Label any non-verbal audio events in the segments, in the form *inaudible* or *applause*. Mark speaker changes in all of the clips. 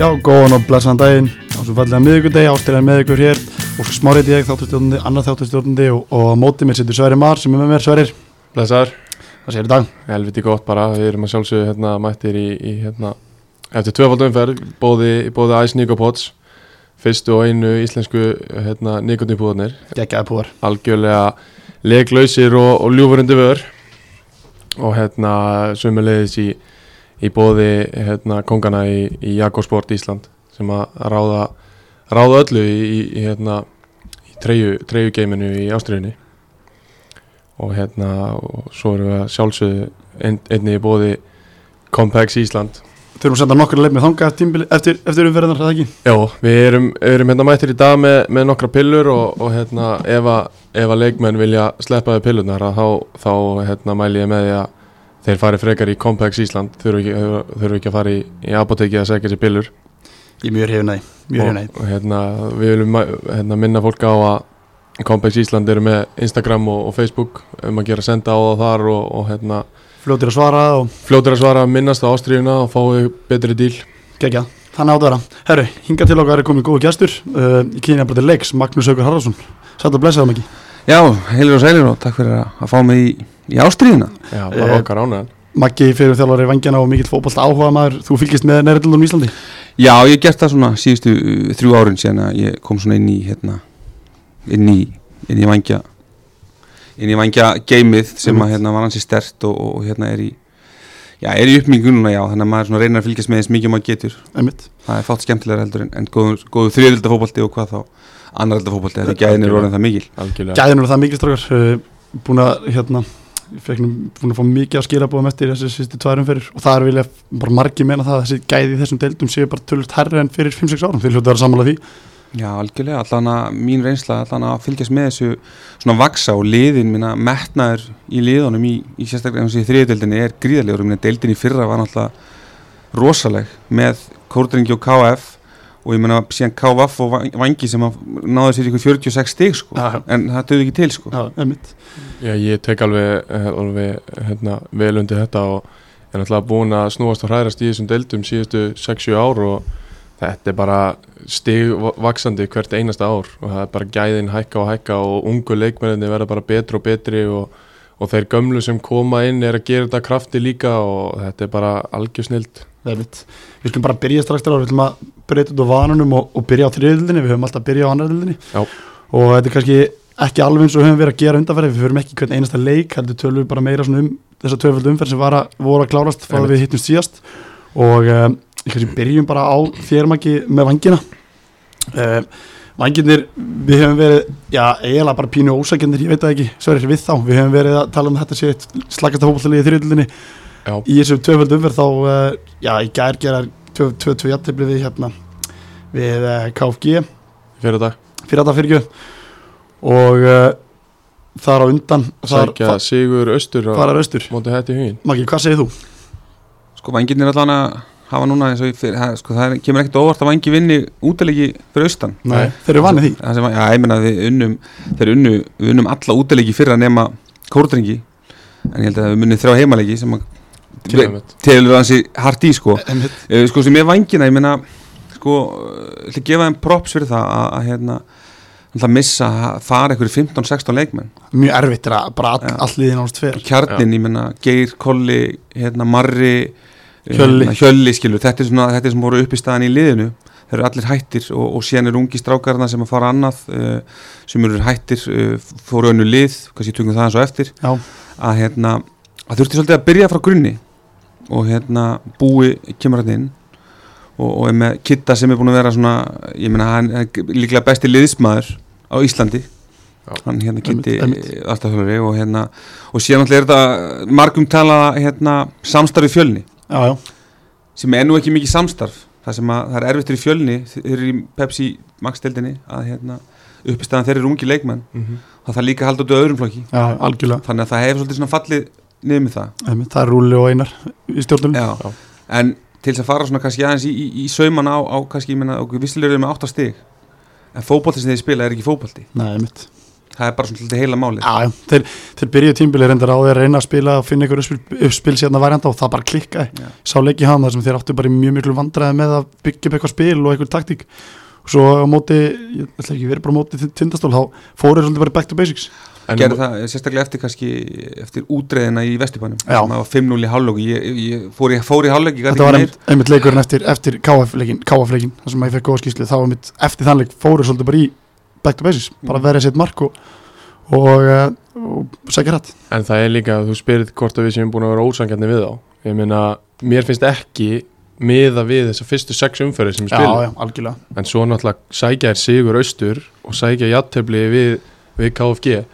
Speaker 1: Já, góðan og blessan daginn á svo fallega miðugudegi, ástæðan með ykkur hér Ósk Smárið ég, þáttustjórnandi, annar þáttustjórnandi og, og á móti mér sittur Sverri Mar sem er með mér Sverrir,
Speaker 2: Blessaður,
Speaker 1: hvað sér í dag?
Speaker 2: helviti gott bara, við erum að sjálfsögðu hérna mættir í, í hérna, eftir tvöfaldumferð, bóði, bóði Ice Nicopods, fyrstu og einu íslensku hérna, Nicotinpúðarnir,
Speaker 1: Gekkaði púar
Speaker 2: algjörlega leklausir og, og ljúfurundi vör og hérna sömulegis í, í bóði hérna, kongana í, í Jakosport Ísland sem að ráða, ráða öllu í, í, í, hérna, í treyu, treyu geiminu í Ástriðinni og hérna og svo erum við að sjálfsögðu ein, einni í bóði Compax Ísland
Speaker 1: Þurfum að senda nokkur leif með þanga eftir, tímabili- eftir, eftir umferðinar, er það ekki?
Speaker 2: Já, við erum, erum hérna mættir í dag með, með nokkra pillur og, og hérna, ef, að, ef að leikmenn vilja sleppa við pillurnar að þá, þá hérna, mæli ég með því að þeir fari frekar í Compax Ísland þurfu ekki, þurfu ekki að fara í, í apotekið að segja sér pillur
Speaker 1: Ég er mjög hefnaði, mjög
Speaker 2: og,
Speaker 1: hefnaði
Speaker 2: og hérna, við viljum mæ- hérna, minna fólk á að Compax Ísland eru með Instagram og, og Facebook um að gera senda á það þar og, og hérna,
Speaker 1: Fljótir að svara og
Speaker 2: fljótur að svara minnast á ástrífuna og fáið betri díl
Speaker 1: gekkja, þannig átt að vera Herru, hingað til okkar er komið góð gestur uh, Ég kynja bara til leiks, Magnús Haugur Haraldsson Sætt að blessa það mikið
Speaker 3: Já, heilir og sælir og takk fyrir að, að fá mig í, í ástríðina
Speaker 2: Já, var
Speaker 1: Eh,
Speaker 2: okkar ánæðan
Speaker 1: Maggi fyrir þjálfari vangjana og mikill fótbolt áhuga Þú fylgist með nærildunum í Íslandi
Speaker 3: Já, ég hef gert það svona síðustu uh, þrjú árin síðan að ég kom svona inn í hérna, inn í, inn í vangja inn í vangja geimið sem að hérna var hansi stert og, og hérna er í já, er í uppmyngununa já, þannig að maður svona reynar að fylgjast með eins mikið og maður getur
Speaker 1: Einmitt.
Speaker 3: það er fátt skemmtilegar heldur en, en góður, góður þriðölda fótbolti og hvað þá annarölda fólkbalti, þetta gæðin er orðin það mikil
Speaker 2: algjörlega
Speaker 1: gæðin eru það mikið strókar búin að hérna ég fekk nú- búin að fá mikið að skila búið með eftir þessi sýstu tværum fyrir og það er vilja bara margir meina það að þessi gæði í þessum deildum séu bara tölvist herri en fyrir 5-6 árum þeir hljóta að vera sammála því
Speaker 3: Já, algjörlega, allan að mín reynsla allan að fylgjast með þessu svona vaksa og liðin, minna metnaður í liðunum í, í sérstaklega eins og í þriðjöldinni er gríðarlegur, minna deildin í fyrra var náttúrulega rosaleg með Kórdringi og KF og ég meina síðan KVF og Vang- Vangi sem að náðu sér ykkur 46 stig sko,
Speaker 1: Já.
Speaker 3: en það döðu ekki til sko.
Speaker 1: ja, einmitt.
Speaker 2: Já, ég tek alveg, eh, alveg hérna, vel undir þetta og er náttúrulega búin að snúast og hræðast í þessum deildum síðustu 6-7 ár og þetta er bara stigvaksandi hvert einasta ár og það er bara gæðin hækka og hækka og ungu leikmenninni verða bara betri og betri og, og þeir gömlu sem koma inn er að gera þetta krafti líka og þetta er bara algjör snild.
Speaker 1: Einmitt. við skulum bara byrja strax þar við viljum að breyta út á vanunum og, og byrja á þriðildinni við höfum alltaf byrjað á annaðildinni
Speaker 2: Já.
Speaker 1: og þetta er kannski ekki alveg eins og höfum verið að gera undanferði við förum ekki í hvern einasta leik heldur tölum við bara meira svona um þessa tvöföldu umferð sem var að, voru að klárast frá
Speaker 2: Einmitt.
Speaker 1: við hittum síðast og um, kannski byrjum bara á þér maki með vangina um, vanginir við höfum verið, já eiginlega bara pínu ósækjendir, ég veit það ekki, sverjir við þá við höfum verið að tala um að þetta sé eitt slagasta hópallalegi í þriðildinni
Speaker 2: Já.
Speaker 1: í þessu tvöföldu umferð þá uh, já, í gær gerar 2-2 jafntefli við hérna við uh, KFG
Speaker 2: Fyrir þetta
Speaker 1: fyrir þetta fyrir og uh, þar á undan þar
Speaker 2: sækja Sigur Östur og
Speaker 1: fara raustur
Speaker 2: móti hætti í hugin.
Speaker 1: Maggi, hvað segir þú?
Speaker 3: Sko vangirnir allan að hafa núna eins og ég fyrir, ha, sko, það er- kemur ekkert á óvart að Vangi vinni útileiki fyrir austan
Speaker 2: Nei.
Speaker 1: Þeir eru vanið því
Speaker 3: Það sem, já, ég meina við unnum þeir unnu, við unnum alla útileiki fyrra nema kórdringi en ég held að við munnið þrjá heimaleiki sem að
Speaker 2: Kynæmitt.
Speaker 3: telur hansi hart í sko
Speaker 1: Einmitt.
Speaker 3: Eh, sko sem ég vangina, ég meina sko, eh, ætla að gefa þeim props fyrir það að, að hérna ætla að missa að fara ykkur 15-16 leikmenn
Speaker 1: Mjög erfitt er að bara all,
Speaker 3: Já.
Speaker 1: all liðin ást fer
Speaker 3: kjarnin, ég meina Geir, Kolli, hérna Marri eh,
Speaker 1: Hjölli.
Speaker 3: hérna, Hjölli skilur, þetta er svona þetta er sem voru upp í staðan í liðinu þeir eru allir hættir og, og síðan eru ungi strákarna sem að fara annað uh, sem eru hættir, uh, fóru önnu lið kannski tungum það eins og eftir
Speaker 1: Já.
Speaker 3: að hérna, að þurfti svolítið að byrja frá grunni og hérna búi kemur hann inn og, og er með Kitta sem er búin að vera svona ég meina hann er líklega besti liðsmaður á Íslandi
Speaker 2: Já.
Speaker 3: hann hérna
Speaker 1: Einmitt,
Speaker 3: Kitti
Speaker 1: einmitt.
Speaker 3: alltaf hölur og hérna og síðan alltaf er þetta margum tala hérna samstarfi fjölni
Speaker 1: Já, já,
Speaker 3: sem er nú ekki mikið samstarf það sem að það er erfitt fyrir fjölni þeir eru í Pepsi Max-deildinni að hérna uppistaðan þeir eru ungi leikmenn
Speaker 2: Mhm.
Speaker 3: það þarf líka að halda út á öðrum flokki
Speaker 1: já algjörlega
Speaker 3: þannig að það hefur svolítið svona fallið niður með það
Speaker 1: Einmitt. Það er Rúli og Einar í stjórnum
Speaker 3: Já. en til þess að fara svona kannski aðeins í, í, í sauman á, á kannski, ég meina, okkur vissilegur með 8 stig en fótbolti sem þeir spila er ekki fótbolti
Speaker 1: Nei, mitt
Speaker 3: það það er bara svona svolítið heila málið
Speaker 1: Já, já, þeir, þeir byrjuðu tímbilið reyndar á því að reyna að spila og finna ykkur uppspil, uppspil sérna væranda og það bara klikkaði,
Speaker 3: Já.
Speaker 1: sá leik í hafum þar sem þeir áttu bara í mjög miklu vandræði með að byggja upp eitthvað spil og eitthvað taktík og svo á móti, ég ætla ekki verið bara á móti Tind- tindastól, þá fóruður svolítið bara back to basics
Speaker 2: En um-
Speaker 3: gerði það eh, sérstaklega eftir kannski eftir útreðina í Vesturbænum
Speaker 1: Já.
Speaker 3: það var 5-0 í hálflöku ég, ég fór, ég fór í hálflöku, ég gæti
Speaker 1: þetta
Speaker 3: ekki
Speaker 1: var
Speaker 3: meir
Speaker 1: einmitt, einmitt leikurinn eftir, eftir KF-leikin KF leikin, þar sem maður fekk góða skýslu þá einmitt eftir þann leik fóruður svolítið bara í back to basics, bara
Speaker 3: Mm.
Speaker 1: verið sitt mark og, og, eh, og sækja rætt
Speaker 2: En það er líka að þú spyrir hvort að við séum búin að vera ósangjarni við þá Ég meina, mér finnst ekki miða við þessar fyrstu sex umferði sem við
Speaker 1: Já,
Speaker 2: spilum
Speaker 1: já, algjörlega
Speaker 2: En svo náttúrulega sækja er sigur austur og sækja játtöfli við, við KFG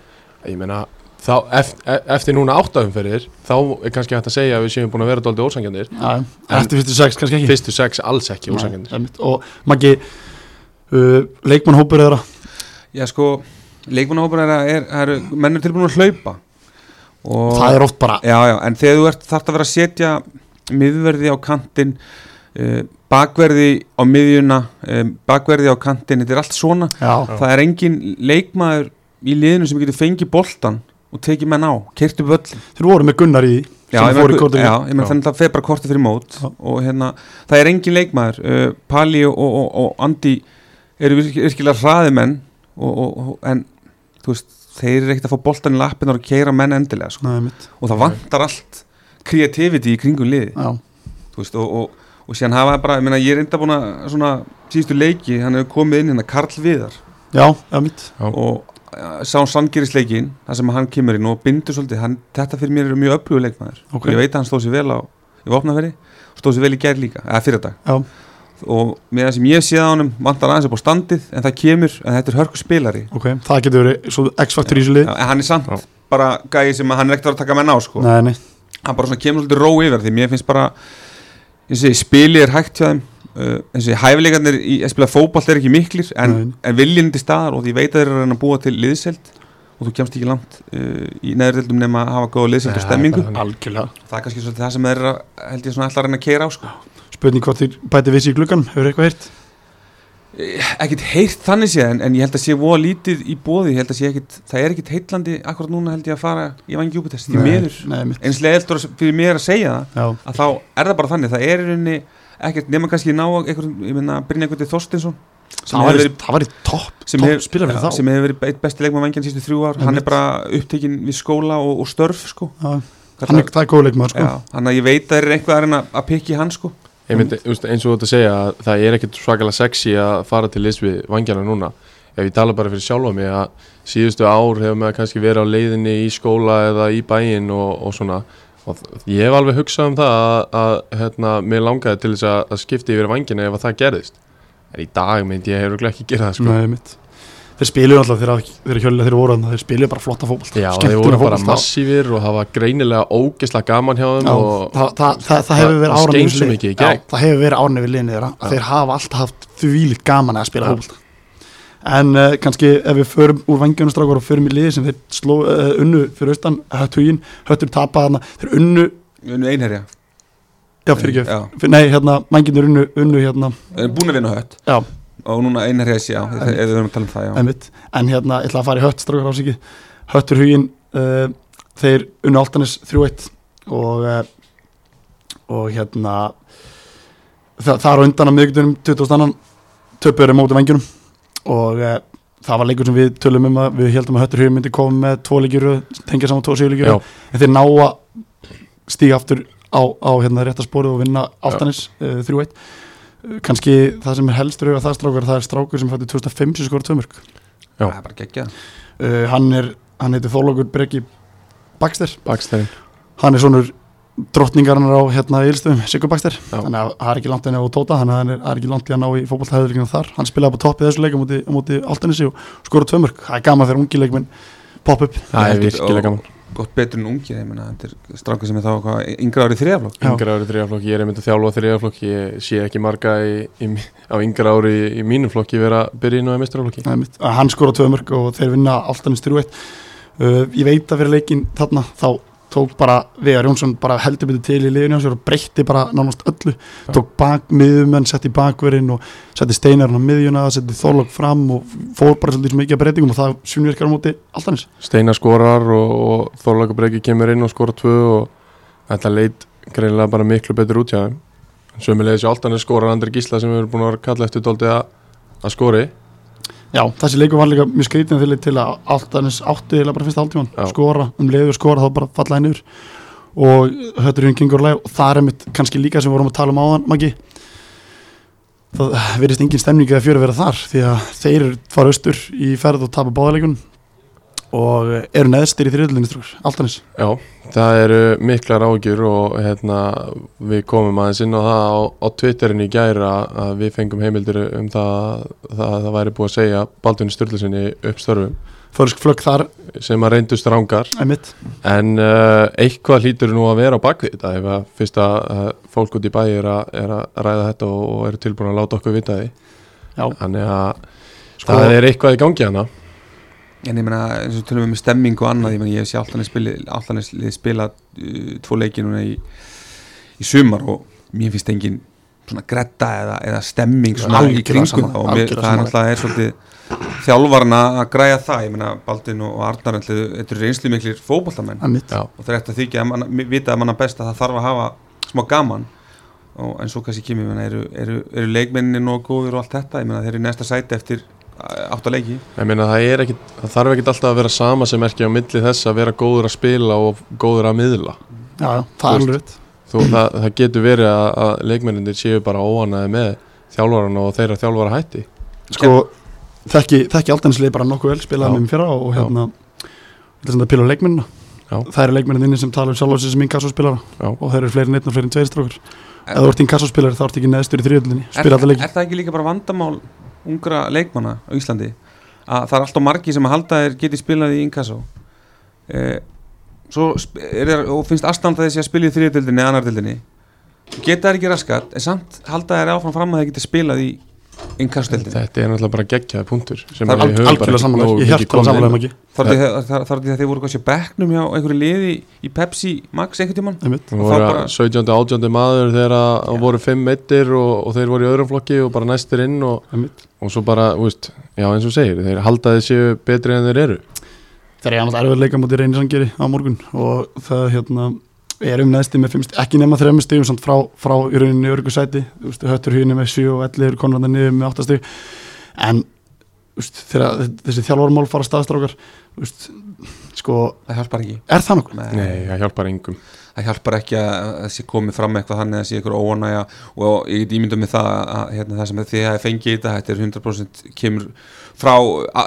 Speaker 2: Ég meina, þá, eftir, eftir núna áttaumferðir þá er kannski hægt að segja að við séum búin að vera dóldi ósangjarnir
Speaker 1: Já, já. Eftir fyrstu sex kannski ekki
Speaker 2: Fyrstu sex alls ekki
Speaker 1: Nei,
Speaker 2: ósangjarnir
Speaker 1: einmitt. og Maggi uh, leikmannhópur þeirra
Speaker 3: já sko, leikmannahópur er, að- er, er menn er tilbúin að hlaupa og
Speaker 1: það er oft bara
Speaker 3: já, já, en þegar þú ert þarft að vera að setja miðverði á kantinn uh, bakverði á miðjuna um, bakverði á kantinn, þetta er allt svona
Speaker 1: já,
Speaker 2: Já.
Speaker 3: það er engin leikmaður í liðinu sem getur fengið boltan og tekið menn á, keirt upp völlin
Speaker 1: þeir voru með Gunnar í
Speaker 3: Já,
Speaker 1: sem
Speaker 3: ég
Speaker 1: fór í
Speaker 3: meina-
Speaker 1: kortið.
Speaker 3: já, ég menn
Speaker 2: Já.
Speaker 3: þannig að það fer bara korti fyrir mót
Speaker 1: Já.
Speaker 3: og hérna, það er engin leikmaður uh, Pali og, og, og, og Andi eru virk- virkilega hraði menn og, og, og, en þú veist, þeir eru ekkert að fá boltan í lappin og keira menn endilega sko.
Speaker 1: Nei, mitt.
Speaker 3: og það vantar allt kreativiti í kringum liði
Speaker 1: já,
Speaker 3: þú veist, og, og, og síðan hafa bara, ég meina ég er enda búin að svona síðustu leiki, hann hefur komið inn hérna Karl Viðar
Speaker 1: já, já, mitt
Speaker 3: og uh, sá sangirisleikin þar sem hann kemur inn og bindur svolítið hann, þetta fyrir mér er mjög öflugur leikmaður
Speaker 1: Ok.
Speaker 3: og ég veit að hann stóð sér vel á í vopnaferi stóð sér vel í gær líka, eða fyrir dag
Speaker 1: já,
Speaker 3: og með það sem ég séð á honum vantar aðeins upp á standið en það kemur, en þetta er hörku spilari
Speaker 1: ok, það getur verið svo X-faktur í þessu lið
Speaker 3: en hann er samt
Speaker 2: Já.
Speaker 3: bara gæði sem að hann er ekkert að vera að taka menn á sko.
Speaker 1: nei, nei,
Speaker 3: hann bara svona kemur svolítið ró yfir því mér finnst bara ég segi, spili er hægt hjá þeim uh, eins og ég hæfileikarnir í að spila fótballt er ekki miklir en,
Speaker 1: Nei.
Speaker 3: en viljinn til staðar og því veit að þeir eru að reyna að búa til liðseld og þú kemst ekki langt uh, í neðurdeldum nema að hafa góða liðseld
Speaker 2: Nei,
Speaker 3: og
Speaker 2: það er
Speaker 3: stemmingu
Speaker 2: bara þannig.
Speaker 1: algjörlega
Speaker 3: það er kannski svolítið það sem þeir eru að, held ég svona alltaf að reyna að keira á sko.
Speaker 1: spurning hvort þér bæti vissi í gluggan, hefur eitthvað heyrt
Speaker 3: ekkit heitt Eh, þannig séð en, en ég held að sé voða lítið í bóði ég held að sé ekkit, það er ekkit heitlandi akkurat núna held ég að fara í vangi júpitest því miður
Speaker 1: nei, mitt,
Speaker 3: eins leiðilt fyrir mér að segja það
Speaker 1: já,
Speaker 3: að þá er það bara þannig, það er í rauninni ekkert nema kannski ná einhvern, ég meina Brynja Gutti Þorstinsson sem
Speaker 1: það
Speaker 3: hefur
Speaker 1: var,
Speaker 3: verið
Speaker 1: það var í topp
Speaker 3: sem
Speaker 1: topp
Speaker 3: hefur-
Speaker 1: spilar fyrir
Speaker 3: já,
Speaker 1: þá
Speaker 3: sem hefur verið eitt besti leikmann vangjan sístu þrjú ár, hann
Speaker 1: Einmitt.
Speaker 3: er bara upptekinn við skóla og, og störf sko
Speaker 1: Já, hann er, það er góð leikmaður sko
Speaker 3: já, þannig að ég veit að það er eitthvað að reyna að pikki hann sko
Speaker 2: Ég myndi, þú veist, eins og þú ert að segja að það er ekkert svakalega sexy að fara til liðs við vangjana núna ef ég tala bara fyrir sjálfa mig að síðustu ár hefur maður kannski verið á leiðinni í skóla eða í bæinn og, og svona og þ- ég hef alveg hugsað um það að, að hérna, mér langaði til þess að, að skipta yfir vangjana ef að það gerðist en í dag myndi ég hefur ekki gerað það sko
Speaker 1: nei, mitt þeir spiluðu alltaf þegar, þegar hjölulega þeir voru þarna, þeir spiluðu bara flotta fótbolt
Speaker 2: Já, þeir voru bara massífir og hafa greinilega ógeðslega gaman hjá þeim
Speaker 1: Já,
Speaker 2: og
Speaker 1: það, það, það, það hefur
Speaker 2: það-
Speaker 1: verið
Speaker 2: það
Speaker 1: áran
Speaker 2: skein svo mikið í gegn.
Speaker 1: það hefur verið áran yfir liðinni þeirra að
Speaker 2: Já.
Speaker 1: þeir hafa alltaf haft þvílíkt gaman að spila
Speaker 2: Já.
Speaker 1: fótbolta en uh, kannski ef við förum úr vangjönustrákur og förum í liði sem þeir sló, uh, unnu fyrir austan höttugin, höttur tapaði hana þeir unnu,
Speaker 3: unnu einherja,
Speaker 1: já fyrir ekki
Speaker 3: Já.
Speaker 1: fyr, nei hérna, mangirnir unnu, unnu hérna
Speaker 3: er búin að vinna hött
Speaker 1: já,
Speaker 3: og núna einherja sé, já, ef
Speaker 1: Einmitt.
Speaker 3: ef við verðum að tala um það já.
Speaker 1: einmitt, en hérna ég ætla að fara í hött strákur ásiki, höttur hugin uh, þeir unnu altanis 3-1 og uh, og hérna það, það er á undan að miðvíkundunum 22. töpuður er móti vengjunum og uh, það var leikur sem við tölum um að við heldum að höttur hugin myndi koma með tvo leikir tengja saman tvo sigurleikir
Speaker 2: Já.
Speaker 1: en þeir ná að stíga aftur á, á hérna réttasporið og vinna altanis uh, 3-1 Uh, kannski það sem er helst rauða það strákur það er strákur sem fætti 2005 sem skora tvö mörg
Speaker 2: Já.
Speaker 3: það er bara geggja
Speaker 1: uh, hann er, hann heitir Þólokur Breki Baxter,
Speaker 2: bakstæðin
Speaker 1: hann er svonur drottningarinnar á hérna Ílstöðum, Sigur Baxter
Speaker 2: Já.
Speaker 1: þannig að það er ekki langt henni á Tóta þannig að hann er, það er ekki langt í að ná í fótballtæðurleikinu þar hann spilaði bara toppið þessu leik á móti, á móti Altanesi og skora tvö mörg, það er gaman þegar ungi leikminn popp upp,
Speaker 2: Það er
Speaker 3: Heldur-
Speaker 2: virkilega
Speaker 3: og-
Speaker 2: gaman
Speaker 3: gott betur en ungir, ég meina, þetta er stráka sem er þá hvað, yngra árið þriðaflokk
Speaker 1: Já.
Speaker 2: yngra ári þriðaflokki, ég er einmitt að þjálfa þriðaflokki ég sé ekki marga í, í, mi- á yngra ári í, í mínum flokki vera að byrja inn á mestrarflokki
Speaker 1: það er mitt að hann skora tvö mörg og þeir vinna Altanes 3-1 uh, ég veit að fyrir leikin þarna þá tók bara Vegar Jónsson bara heldur betur til í liðinu hans og breytti bara nánast öllu tók bak miðumenn, setti bakverinn og setti steinarinn á miðjuna, setti þorlokk fram og fór bara svolítið svo mikið að breytingum og það sunnverkar á móti allt hans
Speaker 2: Steinar skorar og, og Þorlaka Breki kemur inn og skorar tvö og þetta leit greinilega bara miklu betur út hjá þeim sömulegis og Altanir skorar Andri Gísla sem við erum búin að vera að kalla eftir dóldi að, að skori
Speaker 1: Já, þessi leikur var líka mjög skrítin þegar til að Altanis átti eða bara fyrsta hálftíman
Speaker 2: Já.
Speaker 1: skora, um leiðu og skora þá bara falla henni yfir og hötturinn gengur læg og það er mitt kannski líka sem við vorum að tala um áðan Maggi það verðist engin stemning eða fjör að vera þar því að þeir fara austur í ferð og tapa báðalegun og eru neðstir í þriðlunni strúr, Altanis
Speaker 2: Já, það eru miklar ágjur og hérna, við komum aðeins inn á það á, á Twitterin í gæra að við fengum heimildir um það að það, það væri búið að segja Baldvin Sturlusinni uppstörfum
Speaker 1: Fölsk flögg þar,
Speaker 2: sem að reyndust rángar
Speaker 1: emitt
Speaker 2: En uh, eitthvað hlýtur nú að vera á bakvið þetta ef að fyrst að uh, fólk út í bæ er að, er að ræða þetta og, og eru tilbúin að láta okkur vita því.
Speaker 1: Já.
Speaker 2: Þannig að
Speaker 1: Sko-
Speaker 2: það er eitthvað í gangi hana.
Speaker 3: En ég meina, eins og tölum við með stemming og annað, ég meina, ég hef sé alltanis liðið spila uh, tvo leiki núna í, í sumar og mér finnst engin svona gretta eða, eða stemming svona
Speaker 1: Algjörlega
Speaker 3: í kringum
Speaker 1: sammála,
Speaker 3: það og mér,
Speaker 1: algjörlega
Speaker 3: það
Speaker 1: sammála.
Speaker 3: er náttúrulega er svolítið þjálfarna að græja það, ég meina, Baldin og Arnar ætli- þetta eru reynslu miklir fótballtamenn
Speaker 1: Emitt,
Speaker 2: Já.
Speaker 3: og það er eftir að þykja að manna, mi- vita að manna best að það þarf að hafa smá gaman og en svo kannski kemur, ég meina, eru, eru, eru leikmenninni nóg góður og allt þetta, ég meina, þeir eru í næsta sæti eftir eh, átta leiki
Speaker 2: Ég meina það, er ekkit, það þarf ekkit alltaf að vera sama sem erki á milli þess að vera góður að spila og góður að miðla.
Speaker 1: já, já, það er
Speaker 2: Þú
Speaker 1: alveg rétt *clears throat*
Speaker 2: Þú, það, það getur verið að, að leikmennindir séu bara óanaði með þjálfarana og þeirra þjálfara hætti.
Speaker 1: sko, þekki, þekki Altanisleif bara nokkuð vel,
Speaker 2: Já.
Speaker 1: spilaði með mér fyrra og
Speaker 2: Já.
Speaker 1: hérna, þetta er svona að pila á leikmennina
Speaker 2: Já.
Speaker 1: það eru leikmenninni sem tala um sjálf á sig sem inkassospilara
Speaker 2: Já.
Speaker 1: og þeir eru fleiri neitt og fleiri en tveir strókur ef þú ert inkassospilari þá ert ekki neðstur í þriðjöldinni
Speaker 3: er,
Speaker 1: spila alltaf leiki
Speaker 3: er það ekki líka bara vandamál ungra leikmanna á Íslandi að það er alltaf margi sem að halda þeir geti spilað í inkassó eh, svo sp- er þeir og finnst aðstanda þessi að spila í þriðutildinni eða annardildinni geta þeir ekki raskat en samt halda þeir áfram fram að þeir geti spilað í inkassótildinni
Speaker 2: Þetta er náttúrulega bara geggjaði punktur. sem
Speaker 3: Það er
Speaker 2: að við
Speaker 1: Alg-
Speaker 2: höfum bara
Speaker 1: algjörlega samanlega,
Speaker 2: ekki nógu
Speaker 1: ég
Speaker 2: mikið
Speaker 1: hjartan
Speaker 2: komið inn á.
Speaker 1: samanlega ekki
Speaker 3: þar til þar- þar- þar til þeir voru kannski á bekknum hjá einhverju liði í Pepsi Max einhvern tímann
Speaker 1: einmitt.
Speaker 2: Það
Speaker 3: Og
Speaker 2: voru
Speaker 3: þá
Speaker 2: bara...
Speaker 3: bara-
Speaker 2: 17. og 18. maður þegar það voru 5 meittir og, og þeir voru í öðrum flokki og bara næstir inn og,
Speaker 1: Einmitt.
Speaker 2: og svo bara, þú veist, já eins og þú segir, þeir halda þeir séu betri en þeir eru.
Speaker 1: þeir eru annars erfið leika mútið reynisangeri á morgun og það hérna er um neðsti með fimmst, ekki nema þremmu stíum samt frá, frá í rauninni örgu sæti Þú veist, höttur hýni með 7 og 11 konrandar niður með 8 stíg en þú veist, þegar þessi þjálfarmál fara staðstrákar sko,
Speaker 3: það hjálpar ekki
Speaker 1: er það nokkuð?
Speaker 2: Nei, það hjálpar engum.
Speaker 3: það hjálpar ekki að það sé komið fram með eitthvað hann eða sé eitthvað óanæja og ég get ímyndað með það að hérna, það sem þið hafi fengið í þetta, þetta er 100% kemur frá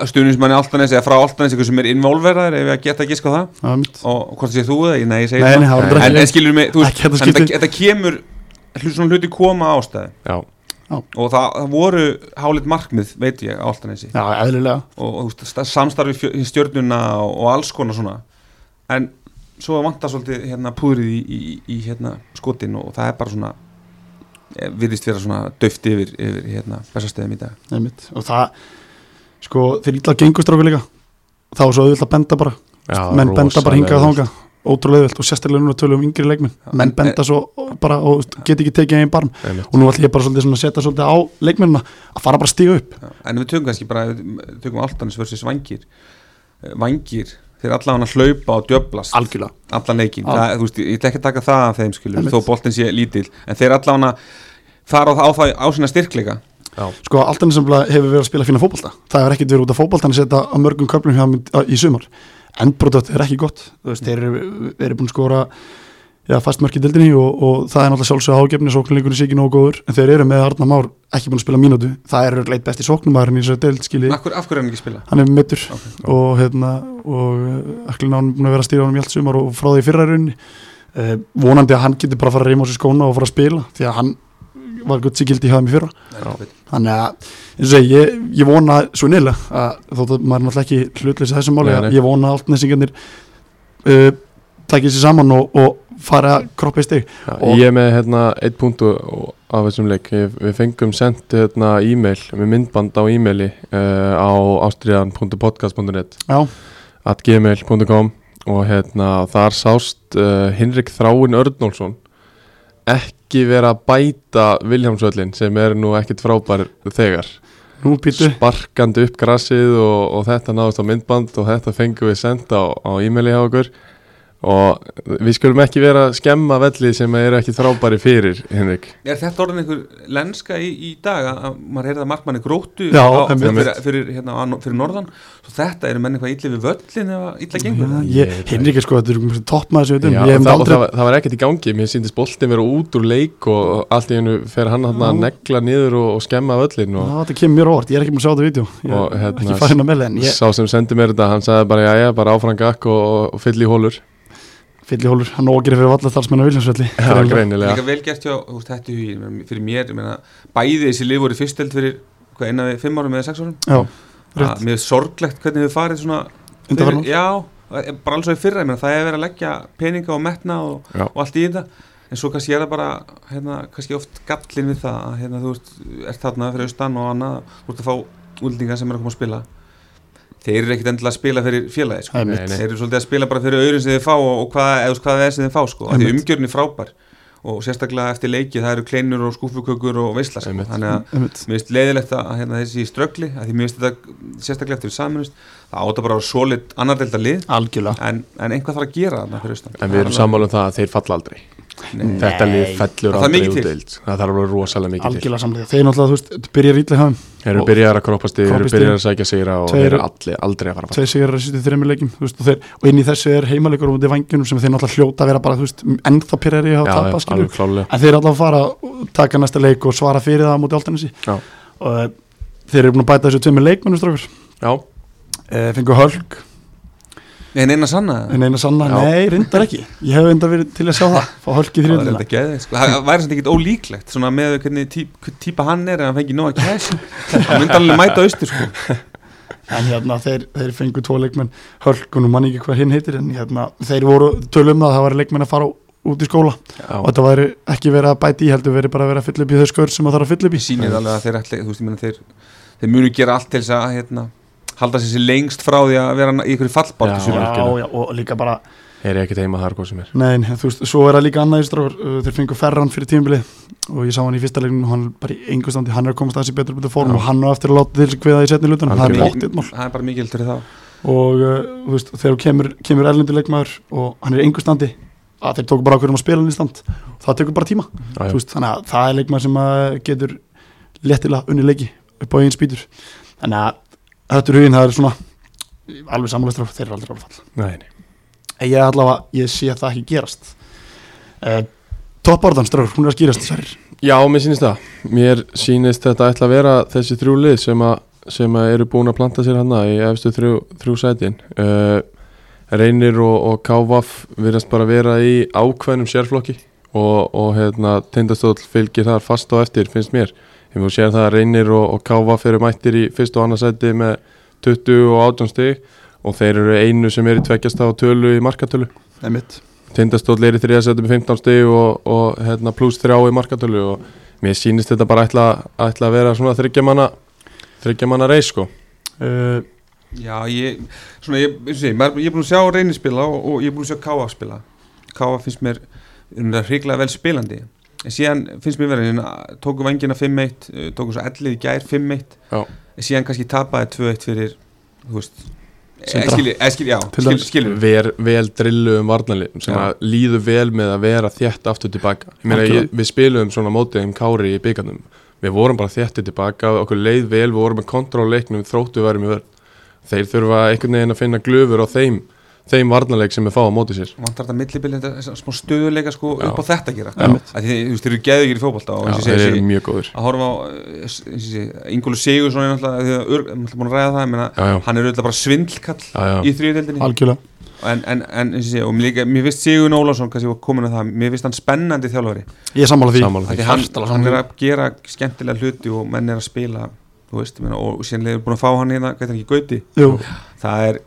Speaker 3: stuðnismanni Altanes eða frá Altanes, eitthvað sem er involveraður ef ég geta ekki sko það
Speaker 1: Það er mitt
Speaker 3: og hvort sé þú það, Ég- nei ég segi
Speaker 1: Nei, nei,
Speaker 3: það
Speaker 1: það var
Speaker 2: Nei.
Speaker 1: bara
Speaker 3: en,
Speaker 1: ekki
Speaker 3: en skilur mig, þú veist,
Speaker 1: Ekki þetta
Speaker 3: en þetta-
Speaker 1: skipti.
Speaker 3: þetta kemur hlut- svona hluti koma ástæði
Speaker 2: Já,
Speaker 3: og það, það voru hálit markmið, veit ég, á Altanesi
Speaker 1: Já, eðlilega
Speaker 3: og, og þú veist, sta- samstarfi fjö- í stjörnuna og, og alls konar svona en svo vantar svolítið hérna púðrið í, í, í hérna skotin og það er bara svona eh, virðist vera svona döft yfir, yfir hérna bestastöðum í dag
Speaker 1: einmitt. og það, sko, þeir ítla gengustráku líka þá er svo auðvitað að benda bara
Speaker 2: já
Speaker 1: menn benda bara hingað
Speaker 2: rosalega.
Speaker 1: þánga ótrúlega auðvilt og sérstaklega núna tölum við um yngri leikminn
Speaker 3: Já.
Speaker 1: menn benda svo bara og get ekki tekið einn barm
Speaker 2: Einmitt.
Speaker 1: og nú ætlum ég bara svolítið svona að setja svolítið á leikmennina að fara bara að stíga upp
Speaker 3: Já, en við tökum kannski bara við tökum Altanis versus Vangir Eh, Vangir, þeir allan að hlaupa og djöblast
Speaker 1: algjörlega,
Speaker 3: allan leikin
Speaker 1: Al-
Speaker 3: það, þú veist, ég ætla ekki að taka það af þeim skilur
Speaker 1: Einmitt.
Speaker 3: þó boltin sé lítill, en þeir allan að fara á, það- á, það- á sína styrkleika
Speaker 1: sko alltaf nýsamlega hefur verið að spila fína fótbolta það hefur ekkert verið út af fótboltan að setja á mörgum köflum hjá þeim í- á- í sumar endbrotot er ekki gott, þú veist, þeir eru, eru búin að skora já, fast mörk í dildinni og, og það er náttúrulega sjálfsög ágefni sóknleikunni sé ekki nógu góður, en þeir eru með Arna Már ekki búin að spila mínútu, það er leitt besti sóknumæðurinn í þessu deild skilji,
Speaker 3: af hverju af hverju er hann ekki að spila?
Speaker 1: hann er mittur
Speaker 3: Ok.
Speaker 1: og hérna og eh, ætlum hann búin að vera að stýra honum í allt sumar og frá því í fyrra rauninni eh, vonandi að hann getur bara að fara að reyma á sér skóna og fara að spila því að hann var gutt sigildi hjá þeim í fyrra
Speaker 3: Nei, veit.
Speaker 1: þannig að eins og segi, ég, ég vona svo nýla að þótt að maður er náttúrulega ekki hlutleysi þessu máli,
Speaker 2: Nei,
Speaker 1: að
Speaker 2: nei.
Speaker 1: ég vona að allt nesingarnir uh, takki sér saman og, og fara að kroppa í stig
Speaker 2: Já,
Speaker 1: Og-
Speaker 2: Ég er með hérna eitt punktu af þessum leik Ég- Við fengum sendt hérna e-mail með myndband á eh, e-maili uh, á ástriðan.podcast.net
Speaker 1: Já.
Speaker 2: at gmail.com og hérna þar sást uh, Hinrik Þráin Örnólfsson ekki vera að bæta Viljámsvöllin sem er nú ekkit frábær þegar
Speaker 1: Nú býtu
Speaker 2: sparkandi upp grassið og, og þetta náðist á myndband og þetta fengum við senda á, á e-maili hjá okkur og við skulum ekki vera að skemma velli sem er ekki frábæri fyrir Hinrik
Speaker 3: Er þetta orðin einhver lenska í, í dag að að maður heyrði að markmanni gróttu
Speaker 1: Já,
Speaker 3: á,
Speaker 1: einmitt.
Speaker 3: fyrir, fyrir, hérna, á, fyrir norðan svo þetta eru menn eitthvað illi við völlin eða illa gengur
Speaker 1: Já,
Speaker 3: það?
Speaker 1: ég, Hinrik er sko, þetta er mjög toppmaður sem við
Speaker 2: Já,
Speaker 1: veitum, ég hef
Speaker 2: það, og
Speaker 1: aldrei
Speaker 2: það, var- það var ekkert í gangi, mér síndist boltin vera út úr leik og allt í hennu fer hann þarna að negla niður og, og skemma völlin
Speaker 1: Já,
Speaker 2: og
Speaker 1: þetta kemur mér á óvart, ég er ekki búin að sjá þetta vídeo Ég
Speaker 2: Og,
Speaker 1: er
Speaker 2: hérna,
Speaker 1: ekki farin að melda en ég
Speaker 2: sá sem sendi mér þetta, hann sagði bara jæja, bara áfram gakk og, og- og fyll í hólur
Speaker 1: fyllir hólur, hann ógerir fyrir valla þalsmenn á Viljánsvelli
Speaker 2: Já,
Speaker 3: Líka
Speaker 2: greinilega
Speaker 3: vel gert hjá þú veist, þetta hugin fyrir mér, ég meina, bæði þessi lið voru fyrsteld fyrir hvað, eina við fimm árum eða sex árum
Speaker 1: Já,
Speaker 3: að,
Speaker 1: rétt,
Speaker 3: Mér er sorglegt hvernig þau farið svona
Speaker 1: undanfarnar
Speaker 3: Já, e, bara alls og í fyrra, ég meina, það er verið að leggja peninga og metna og,
Speaker 2: Já.
Speaker 3: og allt í þetta en svo kannski er það bara hérna, kannski oft gallin við það að hérna, þú ert, ert þarna fyrir austan og annað þú ert að fá úldingar sem er að koma að spila þeir eru ekkit endilega að spila fyrir félagi sko.
Speaker 1: Það er mitt.
Speaker 2: Nei, nei.
Speaker 3: þeir eru svolítið að spila bara fyrir auðurinn sem þeir fá og, og hvað, eða þú veist, hvað það er sem þeir fá sko. af því
Speaker 1: Einmitt.
Speaker 3: umgjörn er frábær og sérstaklega eftir leiki það eru kleinur og skúfukökur og veisla sko.
Speaker 2: Einmitt.
Speaker 3: þannig að
Speaker 1: Einmitt.
Speaker 3: Mér finnst leiðilegt að hérna, þessi ströggli að því mér finnst þetta sérstaklega eftir við saminust það áta bara að vera solid annardelda lið
Speaker 1: Algjörlega
Speaker 3: en, en einhvað þarf að gera þarna fyrir austan
Speaker 2: En við erum sammála um það að þeir falla aldrei
Speaker 3: Nei.
Speaker 2: Þetta lið fellur
Speaker 3: Það þarf
Speaker 2: aldrei
Speaker 3: mikið
Speaker 2: út
Speaker 3: til.
Speaker 2: deild sko. Það þarf að vera rosalega mikið til
Speaker 1: Algjörlega samlega, þeir náttúrulega, þú veist, þetta byrjar ítla hafum
Speaker 2: Þeir eru byrjar að kroppast yfir, þeir eru
Speaker 1: Kroppast
Speaker 2: byrjar
Speaker 1: yfir.
Speaker 2: að sækja sigra og
Speaker 1: Tveir-
Speaker 2: þeir eru allir aldrei að fara að falla
Speaker 1: Tveir sigur að sýttu þreymur leikjum, þú veist, og, þeir, og inn í þessu er heimalegur út í vangjunum sem þeir náttúrulega hljóta að vera bara, þú veist, ennþá pyrrari að
Speaker 2: Já,
Speaker 1: tapa,
Speaker 2: já,
Speaker 1: skilur
Speaker 2: alveg klálega
Speaker 1: En þeir allavega fara að taka næsta leik og svara fyrir það á móti áltanessi
Speaker 2: Já.
Speaker 1: Og eh, þeir eru búin að bæta þessu tveimur leikmönnum strókur
Speaker 2: Já,
Speaker 1: Eh, Fengu Hölk,
Speaker 3: En eina sanna
Speaker 1: en eina sanna,
Speaker 2: Já.
Speaker 1: nei, reyndar ekki Ég hef reyndar verið til að sjá það, fá Hölk í
Speaker 3: Það er
Speaker 1: þriðlina
Speaker 3: þetta geði sko. Það það væri samt ekkert ólíklegt svona með hvernig tí, hvern típa hann er en hann fengi nóga kæs
Speaker 2: *laughs*
Speaker 3: hann myndi alveg mæta austur sko.
Speaker 1: en hérna þeir, þeir fengu tvo leikmenn Hölkun og manni ekki hvað hinn heitir en hérna þeir voru tölum að það var leikmenn að fara út í skóla og
Speaker 2: já,
Speaker 1: þetta væri ekki verið að bæta í heldur verið bara að vera að fylla upp í þau skör sem það þarf að fylla upp í
Speaker 3: Ég sýnir alveg að þeir, ætli, þú veist, ég meina, þeir, þeir munu gera allt til þess að hérna, halda sér sér lengst frá því að vera í ykkur fallbátt
Speaker 2: Já.
Speaker 3: í sumar.
Speaker 1: já, já, og líka bara
Speaker 2: er ég ekkert heima þar hvað sem er
Speaker 1: nein, þú veist, svo er það líka annað í strákur uh, þeir fengu ferran fyrir tímbilið og ég sá hann í fyrsta leiknum og hann er bara í engu standi hann er að komast aðeins í betur betur form
Speaker 2: Já.
Speaker 1: og hann á eftir að láta þér kveða í setni lutan það er
Speaker 2: Algjörlega.
Speaker 1: óttið mál
Speaker 3: það er bara mikilvægt fyrir þá
Speaker 1: og uh, þú veist, þegar þú kemur, kemur erlendur leikmaður og hann er í engu standi að þeir tóku bara okkur um að spila hann í stand það tekur bara tíma
Speaker 2: Já, já.
Speaker 1: Þú veist, þannig að það er leikmaður sem að getur léttilega unni leiki upp á einn spýtur þannig að þetta er huginn, það er svona alveg samanlæstur þeir eru aldrei alveg fall
Speaker 2: Nei, nei.
Speaker 1: en ég allavega, ég sé það ekki gerast uh, topparðan ströður, hún er að skýrast sverir
Speaker 2: Já, mér sýnist það. Mér sýnist þetta ætla að vera þessi þrjú lið sem, að, sem að eru búin að planta sér hana í efstu þrjú, þrjú sætin. Uh, Reynir og, og Kávaf virðast bara vera í ákveðnum sérflokki og, og hérna, tindastóll fylgir þar fast og eftir, finnst mér. Ef þú sér það að Reynir og, og Kávaf eru mættir í fyrst og annað sæti með 20 og 18 stig og þeir eru einu sem eru í tveggjast á tölu í markatölu.
Speaker 1: það er mitt
Speaker 2: Tindastóll er í þriðasæti með 15 stig og, og hérna, pluss 3 í markatölu og mér sýnist þetta bara ætla, ætla að vera svona þryggjamanna þryggjamanna reis sko
Speaker 1: uh,
Speaker 3: Já, ég, svona, ég, eins og ég, maður, ég er búin að sjá reynir spila og, og ég er búin að sjá Káa spila Káa finnst mér um, hríklega vel spilandi en síðan finnst mér verið, hérna, tóku vengina 5-1 eh, tóku svo ellið í gær 5-1
Speaker 2: Já.
Speaker 3: en síðan kannski tapaði 2-1 fyrir þú veist eh,
Speaker 1: Sindra.
Speaker 3: eskili, eskili, já,
Speaker 1: Til
Speaker 3: skil,
Speaker 1: dæmis.
Speaker 3: skilur
Speaker 2: Ver, vel drillu um varnarlið sem
Speaker 3: Já.
Speaker 2: að líðu vel með að vera þétt aftur tilbaka Ég meina, ég,
Speaker 1: Algjörlega.
Speaker 2: við spilum svona mótið um kári í byggarnum við vorum bara þéttir tilbaka okkur leið vel, við vorum með kontráleiknum þróttu verðum í vörn þeir þurfa einhvern veginn að finna glöfur á þeim þeim varnarleik sem við fá á mótið sér
Speaker 3: vantar þetta millibili, þetta þessa smá stöðuleika sko
Speaker 2: Já.
Speaker 3: upp á þetta að gera
Speaker 1: Já.
Speaker 3: Af því þeir- þú veist, þeir eru geðugir í fótbolta og
Speaker 2: Já,
Speaker 3: eins og ég
Speaker 2: þeir
Speaker 3: segi-
Speaker 2: eru mjög góður
Speaker 3: að horfa á eh, Ingólu Sigursson er náttúrulega því að ör- er náttúrulega búin að ræða það ég meina,
Speaker 2: Já, já.
Speaker 3: hann er auðvitað bara svindlkall
Speaker 2: Já, já.
Speaker 3: í þriðdeldinni
Speaker 1: algjörlega,
Speaker 3: en, en, en eins og ég segi, og mér, líka, mér finnst Sigurinn Ólafsson kannski var komin að það, mér finnst hann spennandi þjálfari
Speaker 1: ég er sammála því
Speaker 2: Sammála
Speaker 3: Af
Speaker 2: því.
Speaker 3: því hann,
Speaker 1: hjartalega
Speaker 3: hann er
Speaker 1: sammála.
Speaker 3: að gera skemmtilega hluti og menn er að spila þú veist, ég meina, og, og síðan er búin að fá hann hérna hvað er ekki gauti,
Speaker 1: Jú,
Speaker 3: það er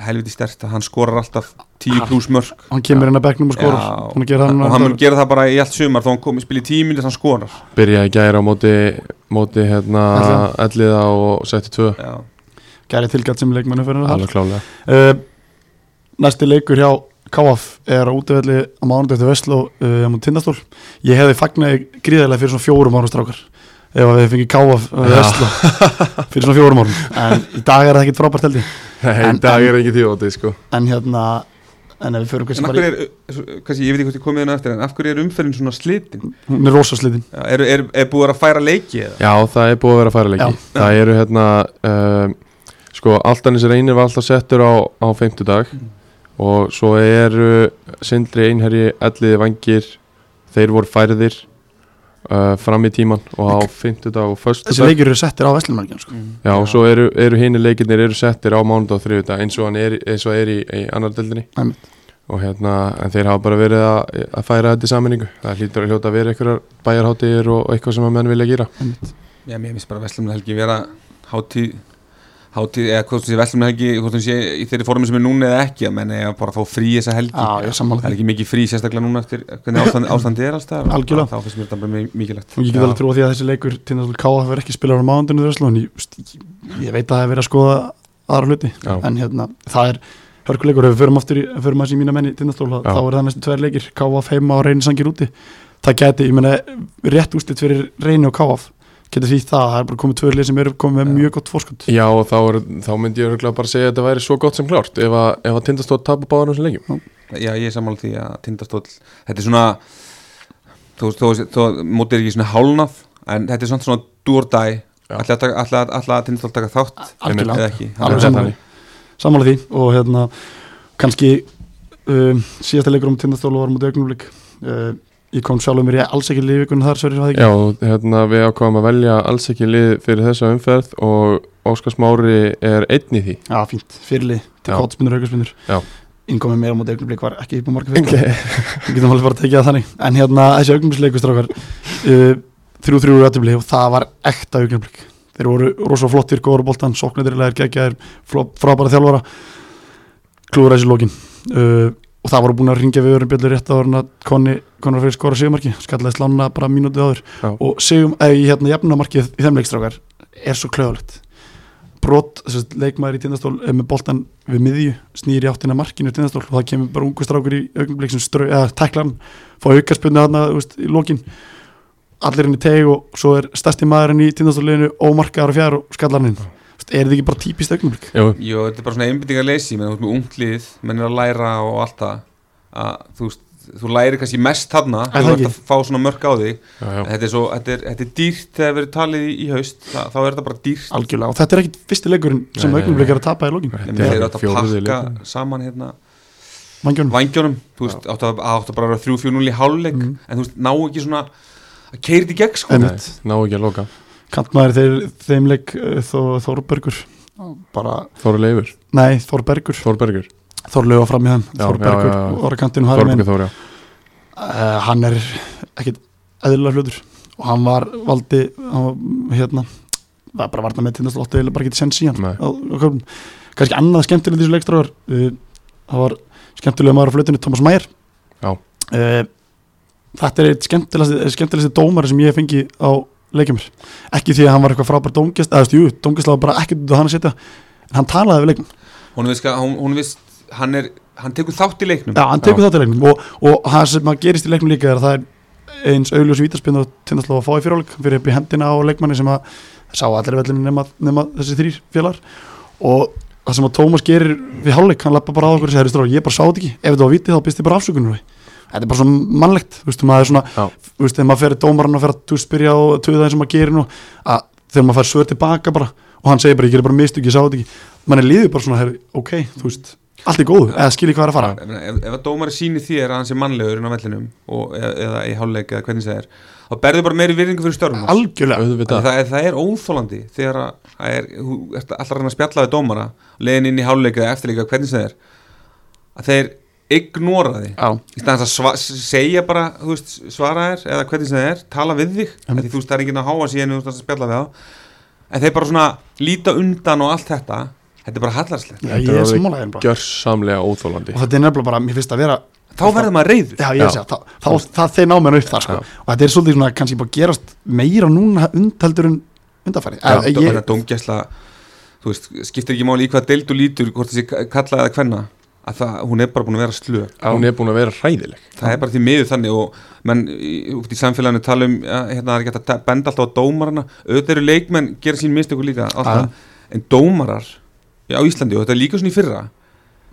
Speaker 3: helviti stert að hann skorar alltaf 10 pluss mörg
Speaker 1: hann kemur inn að bekknum og skorar
Speaker 3: Já.
Speaker 1: Búin að gera það
Speaker 3: og
Speaker 1: núna
Speaker 3: hann mun gera það bara í allt sumar þó hann komi spila í tíminn þess að hann skorar
Speaker 2: byrjaði gæra á móti, móti hérna, elliða og setti tvö
Speaker 3: Já.
Speaker 1: Gæri tilgætt sem leikmennu fyrir það
Speaker 2: alveg klálega
Speaker 1: uh, Eh, næsti leikur hjá KF er á útivelli á mánudag eftir Vestló uh, um tindastól ég hefði fagnæði gríðarlega fyrir svona fjórum árum strákar ef að við fengið KF uh,
Speaker 2: Já.
Speaker 1: *laughs* Vestló fyrir svona fjórum árum en í dag er það ekkit frábært held ég
Speaker 2: Nei,
Speaker 1: En-
Speaker 2: í dag
Speaker 1: en-
Speaker 2: er ekki tíu átti sko
Speaker 1: en hérna, en ef við förum
Speaker 3: En
Speaker 1: kannski
Speaker 3: af
Speaker 1: bara
Speaker 3: hverju er, uh, kannski, ég veit ekki hvort ég komið inn á eftir en af hverju er umferðin svona slitin?
Speaker 1: í hún er rosasliðin
Speaker 3: Já, Er, er, er búið að vera að færa leiki eða?
Speaker 2: Já, það er búið að vera færileiki
Speaker 1: Já.
Speaker 2: Það eru hérna um, Sko, Altanis Reynir var alltaf settur á, á fimmtudag Og svo eru Sindri Einherji, Elliði Vangir Þeir voru færðir uh, Fram í tíman Og á fimmtudag og
Speaker 1: þessi
Speaker 2: föstudag
Speaker 1: leikir eru settir á Vestlumælgjan sko.
Speaker 2: Já, og svo eru, eru hini leikirnir eru settir á mánudag og þriðudag eins og, hann er, eins og er í, í annar deldinni
Speaker 1: Einmitt.
Speaker 2: og hérna, en þeir hafa bara verið að, að færa þetta í sammenningu það hlýtur að hljóta að vera einhverjar bæjarháttir og og eitthvað sem að menn vilja gera
Speaker 3: Já, mér finnst bara Vestlumnahelgi vera hátíð hátíð, eða hvort sem sé Vestlumnahelgi hvort sem sé í þeirri formi sem er núna eða ekki að menn eða bara að fá frí þessa helgi
Speaker 1: Já, ég er sammála
Speaker 3: Það er
Speaker 1: því.
Speaker 3: ekki mikið frí sérstaklega núna eftir hvernig ástand, ástandi er allstað
Speaker 1: Algjörlega.
Speaker 3: Þá finnst mér þetta bara mi- mikilvægt
Speaker 1: og ég get
Speaker 2: Já.
Speaker 1: alveg trúa því að þessi leikur tindastól KF er ekki spilar á mánudaginu Vestló en ég, þú veist, ég- ég veit að það er verið að skoða aðra hluti
Speaker 2: Já.
Speaker 1: en hérna, það er hörkuleikur ef við förum aftur í, förum aðeins í mína menni tindastól þá
Speaker 2: Já.
Speaker 1: þá eru það næstu tveir leikir, KF heima og reyni sangir úti það geti, ég meina, rétt úslit fyrir reyni og KF getur því það, það er bara komið tveir leik sem eru komið með
Speaker 3: Já.
Speaker 1: mjög gott fórskot
Speaker 2: Já, og þá, er, þá myndi ég örugglega bara segja að þetta væri svo gott sem klárt ef að, ef að tindastótt tapar báðan þessum leikjum
Speaker 3: Já, ég er sammála því að tindastóll Þetta er svona þó, þó, þó, mótið er ekki svona hálnað en þetta er svona svona dúrdæ
Speaker 2: Já.
Speaker 3: ætla, að taka- ætla, ætla að tindastóll taka þátt
Speaker 1: algjörlega,
Speaker 3: eða ekki
Speaker 1: Alveg
Speaker 2: Það er
Speaker 1: sammála. sammála því og hérna, kannski um, síðasta leikur um tindastól var mútið augnumleik uh, ég kom sjálfum mér í alls ekki lífíkunum þar, Sverrir, var það
Speaker 2: þannig.
Speaker 1: ekki?
Speaker 2: Já, og hérna, við ákvaðum að velja alls ekki lið fyrir þessa umferð og Óskars Mári er einn *laughs* í því
Speaker 1: Já, fínt, fyrirlið til
Speaker 2: Já.
Speaker 1: kótspinnur, aukarspinnur
Speaker 2: Já.
Speaker 1: Innkomið meira mútið augnumleik var ekki upp á marka fyrir Við getum alveg bara að tekið það þannig En hérna, þessi augnumleiku strákar uh, Þrjú þrjú rættubli og það var ekta augnumleik Þeir voru rosa flottir, góður boltan Sóknadirilegar, geggjaðir, fló- frábæra þjálfara Klúður þessi lókin uh, Og það voru búin að ringja við öðrum bjöldur rétt áður en að Konni, Konrar fyrir skora sigumarki Skallaðist lána bara mínútið áður
Speaker 2: Já.
Speaker 1: Og sigum, eða í hérna jafnamarkið í þeim leikstrákar Er svo klöðalegt brot, þess að leikmaður í tindastól er með boltan við miðju, snýr í áttina að markinu í tindastól og það kemur bara ungu strákur í augnablik sem strau, eða tæklan, fá aukarspunni þarna, þú veist, í lokin allir henni teg og svo er stærsti maðurinn í tindastólleginu ómarkaðar og fjær og skallar hann inn, Þú veist, er þetta ekki bara típist augnablik?
Speaker 2: Jú,
Speaker 3: Jó, þetta er bara svona einbyttingar leysi menn þú ert með unglið, menn er að læra og allt það að þú veist þú lærir kannski mest þarna
Speaker 1: Er
Speaker 3: þú
Speaker 1: það
Speaker 3: ert
Speaker 1: ekki?
Speaker 3: að fá svona mörg á þig
Speaker 2: já, já.
Speaker 3: þetta er, svo, þetta, er, þetta er dýrt þegar verið talið í, í haust Þa, þá er þetta bara dýrt
Speaker 1: Algjörlega, og þetta er ekkit fyrsti leikurinn sem
Speaker 2: Nei, nei,
Speaker 1: augnablik
Speaker 2: nei.
Speaker 1: er að tapa í lokin
Speaker 2: Þetta
Speaker 3: þeir
Speaker 2: er
Speaker 3: eru að
Speaker 2: fjóruði
Speaker 3: pakka
Speaker 2: leikjum
Speaker 3: saman hérna
Speaker 1: vangjónum,
Speaker 3: vangjónum, þú veist, áttu að, áttu bara að vera 3-4-0 í háluleik,
Speaker 1: Mhm.
Speaker 3: en þú veist, ná ekki svona að keiri í gegn, sko
Speaker 1: Einmitt.
Speaker 2: Nei, ná ekki að loka
Speaker 1: kantmaður þeir, þeim leik uh, Þó, Þórbergur bara,
Speaker 2: Þóru Leifur,
Speaker 1: nei, Þórbergur
Speaker 2: Þórbergur
Speaker 1: Þórlöga fram í þeim,
Speaker 2: Já,
Speaker 1: Þórbergur
Speaker 2: já, já, já.
Speaker 1: og kantinu harminn
Speaker 2: Þórbergur Þóra
Speaker 1: uh, hann er ekkit eðlilega hlutur og hann var valdi hann var, hérna það er bara varna með tindast lóttu eða bara getið senn síðan
Speaker 2: Nei.
Speaker 1: á, á köflum. kannski annað skemmtilega í þessu leikstráður uh, það var skemmtilega maður á flötinu Thomas Meyer
Speaker 2: Já.
Speaker 1: Eh, þetta er eitt skemmtilegasti skemmtilegasti dómari sem ég fengi á leikjumir ekki því að hann var eitthvað frábær dómgest eða þú veist, jú, dómgest var bara ekkert út á hann að setja en hann talaði við leikmenn
Speaker 3: hún veist, hún, hún veist, hann er hann tekur þátt í leiknum
Speaker 1: Já, hann tekur þátt í leiknum og, og það sem að gerist í leiknum líka er að það er eins augljós vítaspinn og tindastlófa að fá í fyrirháleik fyrir upp í hendina á leikmanni sem að sá allir vellinu nema, nema þessi þrýr félagar og það sem að Tómas gerir við háleik, hann lappa bara að okkur og segir, stráð, ég bara sá þetta ekki, ef þetta var vitið þá býst ég bara afsökunum við Þetta er bara svo mannlegt, þú veist, maður er svona
Speaker 2: Já.
Speaker 1: þú veist, þegar maður fer í dómarann og fer að þú veist, spyrja og tuða eins og maður gerir nú að þegar maður fær svör tilbaka bara og hann segir bara, ég gerir bara mistug, ég sá þetta ekki mann er líður bara svona, "Herri, ok, þú veist allt er góðu, eða skilji hvað er að fara
Speaker 3: ef, ef- ef að dómari síni þér að hann sé mannlegur inn á vellinum og, eða, eða í háluleik eða hvernig það er, þá berðu bara meiri virðingu fyrir störfum hans.
Speaker 1: algjörlega
Speaker 3: Af því
Speaker 2: Auðvitað
Speaker 3: það, er- það er óþólandi þegar að það er, þú ert alltaf að reyna að spjalla við dómara leiðin inn í háluleika eða eftirleika hvernig það er að þeir ignora þig
Speaker 1: Já,
Speaker 3: í staðan að sva, segja bara þú veist, svara þér eða hvernig sem það er tala við þig,
Speaker 1: Einmitt.
Speaker 3: því þú veist það er enginn að háa síðan þú veist að spjalla við þá en þeir bara svona líta undan og allt þetta þetta er bara hallarslegt
Speaker 1: já
Speaker 2: Þetta
Speaker 1: ég
Speaker 2: er
Speaker 1: er
Speaker 2: orðið
Speaker 1: sammálaðin bara
Speaker 2: Gjörsamlega óþólandi
Speaker 1: og þetta er nefnilega bara, mér finnst að vera
Speaker 3: þá verður maður reyður
Speaker 1: já, ég
Speaker 2: Já.
Speaker 1: sé, það, það, það þeir ná mér upp þar sko.
Speaker 2: Já.
Speaker 1: og þetta er svolítið svona kannski bara gerast meira núna undheldur en undarfæri
Speaker 3: það
Speaker 1: ég,
Speaker 3: er dómgæsla þú veist, skiptir ekki máli í hvað deild og lítur hvort þessi kalla eða hvenna að það, hún er bara búin að vera slög
Speaker 2: hún er búin að vera hræðileg
Speaker 3: það er bara því miður þannig og menn í- út í samfélaginu tala um ja, hérna það er ekki hægt að ta- benda alltaf á dómarana auðvitað eru leikmenn gera sín mistöku líka alltaf, en dómarar á Íslandi og þetta er líka svona í fyrra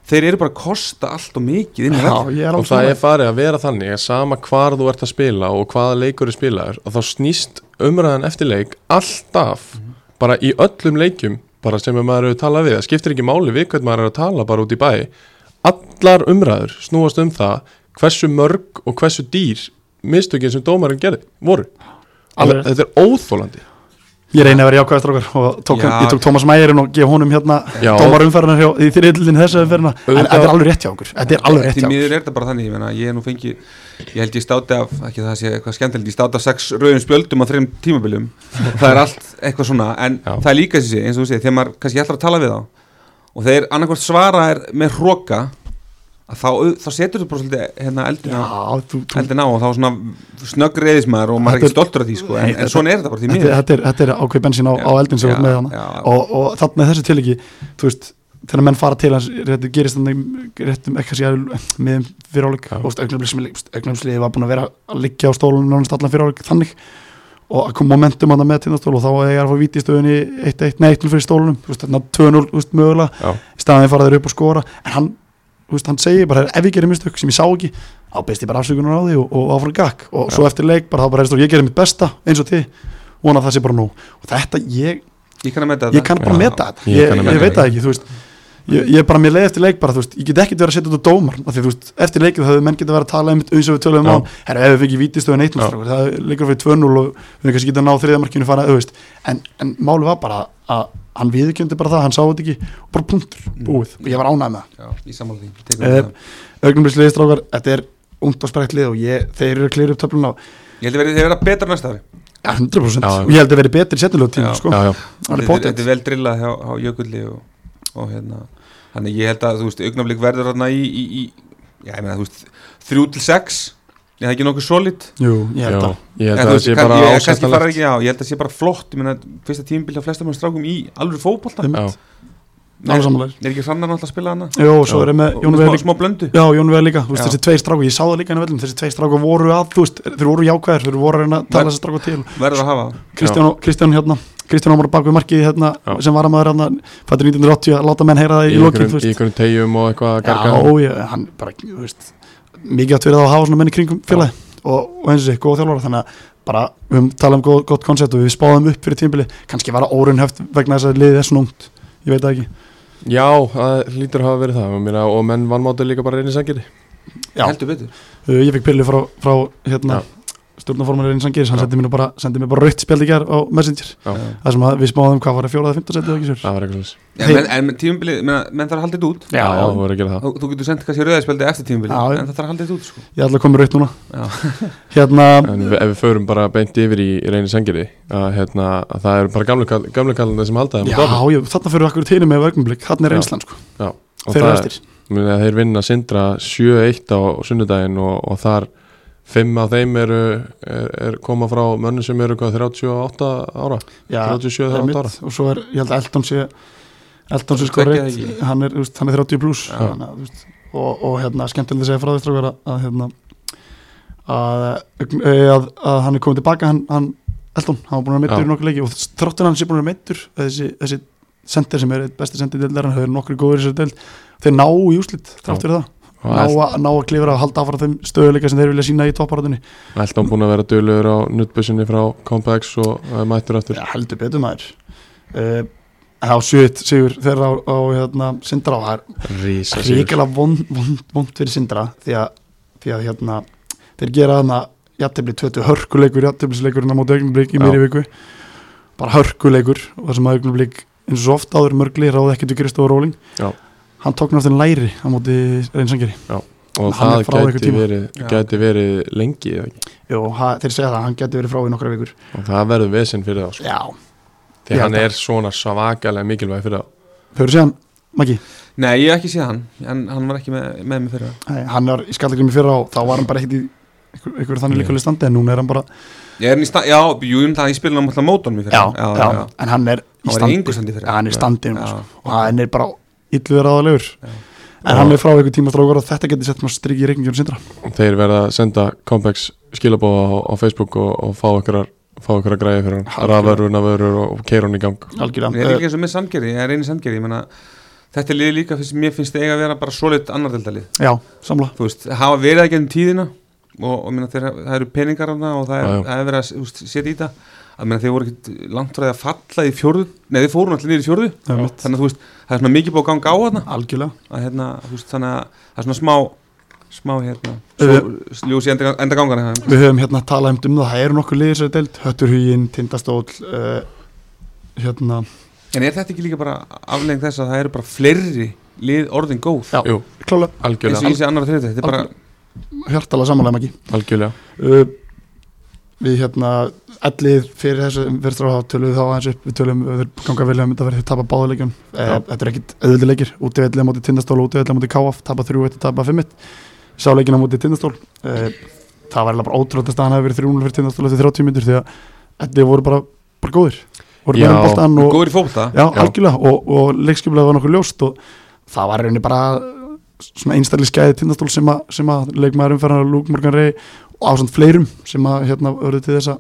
Speaker 3: þeir eru bara að kosta allt og mikið inn í völl.
Speaker 1: ég er
Speaker 2: og
Speaker 1: alveg
Speaker 2: það
Speaker 1: sammála.
Speaker 2: er farið að vera þannig að sama hvar þú ert að spila og hvaða leikur er spilaður og þá snýst umræðan eftir leik alltaf
Speaker 1: Mhm.
Speaker 2: bara í öllum leikjum bara sem maður hefur talað við, það skiptir ekki máli við hvern maður er að tala bara út í bæ allar umræður snúast um það hversu mörg og hversu dýr mistökin sem dómarinn gerði voru Alveg,
Speaker 1: Alveg.
Speaker 2: þetta er óþólandi
Speaker 1: Ég reyni að vera jákvæðast okkur og tók,
Speaker 3: Já.
Speaker 1: ég tók Tómas Mægirinn og gef honum hérna
Speaker 2: Já.
Speaker 1: dómarumferðinar hjá, í þriðildin þessu umferðina en
Speaker 2: Auðvitað-
Speaker 1: þetta er alveg rétt hjá okkur Þetta er alveg rétt
Speaker 3: Því
Speaker 1: hjá okkur
Speaker 3: miður er þetta bara þannig, ég meina, ég er nú fengið, ég held ég státi af, ekki það sé eitthvað skemmtilegt, ég státi af sex rauðum spjöldum á þreim tímabiljum, það er allt eitthvað svona, en
Speaker 2: Já.
Speaker 3: það er líka þessi, eins og þú segir, þegar maður kannski ætlar að tala við þá, og þeir annarkvort svara er með hróka, að þá, þá setur þú bara svolítið hérna eldin á,
Speaker 1: Já, þú, þú,
Speaker 3: eldin á og þá svona snögg reyðismæður og maður er
Speaker 1: Þetta
Speaker 3: ekki stoltur af því, sko, en,
Speaker 1: Nei,
Speaker 3: en svona er þetta bara því
Speaker 1: þetta,
Speaker 3: miður.
Speaker 1: þetta er, þetta er ákveð bensín á,
Speaker 3: Já.
Speaker 1: á eldin sem
Speaker 3: Já,
Speaker 1: við með hana
Speaker 3: já.
Speaker 1: og, og þarna í þessu tiliki þú veist, þegar menn fara til hans þetta gerist þannig réttum ekki sér með fyriráleik
Speaker 2: Já.
Speaker 1: augnumsliði var búin að vera að liggja á stólun nánast allan fyriráleik þannig og að kom momentum að það með tindastól og þá að ég er að fá víti í stöðunni 1-1, nei 1-0 fyrir stólunum þú veist, þarna 2-0 þú veist, mögulega
Speaker 2: Já.
Speaker 1: í staðin fara þeir upp og skora en hann, þú veist, hann segir bara ef ég gerir mistök sem ég sá ekki þá beist ég bara afsökunar á því og, og áfram gakk og svo eftir leik bara þá bara heyrðist og ég gerir mitt besta eins og þið vona að það sé bara nóg og þetta, ég,
Speaker 3: Ég kann að meta
Speaker 1: ég kann bara
Speaker 2: Já,
Speaker 1: meta þetta
Speaker 2: ég
Speaker 1: ég,
Speaker 2: kann
Speaker 1: ég,
Speaker 2: að meta
Speaker 1: veit
Speaker 2: þetta.
Speaker 1: það ekki, þú veist ég, ég bara, mér leiði eftir leik bara, þú veist ég get ekkert verið að setja út á dómar af því, þú veist, eftir leikið það hefur menn getið verið að tala einmitt eins og við töluðum á
Speaker 2: Já.
Speaker 1: hann, herra, ef við fikk í vítistöðun eitt
Speaker 2: Já.
Speaker 1: það leikur fyrir 2-0 og við kannski getið að ná þriðamarkinu fara, þú veist en, en máli var bara að hann viðkjöndi bara það, hann sá þetta ekki, og bara punktur
Speaker 2: Mm.
Speaker 1: búið, og ég var ánæg með það
Speaker 3: Já, ég sammála því, tekur
Speaker 1: Eh,
Speaker 3: það.
Speaker 1: augnumlisliði strákar, þetta er ungt og sprekt lið og ég, þeir eru að klýra upp töfluna á-
Speaker 3: Ég held að verði- þeir verða betra næsta ári.
Speaker 1: ja, 100%
Speaker 2: Já, já.
Speaker 1: og ég held að vera betri setnilega tíma
Speaker 3: Já.
Speaker 1: sko,
Speaker 2: já, já.
Speaker 1: alveg
Speaker 3: Þetta- Þetta
Speaker 1: potið
Speaker 3: er vel drillað hjá, hjá Jökulli og, og hérna Þannig ég held að, þú veist, augnaflik verður hérna í, í, í Já, ég meina, þú veist, þrjú til sex Er það ekki nokkuð solid?
Speaker 1: Jú, ég
Speaker 2: Já,
Speaker 1: held að
Speaker 2: ég held að
Speaker 3: En þú
Speaker 2: það
Speaker 3: veist,
Speaker 2: sé
Speaker 3: kann-
Speaker 2: bara
Speaker 3: ég- kannski fara
Speaker 2: ásættanlegt
Speaker 3: ekki, Já, ég held að sé bara flott Ég meina, fyrsta tímabil á flestum hans strákum í alveg fótbolta
Speaker 2: Já.
Speaker 1: alveg sammála þér.
Speaker 3: Er ekki hrannar náttúrulega að spila hana?
Speaker 2: Eh,
Speaker 1: Jú, og svo
Speaker 2: Já.
Speaker 1: er ég með
Speaker 3: Og
Speaker 1: Jón
Speaker 3: með
Speaker 1: Vegar
Speaker 3: smá, smá blöndu
Speaker 1: Já, Jón Vegar líka, þú veist,
Speaker 3: Já.
Speaker 1: þessi tveir strákar, ég sá það líka hann að vellum, þessi tveir strákar voru að, þú veist, þeir voru jákvæðir, þeir voru að reyna að
Speaker 3: Ver-
Speaker 1: tala þessi strákar til
Speaker 3: Verður að hafa það.
Speaker 1: Kristján, Kristján hérna, Kristján Ómar bak við markið hérna,
Speaker 2: Já.
Speaker 1: sem var að maður hérna, fættur 1980 að láta menn heyra það
Speaker 2: í
Speaker 1: í lokið,
Speaker 2: einhverjum
Speaker 1: þú
Speaker 2: í
Speaker 1: veist
Speaker 2: einhverjum tegjum og eitthvað að garga
Speaker 1: Já, ég, hann bara, þú veist mikið átt verið að hafa svona menni kringum félagi og, og eins og þessi, góð þjálfara þannig að bara, við höfum talað um góð, gott koncept og við spáðum upp fyrir tímbili, kannski var það órunhöft vegna þess að liðið er svona ungt, ég veit það ekki
Speaker 2: já, það lítur að hafa verið það mér, og menn vannmáttu líka bara reynir sengir
Speaker 1: Já.
Speaker 3: Heldur betur
Speaker 1: Uh, ég fekk pillu frá, frá hérna, stjórnaformanir eins og hann gerist, hann
Speaker 2: Já.
Speaker 1: sendi mér nú bara, sendi mér bara rautt spjald í gerð á Messenger,
Speaker 2: Já.
Speaker 1: það sem að við spáðum hvað var að fjóraða 15 setið ekki sér
Speaker 2: það var eitthvað slags
Speaker 3: Já, menn, En tímabilið, menn, menn þarf að halda þetta út
Speaker 2: já, það voru að gera það
Speaker 3: Þú þú getur sendt kannski rauðarspjaldið eftir
Speaker 1: Já,
Speaker 3: tímabilið
Speaker 1: já.
Speaker 3: En það þarf að halda þetta út, sko
Speaker 1: ég ætla að koma með rautt núna
Speaker 3: Já.
Speaker 1: hérna,
Speaker 2: en við- ef við förum bara beint yfir í reynir sengir að, hérna, að það eru bara gamlu, kall- gamlu kallandi sem halda þeim á
Speaker 1: já,
Speaker 2: toppnum.
Speaker 1: já, þarna fyrir akkur tíni með augnumblík, þarna er
Speaker 2: uh, Já.
Speaker 1: reynslan sko,
Speaker 2: Og
Speaker 1: þeir eru
Speaker 2: það-
Speaker 1: eftir
Speaker 2: Ég meina, þeir vinna sindra 7-1 á sunnudaginn og, og þar fimm af þeim eru er, er koma frá mönnum sem eru hvað, 38 ára
Speaker 1: já,
Speaker 2: 37-38 ára
Speaker 1: Einmitt, og svo er, ég held að Elton sé Elton sé sko
Speaker 3: Tveggja
Speaker 1: reitt
Speaker 3: ekki.
Speaker 1: hann er, þú veist, hann er 30 pluss
Speaker 2: Já.
Speaker 1: hann, veist, og, og hérna, skemmtilega að segja frá því strákar að, að hérna að, að, að hann er komið tilbaka hann, hann Elton, hann var búin að vera
Speaker 2: Já.
Speaker 1: meittur í nokkur leiki og þráttur hann sé búin að vera meittur þessi, þessi sendir sem er eitt besti sendir deildar hann hefur nokkru góður í þessari deild þeir ná í úslit, þráttur það
Speaker 2: og
Speaker 1: ná,
Speaker 2: Elt-
Speaker 1: að- ná að klifra að halda áfara þeim stöðuleika sem þeir vilja sína í topparöðinni
Speaker 2: Elton búin að vera dölur á nuttbussinni frá Complex og uh, mættur aftur
Speaker 1: Já, heldur betur maður uh, á sjöitt sigur þeirra á, á hérna, Sindra og það er
Speaker 2: Rísa
Speaker 1: ríkilega vond, vond, vond fyrir Sindra því að, því að hérna, þeir gera þarna jættibli 20 hörkuleikur jættibliðsleikurinn á móti augnublik í
Speaker 2: Já.
Speaker 1: mýri viku bara hörkuleikur og það sem augnublik eins og svo oft áður mörgli ráði ekkert við Kristof Róling
Speaker 2: Já.
Speaker 1: hann tók náttúrulega læri á móti reynsangeri Hann
Speaker 2: og það
Speaker 1: er frá einhver
Speaker 2: gæti
Speaker 1: tíma.
Speaker 2: verið,
Speaker 3: Já.
Speaker 2: gæti verið lengi eða ekki?
Speaker 1: Jó, ha, þeir segja það, hann geti verið frá í nokkra vikur
Speaker 2: og það verður vesinn fyrir þá sko.
Speaker 1: Já,
Speaker 2: því
Speaker 1: Ég
Speaker 2: hann
Speaker 1: held að-
Speaker 2: er svona svakalega mikilvæg fyrir þá
Speaker 1: höfðu séðan, Maggi
Speaker 3: Nei, ég hef ekki séð hann En hann var ekki með, með mig fyrir það
Speaker 1: Nei, hann var í skallagrimmi fyrra og þá var hann bara ekkert í einhver, einhver þannig
Speaker 2: Nei.
Speaker 1: líkulega standi en núna er hann bara
Speaker 3: Ég er hann í stað, já, jú, um það ég spila hann alltaf mótan mér fyrir
Speaker 1: en hann er
Speaker 3: Hann
Speaker 1: í
Speaker 3: var í
Speaker 1: standi
Speaker 3: engu standi fyrir
Speaker 1: ja, hann er í
Speaker 2: Já.
Speaker 1: standi núna,
Speaker 3: Já.
Speaker 1: sko. og hann er bara illuður aðalegur
Speaker 3: Já.
Speaker 1: en hann er frá einhver tíma strákur og þetta getur sett maður strikki í reikningjónu sindra
Speaker 2: þeir verða að senda Compex skilabóða á, á Facebook og, og fá okkur fá okkur að græða fyrir hann, rafverðurna vörur og keira hann í gang
Speaker 3: Ég er
Speaker 1: algjörlega,
Speaker 3: ekki eins og með samgeri, ég er eini samgeri ég meina, þetta lið líka, finnst, mér finnst eiga að vera bara solid annardeldalið,
Speaker 1: Eh, já, samla
Speaker 3: þú veist, hafa verið það gegnum tíðina og, og meina, þeir, það eru peningar þarna og það er,
Speaker 2: Já, já.
Speaker 3: það er verið að þú veist, setja í það, að meina, þeir voru ekkit langt fræði að falla í fjórðu, nei þeir fóru allir niður í fjórðu,
Speaker 1: Það er mitt.
Speaker 3: þannig að þú veist það er svona mikið búið að ganga á þarna,
Speaker 1: algjörlega,
Speaker 3: að, hérna, þú veist, þannig að það er svona smá smá hérna,
Speaker 1: Eh.
Speaker 3: svo, ljós í enda, enda gangana
Speaker 1: við höfum hérna talað um- um það það eru nokkur liðir sér deild, hötturhugin, tindastól uh, hérna
Speaker 3: en er þetta ekki líka bara aflegg þess að það eru bara fleiri lið orðin góð
Speaker 1: Já.
Speaker 2: Jú,
Speaker 1: klálega,
Speaker 3: eins og
Speaker 2: algjörlega,
Speaker 3: eins og annar þriðið, þetta er bara
Speaker 1: hjartalega samanlega ekki
Speaker 2: algjörlega.
Speaker 1: uh, við hérna ellið fyrir þessu verður þá tölum við þá aðeins upp við tölum við ganga velja um þetta verður tapa báðuleikjum uh,
Speaker 2: Já.
Speaker 1: þetta er ekkit auðvöldileikir útivellið móti tindastól útivellið móti káaf tapa þrjú eitt tapa fimm eitt sáleikina móti tindastól uh, það var eiginlega bara ótrúlega að hann hefur verið þrjúnul fyrir tindastól eftir 30 minnur því að ellið voru bara, bara góðir voru
Speaker 2: Já.
Speaker 1: bara um boltan og,
Speaker 3: góður í fólta
Speaker 1: Já,
Speaker 2: Já.
Speaker 1: algjörlega og, og leikskiplega var nokkuð ljóst og það var í rauninni bara svona einstaklega skæði tindastól sem að, sem að leikmaður umferðan Lúk Morgan Rey og ásand fleirum sem að hérna örðu til þess að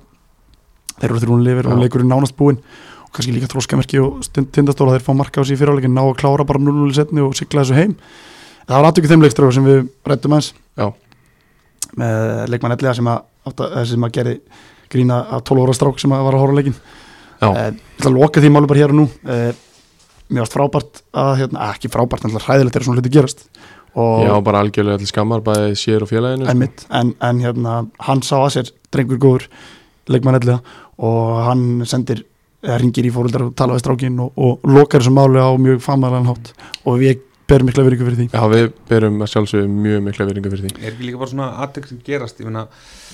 Speaker 1: þeir eru þrjúin lifir og
Speaker 2: Já.
Speaker 1: leikurinn nánast búinn og kannski líka þróskamerki og Stund- tindastól að þeir fá marka á sig í fyriráleikin ná að klára bara 0-0 í setni og sigla þessu heim en það var aðtökið þeim leikstráðu sem við rættum aðeins
Speaker 2: Já.
Speaker 1: með leikmann ellega sem að, átta- eh, sem að gerði grína af 12 óra strák sem að var að horfa á leikin
Speaker 2: Já.
Speaker 1: Eh, Ég ætla að loka því máli bara hér og nú Eh, Mér varst frábært að, hérna, eh, ekki frábært, en alltaf hræðilegt er svona hluti gerast og
Speaker 2: Já, bara algjörlega til skammar, bæði sér og félaginu
Speaker 1: en, mitt, en, en hérna, hann sá að sér drengur góður, leikmann ellega og hann sendir eða ringir í fóruldar og tala við strákin og, og lokar þessu máli á mjög famalega hátt og við berum mikla veringu fyrir því
Speaker 2: Já, við berum að sjálfsögum mjög mikla veringa fyrir því
Speaker 3: er ekki líka bara svona aðtök sem gerast ég meina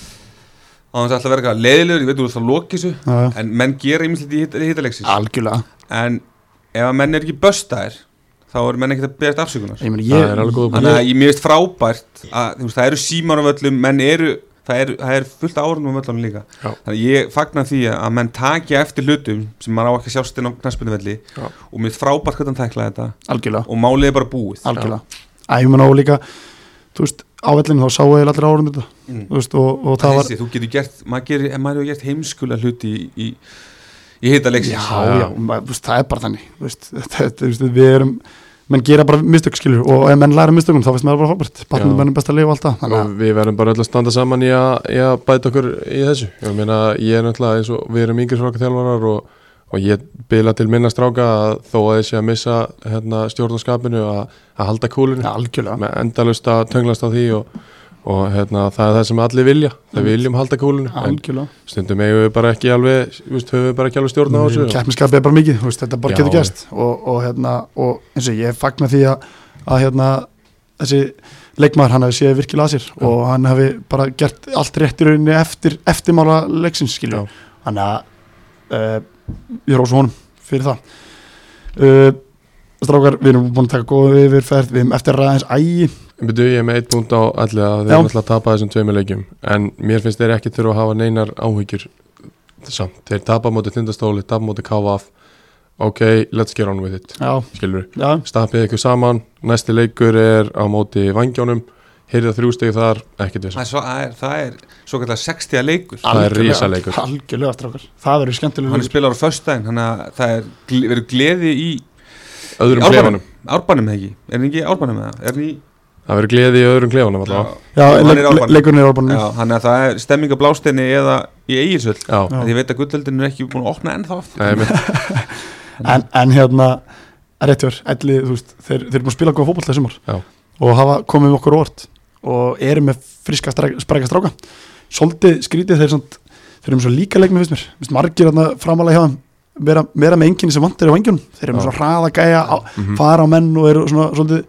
Speaker 3: á þess að alltaf verka leiðilegur, ég veit þú veist það lokið þessu
Speaker 1: Já, já.
Speaker 3: en menn gera ýmislegt í hita- í hitalegsins
Speaker 1: Algjörlega
Speaker 3: en ef að menn er ekki böstaðir þá er menn ekkert að beðast afsökunar
Speaker 1: Ég meina,
Speaker 2: Það er alveg
Speaker 1: ég,
Speaker 2: góð
Speaker 3: þannig að ég mér veist frábært að þú veist, það eru símar á völlum, menn eru það er, það er fullt árunum á völlum líka
Speaker 2: Já.
Speaker 3: þannig að ég fagna því að menn takja eftir hlutum sem maður á ekki að sjást inn á knaspinu velli
Speaker 2: Já.
Speaker 3: og mér veist frábært hvernig hann tæklaði þetta
Speaker 1: algjörlega
Speaker 3: og málið er bara búið
Speaker 1: algjörlega Æ, ég meina og líka, þú veist, á vellinu þá sáu þeir allir árum þetta
Speaker 3: Mm.
Speaker 1: þú veist, og, og
Speaker 3: það
Speaker 1: það var
Speaker 3: þú getur gert, maður, gerir, en maður hefur gert heimskulega hluti í, í, í heita
Speaker 1: já,
Speaker 3: leiksins
Speaker 1: já, já. Maður, þú veist, það er bara þannig þú veist, *laughs* þetta, þetta, þú veist, við erum menn gera bara mistök skilur og ef menn læra mistökum þá veist maður bara frábært
Speaker 2: Já.
Speaker 1: barnum mennum best að lifa alltaf þannig
Speaker 2: Og
Speaker 1: að
Speaker 2: við verðum bara öll að standa saman í að, í að bæta okkur í þessu Ég meina, ég er náttúrulega eins og við erum yngri svaka þjálfarar og, og ég bila til minna stráka að þó að ég sé að missa hérna, stjórnarskapinu að, að halda kúlinu
Speaker 1: ja, algjörlega,
Speaker 2: með endalust að tönglast á því og, og hérna, það er það sem allir vilja það
Speaker 1: Mm.
Speaker 2: viljum halda kúlinu en
Speaker 1: algjörlega
Speaker 2: stundum eigum við bara ekki alveg þú veist, höfum við bara ekki alveg stjórn á þessu og-
Speaker 1: keppniskapið Mm, er bara mikið, þú veist, þetta bara
Speaker 2: Já.
Speaker 1: getur gerst og, og hérna, og eins og ég fagna því að, að hérna þessi leikmaður hann hafi séð virkilega að sér og hann hafi bara gert allt rétt í rauninni eftir, eftirmála leiksins skilur
Speaker 2: Já.
Speaker 1: þannig að uh, ég rósa honum fyrir það uh, strákar, við erum búin að taka góða yfirferð, við erum eftir að ræða aðeins ægi,
Speaker 2: Byrju, ég er með eitt punkt á allir að þeir
Speaker 1: Já.
Speaker 2: eru alltaf að tapa þessum tveimur leikjum en mér finnst þeir ekki þurfa að hafa neinar áhyggjur samt, þeir tapa móti tindastóli, tapa móti KVF ok, let's get on with it
Speaker 1: já,
Speaker 2: skilur,
Speaker 1: já,
Speaker 2: stappið ykkur saman næsti leikur er á móti vangjónum heyrða þrjústegi þar, ekkert við
Speaker 3: það er, svo, það er, það er svo kallar 60 leikur
Speaker 2: Það er
Speaker 1: algjörlega-
Speaker 2: risaleikur.
Speaker 1: algjörlega strákar, það verður skemmtilega
Speaker 3: hann er
Speaker 1: leikur.
Speaker 3: spilar á föstudaginn þannig að það er gl- verið gleði í
Speaker 2: öðrum
Speaker 3: Árbænum.
Speaker 2: klefanum,
Speaker 3: árbænum eða ekki, er hann ekki í árbænum eða er hann í
Speaker 2: það verður gleði í öðrum klefanum allavega,
Speaker 1: já,
Speaker 3: hann
Speaker 1: leik,
Speaker 3: er í Árbænum.
Speaker 1: leikurinn er álbanum
Speaker 3: já, þannig að það er stemming á blásteinni eða í eigilsöld
Speaker 2: já,
Speaker 3: ég veit að gullöldin er ekki búin að opna ennþá aftur
Speaker 2: það er mitt
Speaker 1: en, en hérna réttjör, elli, þú veist, þeir, þeir eru búin að spila góða fótboll þessum ár
Speaker 2: Já.
Speaker 1: og hafa komið með okkur óvart og eru með friska spræka stráka svolítið skrítið þeir samt þeir eru með svo líka leikmið fyrst mér Vist, margir þarna framalega hjá þeim vera, vera með enginni sem vantir á engjunum þeir eru með
Speaker 2: Já.
Speaker 1: svona hraða gæja á,
Speaker 2: Mhm.
Speaker 1: fara á menn og eru svona svolítið,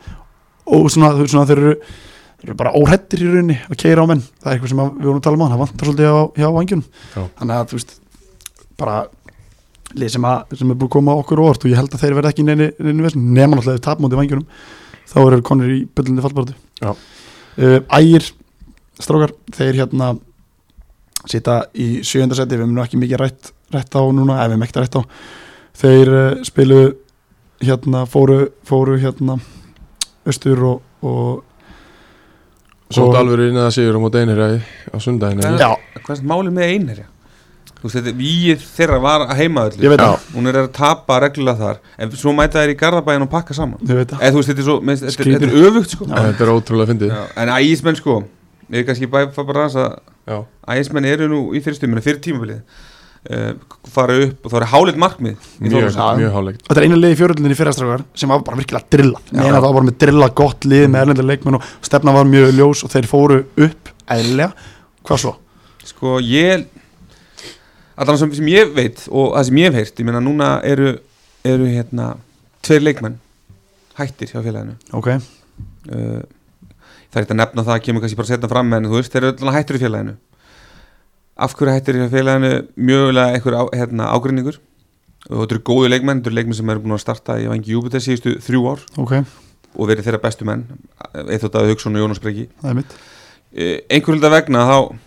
Speaker 1: og svona, þú veist, svona þeir eru þeir eru bara óhrættir í rauninni að keira á menn það er eitthvað sem að, við vorum að tala um á það vantar svolítið á, hjá vangjunum
Speaker 2: Já.
Speaker 1: þannig að þú veist bara lið sem, að, sem er búið að koma okkur á óvart og ég held að þeir verða ekki í neini, neini vesn nema náttúrulega ef tapmóti vangjunum þá eru þeir konir í byllandi fallbaratu
Speaker 2: Já.
Speaker 1: uh, Ægir strákar, þeir hérna sita í sjöndasæti við erum nú ekki mikið rætt, rætt á núna ef við erum ekkert rætt á eh, þeir uh, spilu hérna fóru, fóru hérna austur og, og
Speaker 2: Sótt alveg inn að sigur á mót einherja í- á sundaginn
Speaker 3: Já.
Speaker 1: já,
Speaker 3: Hvað er þetta málið með einherja? Þú veist, þetta víið þeirra var að heima öllu
Speaker 1: ég veit það,
Speaker 3: Hún er að tapa reglulega þar En svo mæta þær í Garðabæin og pakka saman
Speaker 1: ég veit það
Speaker 3: Eða þú veist, þetta er svo, mér finnst- þetta er- þetta
Speaker 1: Skrýtið.
Speaker 3: er öfugt sko
Speaker 2: Þetta er ótrúlega fyndið
Speaker 3: Já, En ægismenn sko, ég er kannski bæ- fá bara aðeins að
Speaker 2: Já.
Speaker 3: ægismenn eru nú í fyrir stjumina, fyrir tímabilið uh, fara upp og það er hálið markmið í
Speaker 2: Mjög,
Speaker 3: Þólasöfn.
Speaker 2: mjög hálegt
Speaker 1: Þetta er eina leið í fjöröldinni fyrrastrákar sem var bara virkilega drillað
Speaker 3: Já.
Speaker 1: Meina það var bara með drillað gott lið með erlendur leikmenn og stefna var mjög ljós og þeir fóru upp eðlilega, hvað svo?
Speaker 3: Sko ég Allan sem, sem ég veit og það sem ég hef heyrt Ég meina núna eru, eru hérna Tveir leikmenn hættir hjá félaginu
Speaker 1: Ok,
Speaker 3: uh, Það er eitthvað að nefna það Kemur kannski bara setna fram en þú veist Þeir eru allan hættir í félaginu Af hverju hættir hjá félaginu Mjögulega einhver á, hérna, ágrinningur Og þetta eru góðu leikmenn Þetta eru leikmenn sem eru búin að starta Ég vangi Júpiter síðustu þrjú ár
Speaker 1: ok,
Speaker 3: Og verið þeirra bestu menn Eithótt að Hugson og Jónas Breki
Speaker 1: það er mitt
Speaker 3: Eh, einhverjum hluta vegna þá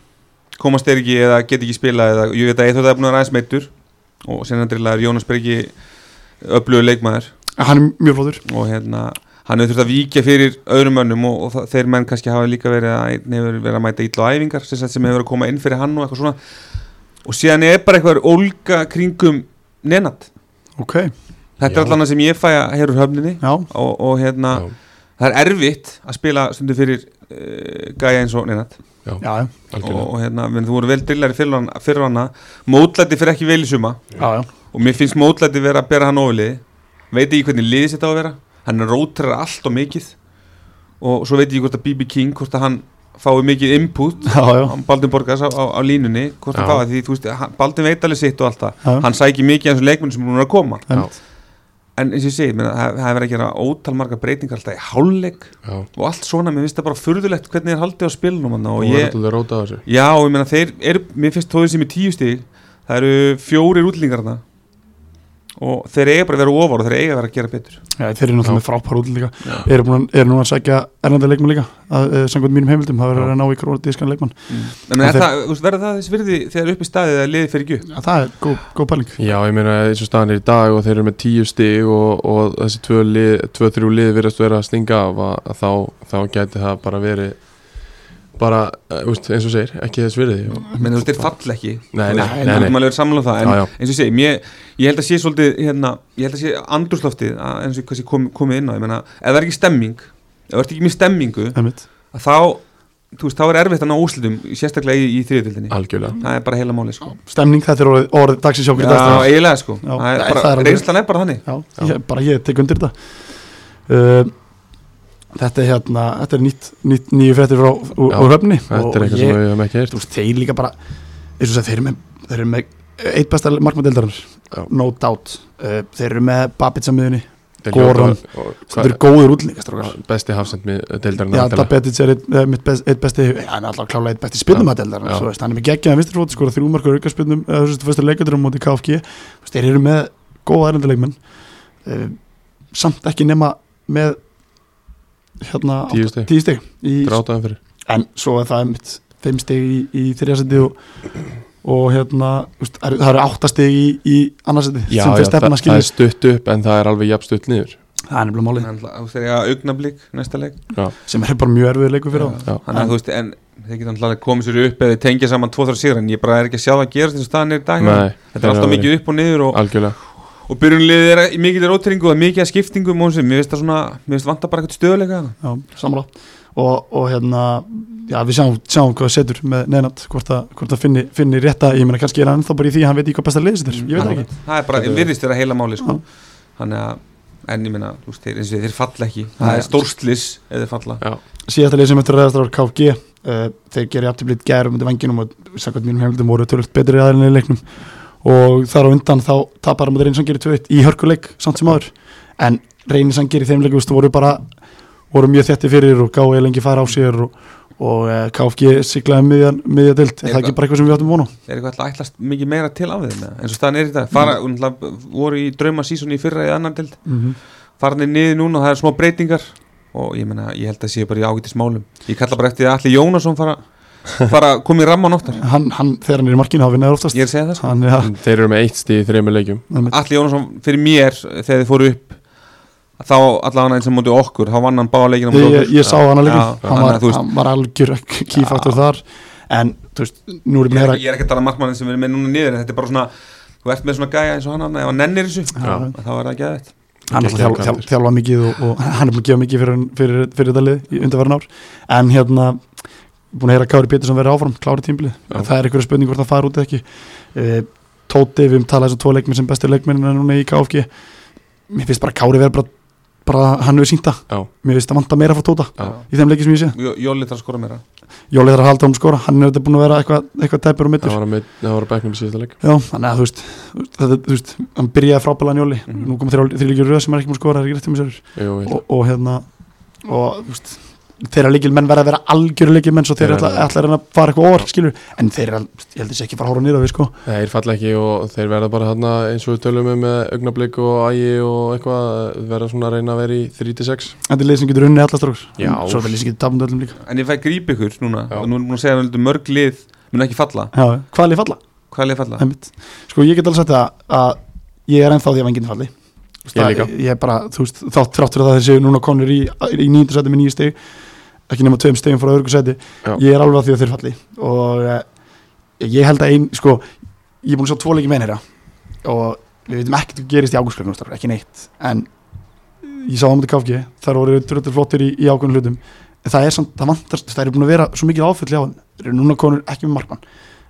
Speaker 3: komast þeir ekki eða get ekki spila eða ég veit að Eithóð er búin að vera aðeins meittur og sen andrilega er Jónas Bergi öflugur leikmaður
Speaker 1: Hann er mjög flóður
Speaker 3: og hérna hann hefur þurft að víkja fyrir öðrum mönnum og, og það- þeir menn kannski hafa líka verið að einn hefur verið að mæta illa á æfingar sem, sagt sem hefur verið að koma inn fyrir hann og eitthvað svona og síðan er bara eitthvað ólga kringum nenat
Speaker 1: Ok,
Speaker 3: þetta
Speaker 2: Já.
Speaker 3: er allan það sem ég fæ að hér úr höfninni
Speaker 1: já,
Speaker 3: og, og hérna
Speaker 2: Já.
Speaker 3: það er erfitt að spila stundu fyrir uh, gæja eins og nenat
Speaker 1: já, já,
Speaker 2: Algjörlega.
Speaker 3: og, og hérna, menn, þú voru vel drillari fyrir, hann, fyrir hana mótlæti fyrir ekki vel í suma
Speaker 1: já, já.
Speaker 3: og mér finnst mótlæti vera að bera hann ofliði veit ekki hvernig liðis þetta á að vera hann rótrar allt og mikið og svo veit ég hvort að BB King hvort að hann fái mikið input
Speaker 1: Já, já,
Speaker 3: á Baldin Borgars á, á, á línunni hvort
Speaker 2: Já.
Speaker 3: að fái því, þú veist, hann- Baldin veit alveg sitt og allt það
Speaker 1: já, já.
Speaker 3: hann sækir mikið eins og leikmenn sem hún er að koma
Speaker 1: Einmitt.
Speaker 3: en eins og ég segi, menn, það það er verið að gera ótal marga breytingar alltaf í hálfleik
Speaker 2: Já.
Speaker 3: og allt svona, mér finnst það bara furðulegt hvernig er haldið á spilnum hann og
Speaker 2: Og
Speaker 3: ég,
Speaker 2: ég... Þú verður alltaf að róta á þessu
Speaker 3: Já, og ég meina þeir eru, mér finnst þóðið sem er tíu stíg það eru fjórir útlendingar þarna og þeir eiga bara að vera ofar og þeir eiga að vera að gera betur
Speaker 1: Já, þeir eru náttúrulega með frábær útlið líka eru, búin, að- eru núna að sækja erlanda leikmann líka að, uh, samkvæmt mínum heimildum, það verður að ná í krónatískan leikmann
Speaker 2: Mm.
Speaker 3: en
Speaker 1: Og
Speaker 3: er
Speaker 1: þeir-
Speaker 3: það, þú veist, verður það þess virði þegar upp í staðið að liði fyrir gjöf
Speaker 1: Já, það er góð, góð pæling
Speaker 2: Já, ég meina eins og staðan er í dag og þeir eru með tíu stig og, og þessi tvö, lið, tvö þrjú lið virðast vera að stinga af að, að þá, þá gæti það bara verið bara, eh, úst, eins og segir, ekki þess virði og,
Speaker 3: menn þú veist, þeir falla ekki
Speaker 2: Mm. Nei,
Speaker 3: Þú
Speaker 2: nei,
Speaker 3: veist,
Speaker 2: nei,
Speaker 3: við
Speaker 2: nei.
Speaker 3: getum alveg verið sammála um það en
Speaker 2: Já, já.
Speaker 3: eins og ég segi, mér, ég held að sé svolítið hérna, ég held að sé andrúsloftið að- eins og kannski kom, komið inn á, ég meina ef það er ekki stemming, ef það er ekki með stemmingu
Speaker 1: Einmitt.
Speaker 3: að þá, þú veist, þá er erfitt að ná úslitum sérstaklega í, í þriðutildinni
Speaker 2: algjörlega
Speaker 3: það er bara heila máli, sko
Speaker 1: Stemning, þetta er orðið orð, dagsins hjá okkur í dag.
Speaker 3: Já, eiginlega sko
Speaker 1: Já,
Speaker 3: Það er
Speaker 1: það-
Speaker 3: bara-
Speaker 1: það er alveg-
Speaker 3: Reynslan er bara þannig
Speaker 1: Já, ég, bara ég tek undir þetta uh, Þetta er hérna þetta er nýtt, nýtt nýju fréttir frá úr
Speaker 2: Já,
Speaker 1: úr höfni
Speaker 2: Þetta er eitthvað sem
Speaker 1: ég,
Speaker 2: við hefum ekki heyrt
Speaker 1: þú veist, þeir líka bara eins og segja, þeir eru með, þeir eru með eitt besta
Speaker 2: Já.
Speaker 1: markmandeldarinn no doubt uh, þeir eru með Babitsa miðunni
Speaker 2: Þeir
Speaker 1: Goran.
Speaker 2: hljóta- og-
Speaker 1: þetta
Speaker 2: hvað-
Speaker 1: eru góðir útlendingar
Speaker 2: Besti hafsend með deildarinn
Speaker 1: Já, Dabetic er eitt, eh, mitt best, eitt besti já, hann er alltaf klálega eitt besti spilnumadeldar
Speaker 2: Já.
Speaker 1: hann er með geggjaðan visturfóti, skora þrjú markur aukarspinnum eða þú veist, fyrstu leikadurum móti KFG Þú veist, þeir eru með góða erendileikmenn uh, samt ekki nema með hérna
Speaker 2: Tíu
Speaker 1: átta-
Speaker 2: stig.
Speaker 1: tíu stig í,
Speaker 2: Drátaðan fyrir
Speaker 1: en svo er það einmitt fimm stig í, í þriðasendi og, og hérna þú veist, það eru- það eru átta stig í, í annarsendi
Speaker 2: Já,
Speaker 1: sem
Speaker 2: já,
Speaker 1: fyrst
Speaker 2: það,
Speaker 1: efna
Speaker 2: það er
Speaker 1: skilur
Speaker 2: stutt upp en það er alveg jafn stutt niður
Speaker 1: það er nefnilega máli
Speaker 3: Þannig að Þú veist þegar ég að augnablík næsta leik
Speaker 1: sem er bara mjög erfið leikur fyrir
Speaker 2: Já.
Speaker 3: Þannig að þú veist En þeir geta náttúrulega komið sér upp Eða tengja saman tvo þar síðan En ég bara er ekki að sjá það að gerast Þess að staðan er í dag
Speaker 2: Nei,
Speaker 3: Þetta er alltaf mikið upp og niður Og,
Speaker 2: Algjörlega,
Speaker 3: og byrjunliðið er í mikið rótringu Og mikið að skiptingum og sem Mér veist það svona Mér veist vanta bara eitthvað stöðuleika þarna.
Speaker 1: Já, sammála og, og hérna, já við sjáum, sjáum hvað það setur með neðnat, hvort að, hvort að finni, finni rétta, ég meina kannski er hann ennþá bara í því að hann veit í hvað besta liðis þetta er, ég veit það
Speaker 3: Þannig
Speaker 1: ekki
Speaker 3: að Það er bara
Speaker 2: Þetta er-
Speaker 3: Virðist þeirra heila máli sko.
Speaker 1: Já.
Speaker 3: Þannig að En ég minna Þeir eins og þeir falla ekki Það
Speaker 1: Nei.
Speaker 3: er stórslis Ef þeir falla
Speaker 1: síðasta lið sem eftir að ræðast var KFG uh, þeir gerir afturblít gærum undir vanginum og sakvæmt mínum heimildum voru tölvöld betri aðeins í leiknum og þar á undan þá tapar hann reynir sem gerir 2-1 í hörkuleik samt sem áður en reynir sem gerir þeim leikum voru bara voru mjög þétti fyrir og gáði lengi fara á sér og, og uh, KFG siglaði miðjan, miðja dild, er það ekki bara eitthvað sem við áttum vona
Speaker 3: Er eitthvað alltaf ætlast mikið meira til af þeim eða? eins og staðan er í dag fara, mm. voru í draumasísoni í fyrra í annar deild
Speaker 1: mm -hmm.
Speaker 3: farinir niður núna og það er smá breytingar og ég meina, ég held að sé bara í ágætis málum ég kalla bara eftir að allir Jónasson
Speaker 1: *laughs*
Speaker 3: fara fara að koma í ramman oftar
Speaker 1: hann, hann, þegar hann er í markinu þá vinnaður oftast
Speaker 3: ég er að segja það sko
Speaker 1: hann, ja,
Speaker 2: þeir eru með eitt stíð í þreymur leikjum
Speaker 1: einmitt.
Speaker 3: allir Jónasson fyrir mér eh, þegar þið fóru upp þá allavega eins og móti okkur þá vann hann báða leikina
Speaker 1: ég,
Speaker 3: móti
Speaker 1: ég, ég sá hann að leikin
Speaker 3: Já,
Speaker 1: hann,
Speaker 3: þannig
Speaker 1: var-
Speaker 3: að þú veist-
Speaker 1: hann var algjör kýfaktur þar en þú veist, nú er ég
Speaker 3: ég, er,
Speaker 1: meira
Speaker 3: ég er ekki að tala um markmannin sem við erum með núna niður en þetta er bara svona, þú ert með svona gæja eins og hann annað, ef hann nennir þessu,
Speaker 1: Já.
Speaker 3: þá er það ekki aðeitt
Speaker 1: hann er
Speaker 2: Geggjaður
Speaker 1: alltaf þjálfa,
Speaker 2: karakter.
Speaker 1: þjálfa mikið og, og *laughs* hann er búin að gefa mikið fyrir, fyrir, fyrir þetta lið í undarverðan ár en hérna, búin að heyra Kári Pétursson verið áfram, klári tímbilið,
Speaker 2: Já.
Speaker 1: það er einhverja spurning hvort það fara út eða ekki e, Tóti, við um talaði þessu tvo leikminn sem bestu leikminn en núna í KFG mér finnst bara Kári verið bara, bara hann hefur sínta,
Speaker 2: Já.
Speaker 1: mér finnst að vanta meira frá Tóta
Speaker 2: Já.
Speaker 1: í þeim leiki sem ég sé,
Speaker 3: Jó- Jóli þarf að skora meira
Speaker 1: Jóli þarf að halda um skora hann er auðvitað búin að vera eitthvað, eitthvað tæpur og mittur
Speaker 2: það var að meitt- það var að bekknum í síðasta leik
Speaker 1: Já, þannig að þú veist, þetta, þú veist hann byrjaði frábælan Jóli,
Speaker 3: Mhm.
Speaker 1: nú kom þrjulíkjur röð sem er ekki múið skora, það er ekki rétt um sér
Speaker 2: Jú, ég-
Speaker 1: og, og hérna og þú veist, þeirra líkil menn verða að vera algjöru líkil menn svo þeir
Speaker 2: Þeir
Speaker 1: ætla,
Speaker 2: verða-
Speaker 1: ætla að reyna að fara eitthvað orð skilur, en þeir eru, al- ég held þessi ekki að fara að hóra nýra við sko,
Speaker 2: Þeir falla ekki og þeir verða bara hérna eins og við tölum um með augnablik og ægi og eitthvað verða svona að reyna að vera í 3-6
Speaker 1: en þetta er lið sem getur unnið allar strókur,
Speaker 2: Já.
Speaker 1: svo er þetta lið sem getur tapnum öllum líka
Speaker 3: en ég fæ gríp ykkur núna,
Speaker 2: Já.
Speaker 3: og nú erum við búin að segja að mörg lið mun ekki falla,
Speaker 1: Já, hvað er lið falla?
Speaker 3: hvað er lið falla?
Speaker 1: Einmitt. Sko ég get alveg sagt það að ég er ennþá því að vanginn falli Þú veist,
Speaker 2: Ég
Speaker 1: það-
Speaker 2: líka.
Speaker 1: Ég er bara, þú veist, þátt þrátt fyrir það að þeir séu núna konur í, í nýjum sæti með nýju steg ekki nema tveim stegum frá örgu sæti
Speaker 2: Já.
Speaker 1: ég er alveg að því að þeir falli og eh, ég held að ein, sko ég er búin að sjá tvo leiki með þeirra og við veitum ekkert hvað gerist í ágústlöfnum ekki neitt, en ég sá það á mútið KFG, þar voru dröldur flottir í, í ákveðnum hlutum, en það er samt það vantast, það er búin að vera svo mikið áfulli á þeim þeir eru núna konur ekki með markmann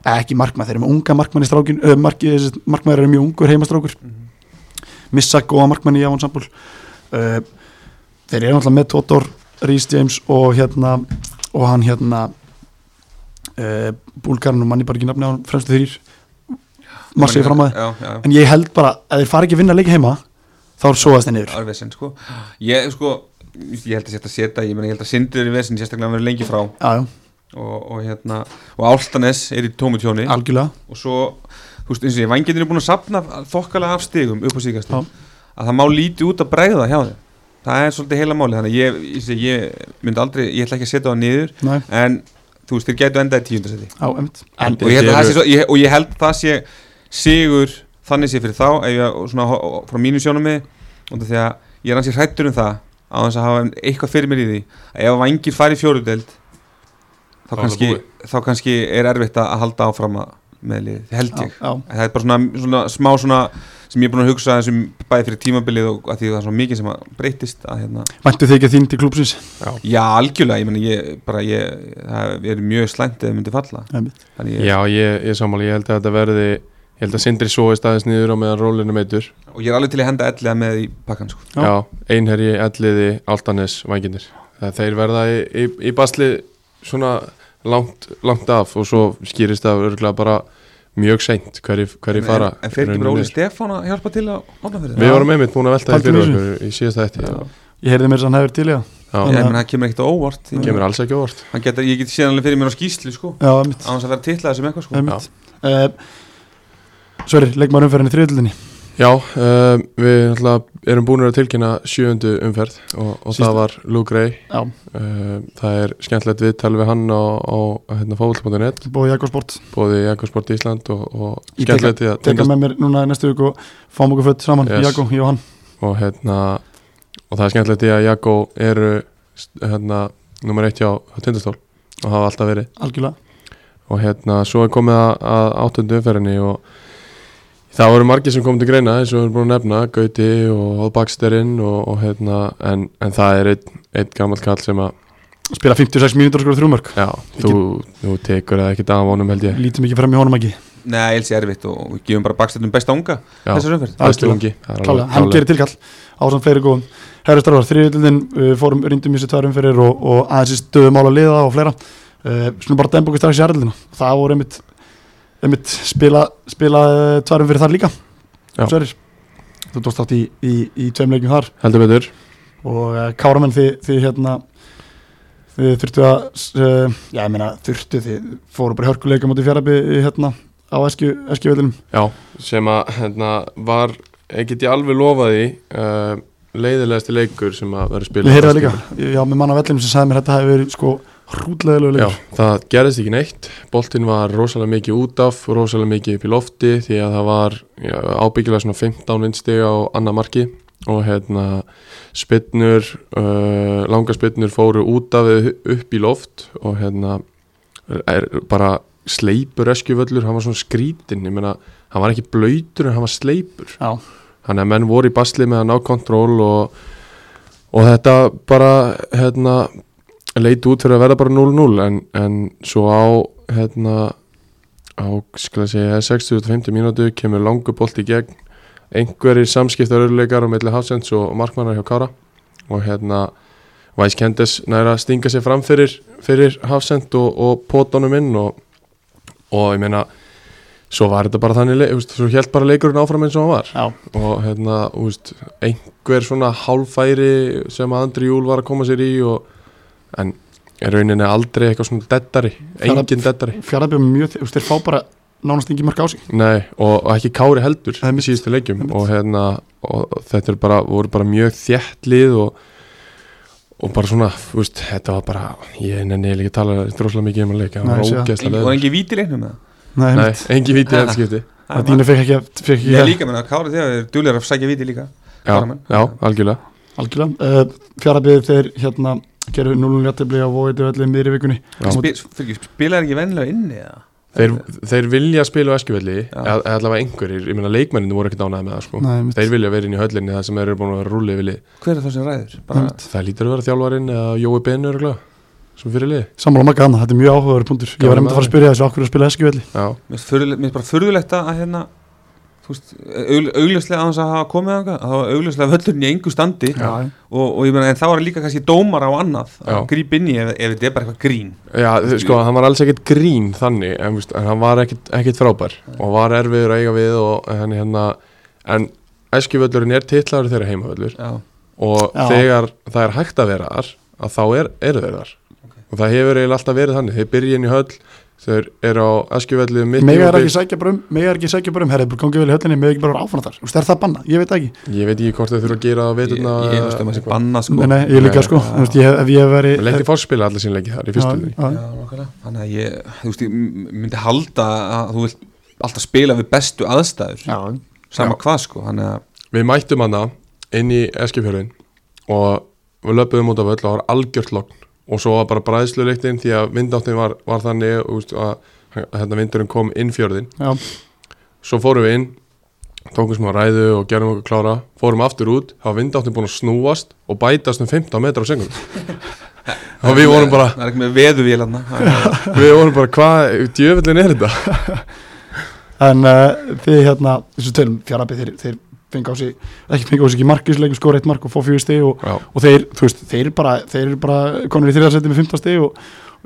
Speaker 1: Eh, ekki markmann, þeir eru með unga markmann í strákin uh, mark, markmann eru mjög ungur heimastrákur
Speaker 3: Mhm.
Speaker 1: missa góða markmann í Javon Sambúl uh, þeir eru náttúrulega með Tóthor, Rhys James og hérna og hann hérna uh, búlgarinn og manni bara ekki nafni á hann fremstu þrýr massið fram að þið.
Speaker 3: Já, já,
Speaker 1: en ég held bara að þeir fara ekki að vinna leik heima þá er svoðast þeir niður
Speaker 3: það er vesinn sko ég sko, ég held að setja seta ég, meina, ég held að sindir í vesinn sérstaklega að vera lengi frá og,
Speaker 1: já, já,
Speaker 3: og hérna, og Áltanes er í tómu tjóni
Speaker 1: algjörlega
Speaker 3: og svo, þú veist, eins og ég, vanginir er búin að sapna þokkalega af stigum upp á síkast
Speaker 1: Já.
Speaker 3: að það má lítið út að bregða hjá þeim það er svolítið heila máli, þannig að ég, ég, ég, ég myndi aldrei, ég ætla ekki að setja það niður
Speaker 1: Nei,
Speaker 3: en þú veist, þeir gætu endað í tíundasetti
Speaker 1: á, einmitt.
Speaker 2: En-
Speaker 3: og ég held að það sé,
Speaker 2: Þeir
Speaker 3: svo, ég, og ég held að það sé sigur þannig sé fyrir þá ef ég, og svona, ho- ho- frá mínu sjónum mig og því að ég er hansi hrættur um það á þess að hafa eitthvað fyrir mér í því að ef vangir fari í fjórudeld
Speaker 2: Þá er
Speaker 3: þá,
Speaker 2: það
Speaker 3: kannski,
Speaker 2: búið.
Speaker 3: þá kannski er erfitt að að halda áfram að með liðið, held
Speaker 1: Já,
Speaker 3: ég
Speaker 1: já,
Speaker 3: það er bara svona, svona smá svona sem ég er búin að hugsa þessum bæði fyrir tímabilið og að því það er svona mikið sem að breytist að hérna
Speaker 1: væntu þið ekki þín til klúpsins
Speaker 3: Já, algjörlega, ég meni, ég, bara ég, það er mjög slæmt eða myndi falla
Speaker 1: Einmitt.
Speaker 3: Þannig ég,
Speaker 2: Já, ég, ég sammáli, ég held að þetta verði ég held að Sindri svoist aðeins niður á meðan rólinu meitur
Speaker 3: og ég er alveg til að henda ellega með í pakkan, sko
Speaker 1: Já.
Speaker 2: Já, einherji, elliði, altanis, vanginir Þeir verða í, í, í basli svona langt, langt af og svo skýrist það örgulega bara mjög seint hverju hverju
Speaker 3: En-
Speaker 2: fara
Speaker 3: En fer
Speaker 2: í
Speaker 3: ekki
Speaker 2: rauninni
Speaker 3: bara Óli
Speaker 2: niður.
Speaker 3: Stefán að hjálpa til að opna fyrir
Speaker 2: Við vorum einmitt búin að velta því
Speaker 1: Paldum
Speaker 2: fyrir
Speaker 1: í
Speaker 2: okkur í síðasta eftir
Speaker 3: Já.
Speaker 2: Já,
Speaker 1: ég heyrði mér þess að hann hefur til já,
Speaker 2: Já.
Speaker 3: Ég menn, það kemur ekkert á óvart Ég-
Speaker 2: kemur alls ekki á óvart
Speaker 3: Hann getur, ég get séð alveg fyrir mér á skýslu, sko
Speaker 1: já, einmitt,
Speaker 3: Á hans að vera titlaði sem eitthvað, sko
Speaker 1: einmitt. Eh, Uh, Sverri, legg maður umferðin í þriðildinni
Speaker 2: Já, um, við náttúrulega erum búin að tilkynna sjöundu umferð og, og
Speaker 1: Sísta.
Speaker 2: það var Lou Gray
Speaker 1: Já,
Speaker 2: um, Það er skemmtilegt viðtal við hann á, á hérna, fóvult.net
Speaker 1: bóði Jakobsport
Speaker 2: bóði Jakobsport Ísland og, og
Speaker 1: Ég
Speaker 2: skemmtilegt við að
Speaker 1: Teka
Speaker 2: tengast
Speaker 1: með mér núna í næstu viku og fáum okkur fött saman,
Speaker 2: Yes.
Speaker 1: Jakob, ég og hann
Speaker 2: og, hérna, og það er skemmtilegt við að Jakó eru st- hérna, nummer eitt hjá hjá Tindastól og hafa alltaf verið
Speaker 1: Algjörlega,
Speaker 2: og hérna, svo er komið að, að áttundu umferðinni og það voru margir sem komið til greina eins og við erum búin að nefna, Gauti og Baksterinn og, og hérna, en, en það er einn ein gammal kall sem að
Speaker 1: spila 56 mínútur og skora þrjumörk
Speaker 2: já, þú, þú tekur það ekki dagamónum held ég
Speaker 1: Lítið mikið frem í honum ekki
Speaker 3: Nei, ég held sér erfitt og við gefum bara bakstættum besta unga
Speaker 2: já,
Speaker 3: Þessar umferð
Speaker 2: bestu ungi, það er alveg
Speaker 1: Klálega, hann gerir tilkall á samt fleiri góðum Herra starfar, þriðildin, uh, fórum rindum í þessu tvær umferðir og, og aðeins í stöðum ála liða og fleira uh, Svona bara dæmbokur strax í herrildina Það voru einmitt, einmitt spila, spila uh, tvær umferðir þar líka
Speaker 2: Já.
Speaker 1: Sverir, þú tókst átt í, í, í tveim leikjum þar
Speaker 2: heldur betur
Speaker 1: og uh, Káramenn þið, þið hérna þið þurftu að uh, já ég meina þurftu þið fóru bara í hörkuleika mútið fjarabi hérna á eskju, eskjuvelinum
Speaker 2: já, sem að hérna, var, ég get ég alveg lofaði uh, leiðilegasti leikur sem að vera spilað
Speaker 1: ég heyrði það líka, já með manna vellinum sem sagði mér þetta hefur verið sko hrútlegilegu
Speaker 2: Já,
Speaker 1: leikur
Speaker 2: það gerðist ekki neitt Boltinn var rosalega mikið út af rosalega mikið upp í lofti því að það var já, ábyggilega svona 15 vinstiga á annað marki og hérna spinnur, uh, langa spinnur fóru út af eða upp í loft og hérna er bara sleipur eskjuvöllur, hann var svona skrítinn, ég meina hann var ekki blöytur en hann var sleipur
Speaker 1: Já.
Speaker 2: þannig að menn voru í basli með að ná kontról og, og þetta bara hérna, leit út fyrir að verða bara 0-0 en, en svo á hérna á skal ég segja 60-50 mínútu kemur langu bolt í gegn einhverjir samskiptaröðuleikar á milli hafsends og markmannar hjá Kára og hérna Væs Kendes næra að stinga sér fram fyrir, fyrir hafsend og, og potanum inn og, og ég meina svo var þetta bara þannig, leik- þú veist, svo held bara leikurinn áfram eins og hann var
Speaker 1: Já,
Speaker 2: og hérna, úst, einhver svona hálfæri sem að Andri Júl var að koma sér í og, en er rauninni aldrei eitthvað svona dettari,
Speaker 1: Fjarað-
Speaker 2: engin dettari
Speaker 1: fjaraðbjörn mjög, þú veist, þeir fá bara nánast engin mörg á sig
Speaker 2: Nei, og, og ekki Kári heldur
Speaker 1: Einmitt,
Speaker 2: í síðustu leikjum
Speaker 1: einmitt.
Speaker 2: og hérna, og þetta er bara, voru bara mjög þjættlið og og bara svona, úst, þetta var bara ég nenni ekki að tala droslega mikið um að leika,
Speaker 1: Nei,
Speaker 2: það var
Speaker 1: ég sé það.
Speaker 2: ógeðslega
Speaker 3: Það
Speaker 2: leiður.
Speaker 3: er ekki vítir einu með
Speaker 1: Nei,
Speaker 2: Nei,
Speaker 1: einmitt.
Speaker 2: engin viti helskipti
Speaker 1: það dýna fekk ekki, að- fekk ekki
Speaker 3: Ég
Speaker 1: að-
Speaker 3: líka meina að Kára þegar er duglegar að sækja víti líka
Speaker 2: Já,
Speaker 3: Káramenn.
Speaker 2: já, algjörlega
Speaker 1: algjörlega uh, fjaraðbjörn þeir hérna gerðu 0-0 jættibli á vóiði velli miðri vikunni
Speaker 2: Já.
Speaker 1: Móti-
Speaker 3: Spil- fyrir ekki, Spilar ekki vennilega inni eða?
Speaker 2: Þeir, þeir vilja spila á eskjuvelli
Speaker 3: Já.
Speaker 2: eða eða allavega einhverjir, ég meina leikmenninu voru ekkert ánæði með það sko.
Speaker 1: Nei, einmitt.
Speaker 2: þeir vilja vera inn í höllinni þar sem þeir eru búin að vera rúlið vilji
Speaker 3: Hver er það sem ræður? Bara,
Speaker 2: það lítur að vera þjálfarinn eða Jói Ben örgulega sem fyrir liði
Speaker 1: sammála makka hana, þetta er mjög áhugaður punktur ég var
Speaker 2: Gaman
Speaker 1: einmitt að fara
Speaker 2: maður.
Speaker 1: að spyrja þessu okkur að spila eski velli
Speaker 2: já,
Speaker 3: mér finnst furðulegt- mér finnst bara furðulegt að að hérna þú veist, augl- augljóslega aðeins að hafa komið þangað, að það var augljóslega völlurinn í engu standi
Speaker 1: Já.
Speaker 3: og, og ég meina en þá er líka kannski dómar á annað að
Speaker 2: Já.
Speaker 3: grípa inn í ef, ef þetta er bara eitthvað grín
Speaker 2: já þau- sko, hann var alls ekkert grín þannig en, víst, en hann var ekkert, ekkert frábær og var erfiður að eiga við og, en, hérna, en eskjuvöllurinn er titlaður þeirra heimavöllur
Speaker 3: Já,
Speaker 2: og
Speaker 1: Já.
Speaker 2: þegar það er hægt að vera þar að þá er, eru þeir þar og það hefur eiginlega alltaf verið þannig þeir byrja inn í höll þeir eru á eskjuvöllu
Speaker 1: mega er ekki sækja bara um, mega er ekki sækja bara um herri, bara gangi vel í höllinni, mega ekki bara áfann þar Þú veist, er það banna, ég veit það ekki
Speaker 2: Ég veit uh, ekki hvort þau þurfa að gera það
Speaker 3: ég,
Speaker 2: veiturna
Speaker 3: ég, ég veist um að sé banna sko
Speaker 1: nei, nei, ég líka
Speaker 2: Nei,
Speaker 1: sko,
Speaker 3: já.
Speaker 1: þú veist, ég, hef- ef ég veri
Speaker 2: Lendi fórspila allir sínleiki þar í fyrstu leik
Speaker 1: já,
Speaker 3: Já, nákvæmlega. þannig að ég, þú veist, ég m- myndi halda að þú vilt alltaf spila við bestu aðstæður
Speaker 1: já,
Speaker 3: sama hvað sko, þannig að
Speaker 2: Við mættum hana inn í Eskifjörðin og við löpuðum út af öll og það var algjört logn og svo var bara bræðsluleiktin því að vindáttin var, var þannig úst, að, að hérna vindurinn kom inn fjörðin
Speaker 1: já,
Speaker 2: svo fórum við inn tókum smá ræðu og gerum okkur klára fórum aftur út, þá var vindáttin búin að snúast og bætast um 15 metra á
Speaker 3: *laughs*
Speaker 2: sengum og við vorum bara
Speaker 3: það er ekki með
Speaker 1: *laughs*
Speaker 3: veðuvél hann
Speaker 2: við vorum bara hvað, djöfellin er þetta
Speaker 1: en uh, þið hérna þessu tölum fjarafið þeir, þeir fengi á sig ekki fengi á sig ekki markisleiku skora eitt mark og fá fjögur stig og,
Speaker 2: Já.
Speaker 1: og þeir, þú veist, þeir bara þeir eru bara konur í þriðarsætti með 15 stig og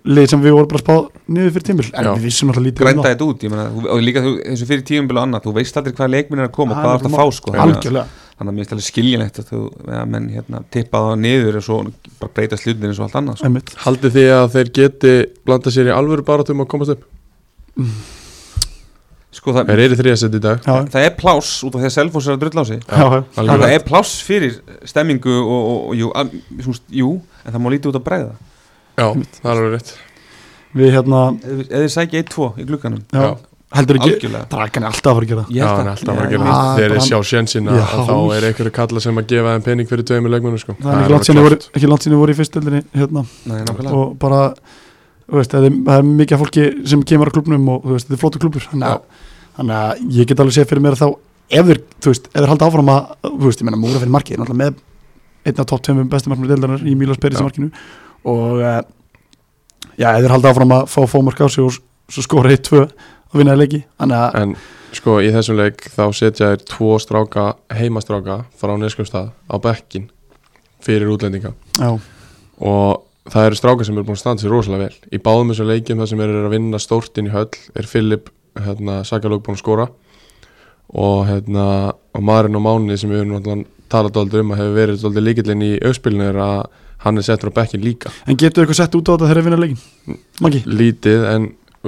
Speaker 1: lið sem við vorum bara spáð niður fyrir tímil en
Speaker 2: Já.
Speaker 1: við vissum alltaf lítið um
Speaker 3: grænda þetta út, ég meina, þú- og líka þú, eins og fyrir tíumbil og annað, þú veist aldrei hvað leikminn er að koma og
Speaker 1: Það
Speaker 3: hvað
Speaker 1: er
Speaker 3: er að fá
Speaker 1: bara-
Speaker 3: sko
Speaker 1: það
Speaker 3: þannig að
Speaker 1: algjörlega,
Speaker 3: þannig að mér er alveg skiljanlegt að þú, ja, menn hérna, tippa það niður og svo bara breyta slutnir eins og allt annað sko.
Speaker 1: einmitt
Speaker 2: Haldið þið að þeir geti blanda sér í alvöru barátum að komast upp?
Speaker 3: sko það,
Speaker 2: Þeir eru þriðasett í dag
Speaker 1: já, já,
Speaker 3: það er pláss út af því að Selfoss er að drull á sig
Speaker 1: já,
Speaker 2: algjörlega.
Speaker 1: já,
Speaker 3: það er pláss fyrir stemmingu og, og, og jú, að, svo, jú, en það má lítið út að breyða
Speaker 2: Já, það er alveg rétt
Speaker 1: við hérna
Speaker 3: eða þið sækja 1-2 í glugganum
Speaker 1: já,
Speaker 2: Já.
Speaker 1: heldur ekki,
Speaker 3: algjörlega
Speaker 1: dragan er alltaf að fara að gera það
Speaker 2: Já,
Speaker 3: Ég held
Speaker 2: en
Speaker 3: að-
Speaker 2: alltaf var
Speaker 3: Já,
Speaker 2: ekki
Speaker 1: já. Ah,
Speaker 2: nýtt Þeir
Speaker 1: Bara-
Speaker 2: sjá sjensina
Speaker 1: Já.
Speaker 2: að þá er einhverju kalla sem að gefa þeim pening fyrir tveimur leikmönnum sko.
Speaker 1: það er ekki langt sinni voru, ekki langt sinni voru í fyrstöldinni hérna
Speaker 3: Nei, nákvæmlega
Speaker 1: og bara þú veist, það, er, það er mikið af fólki sem kemur á klubnum og þú veist, þetta er flottu klubur þannig að, þannig að ég get alveg séð fyrir mér að þá ef þeir, þú veist, ef þeir halda áfram að þú veist, ég menna múra fyrir markið, náttúrulega með einn af topp tveimum bestu markmur deildarinnar í Mílas Peris
Speaker 2: Já.
Speaker 1: markinu og eh, já, ef þeir halda áfram að fá fómark á sig og s- svo skora 1-2 og vinna í leiki, þannig að
Speaker 2: En sko, í þessum leik þá setja þeir tvo stráka, heimastráka frá Neskumstað á bekkin fyrir útlendinga
Speaker 1: já,
Speaker 2: og það eru strákar sem eru búin að standa sér rosalega vel í báðum þessum leikjum þar sem eru að vinna stórt inn í höll er Filip hérna, Sakalók búin að skora og, hérna, og maðurinn og mánuði sem við höfum náttúrulega talað aldrei um að hefur verið aldrei líkillinn í auðspilinu er að hann er settur á bekkin líka
Speaker 1: en getur eitthvað sett út á þetta þegar þeir vinna leikin, Maggi?
Speaker 2: lítið en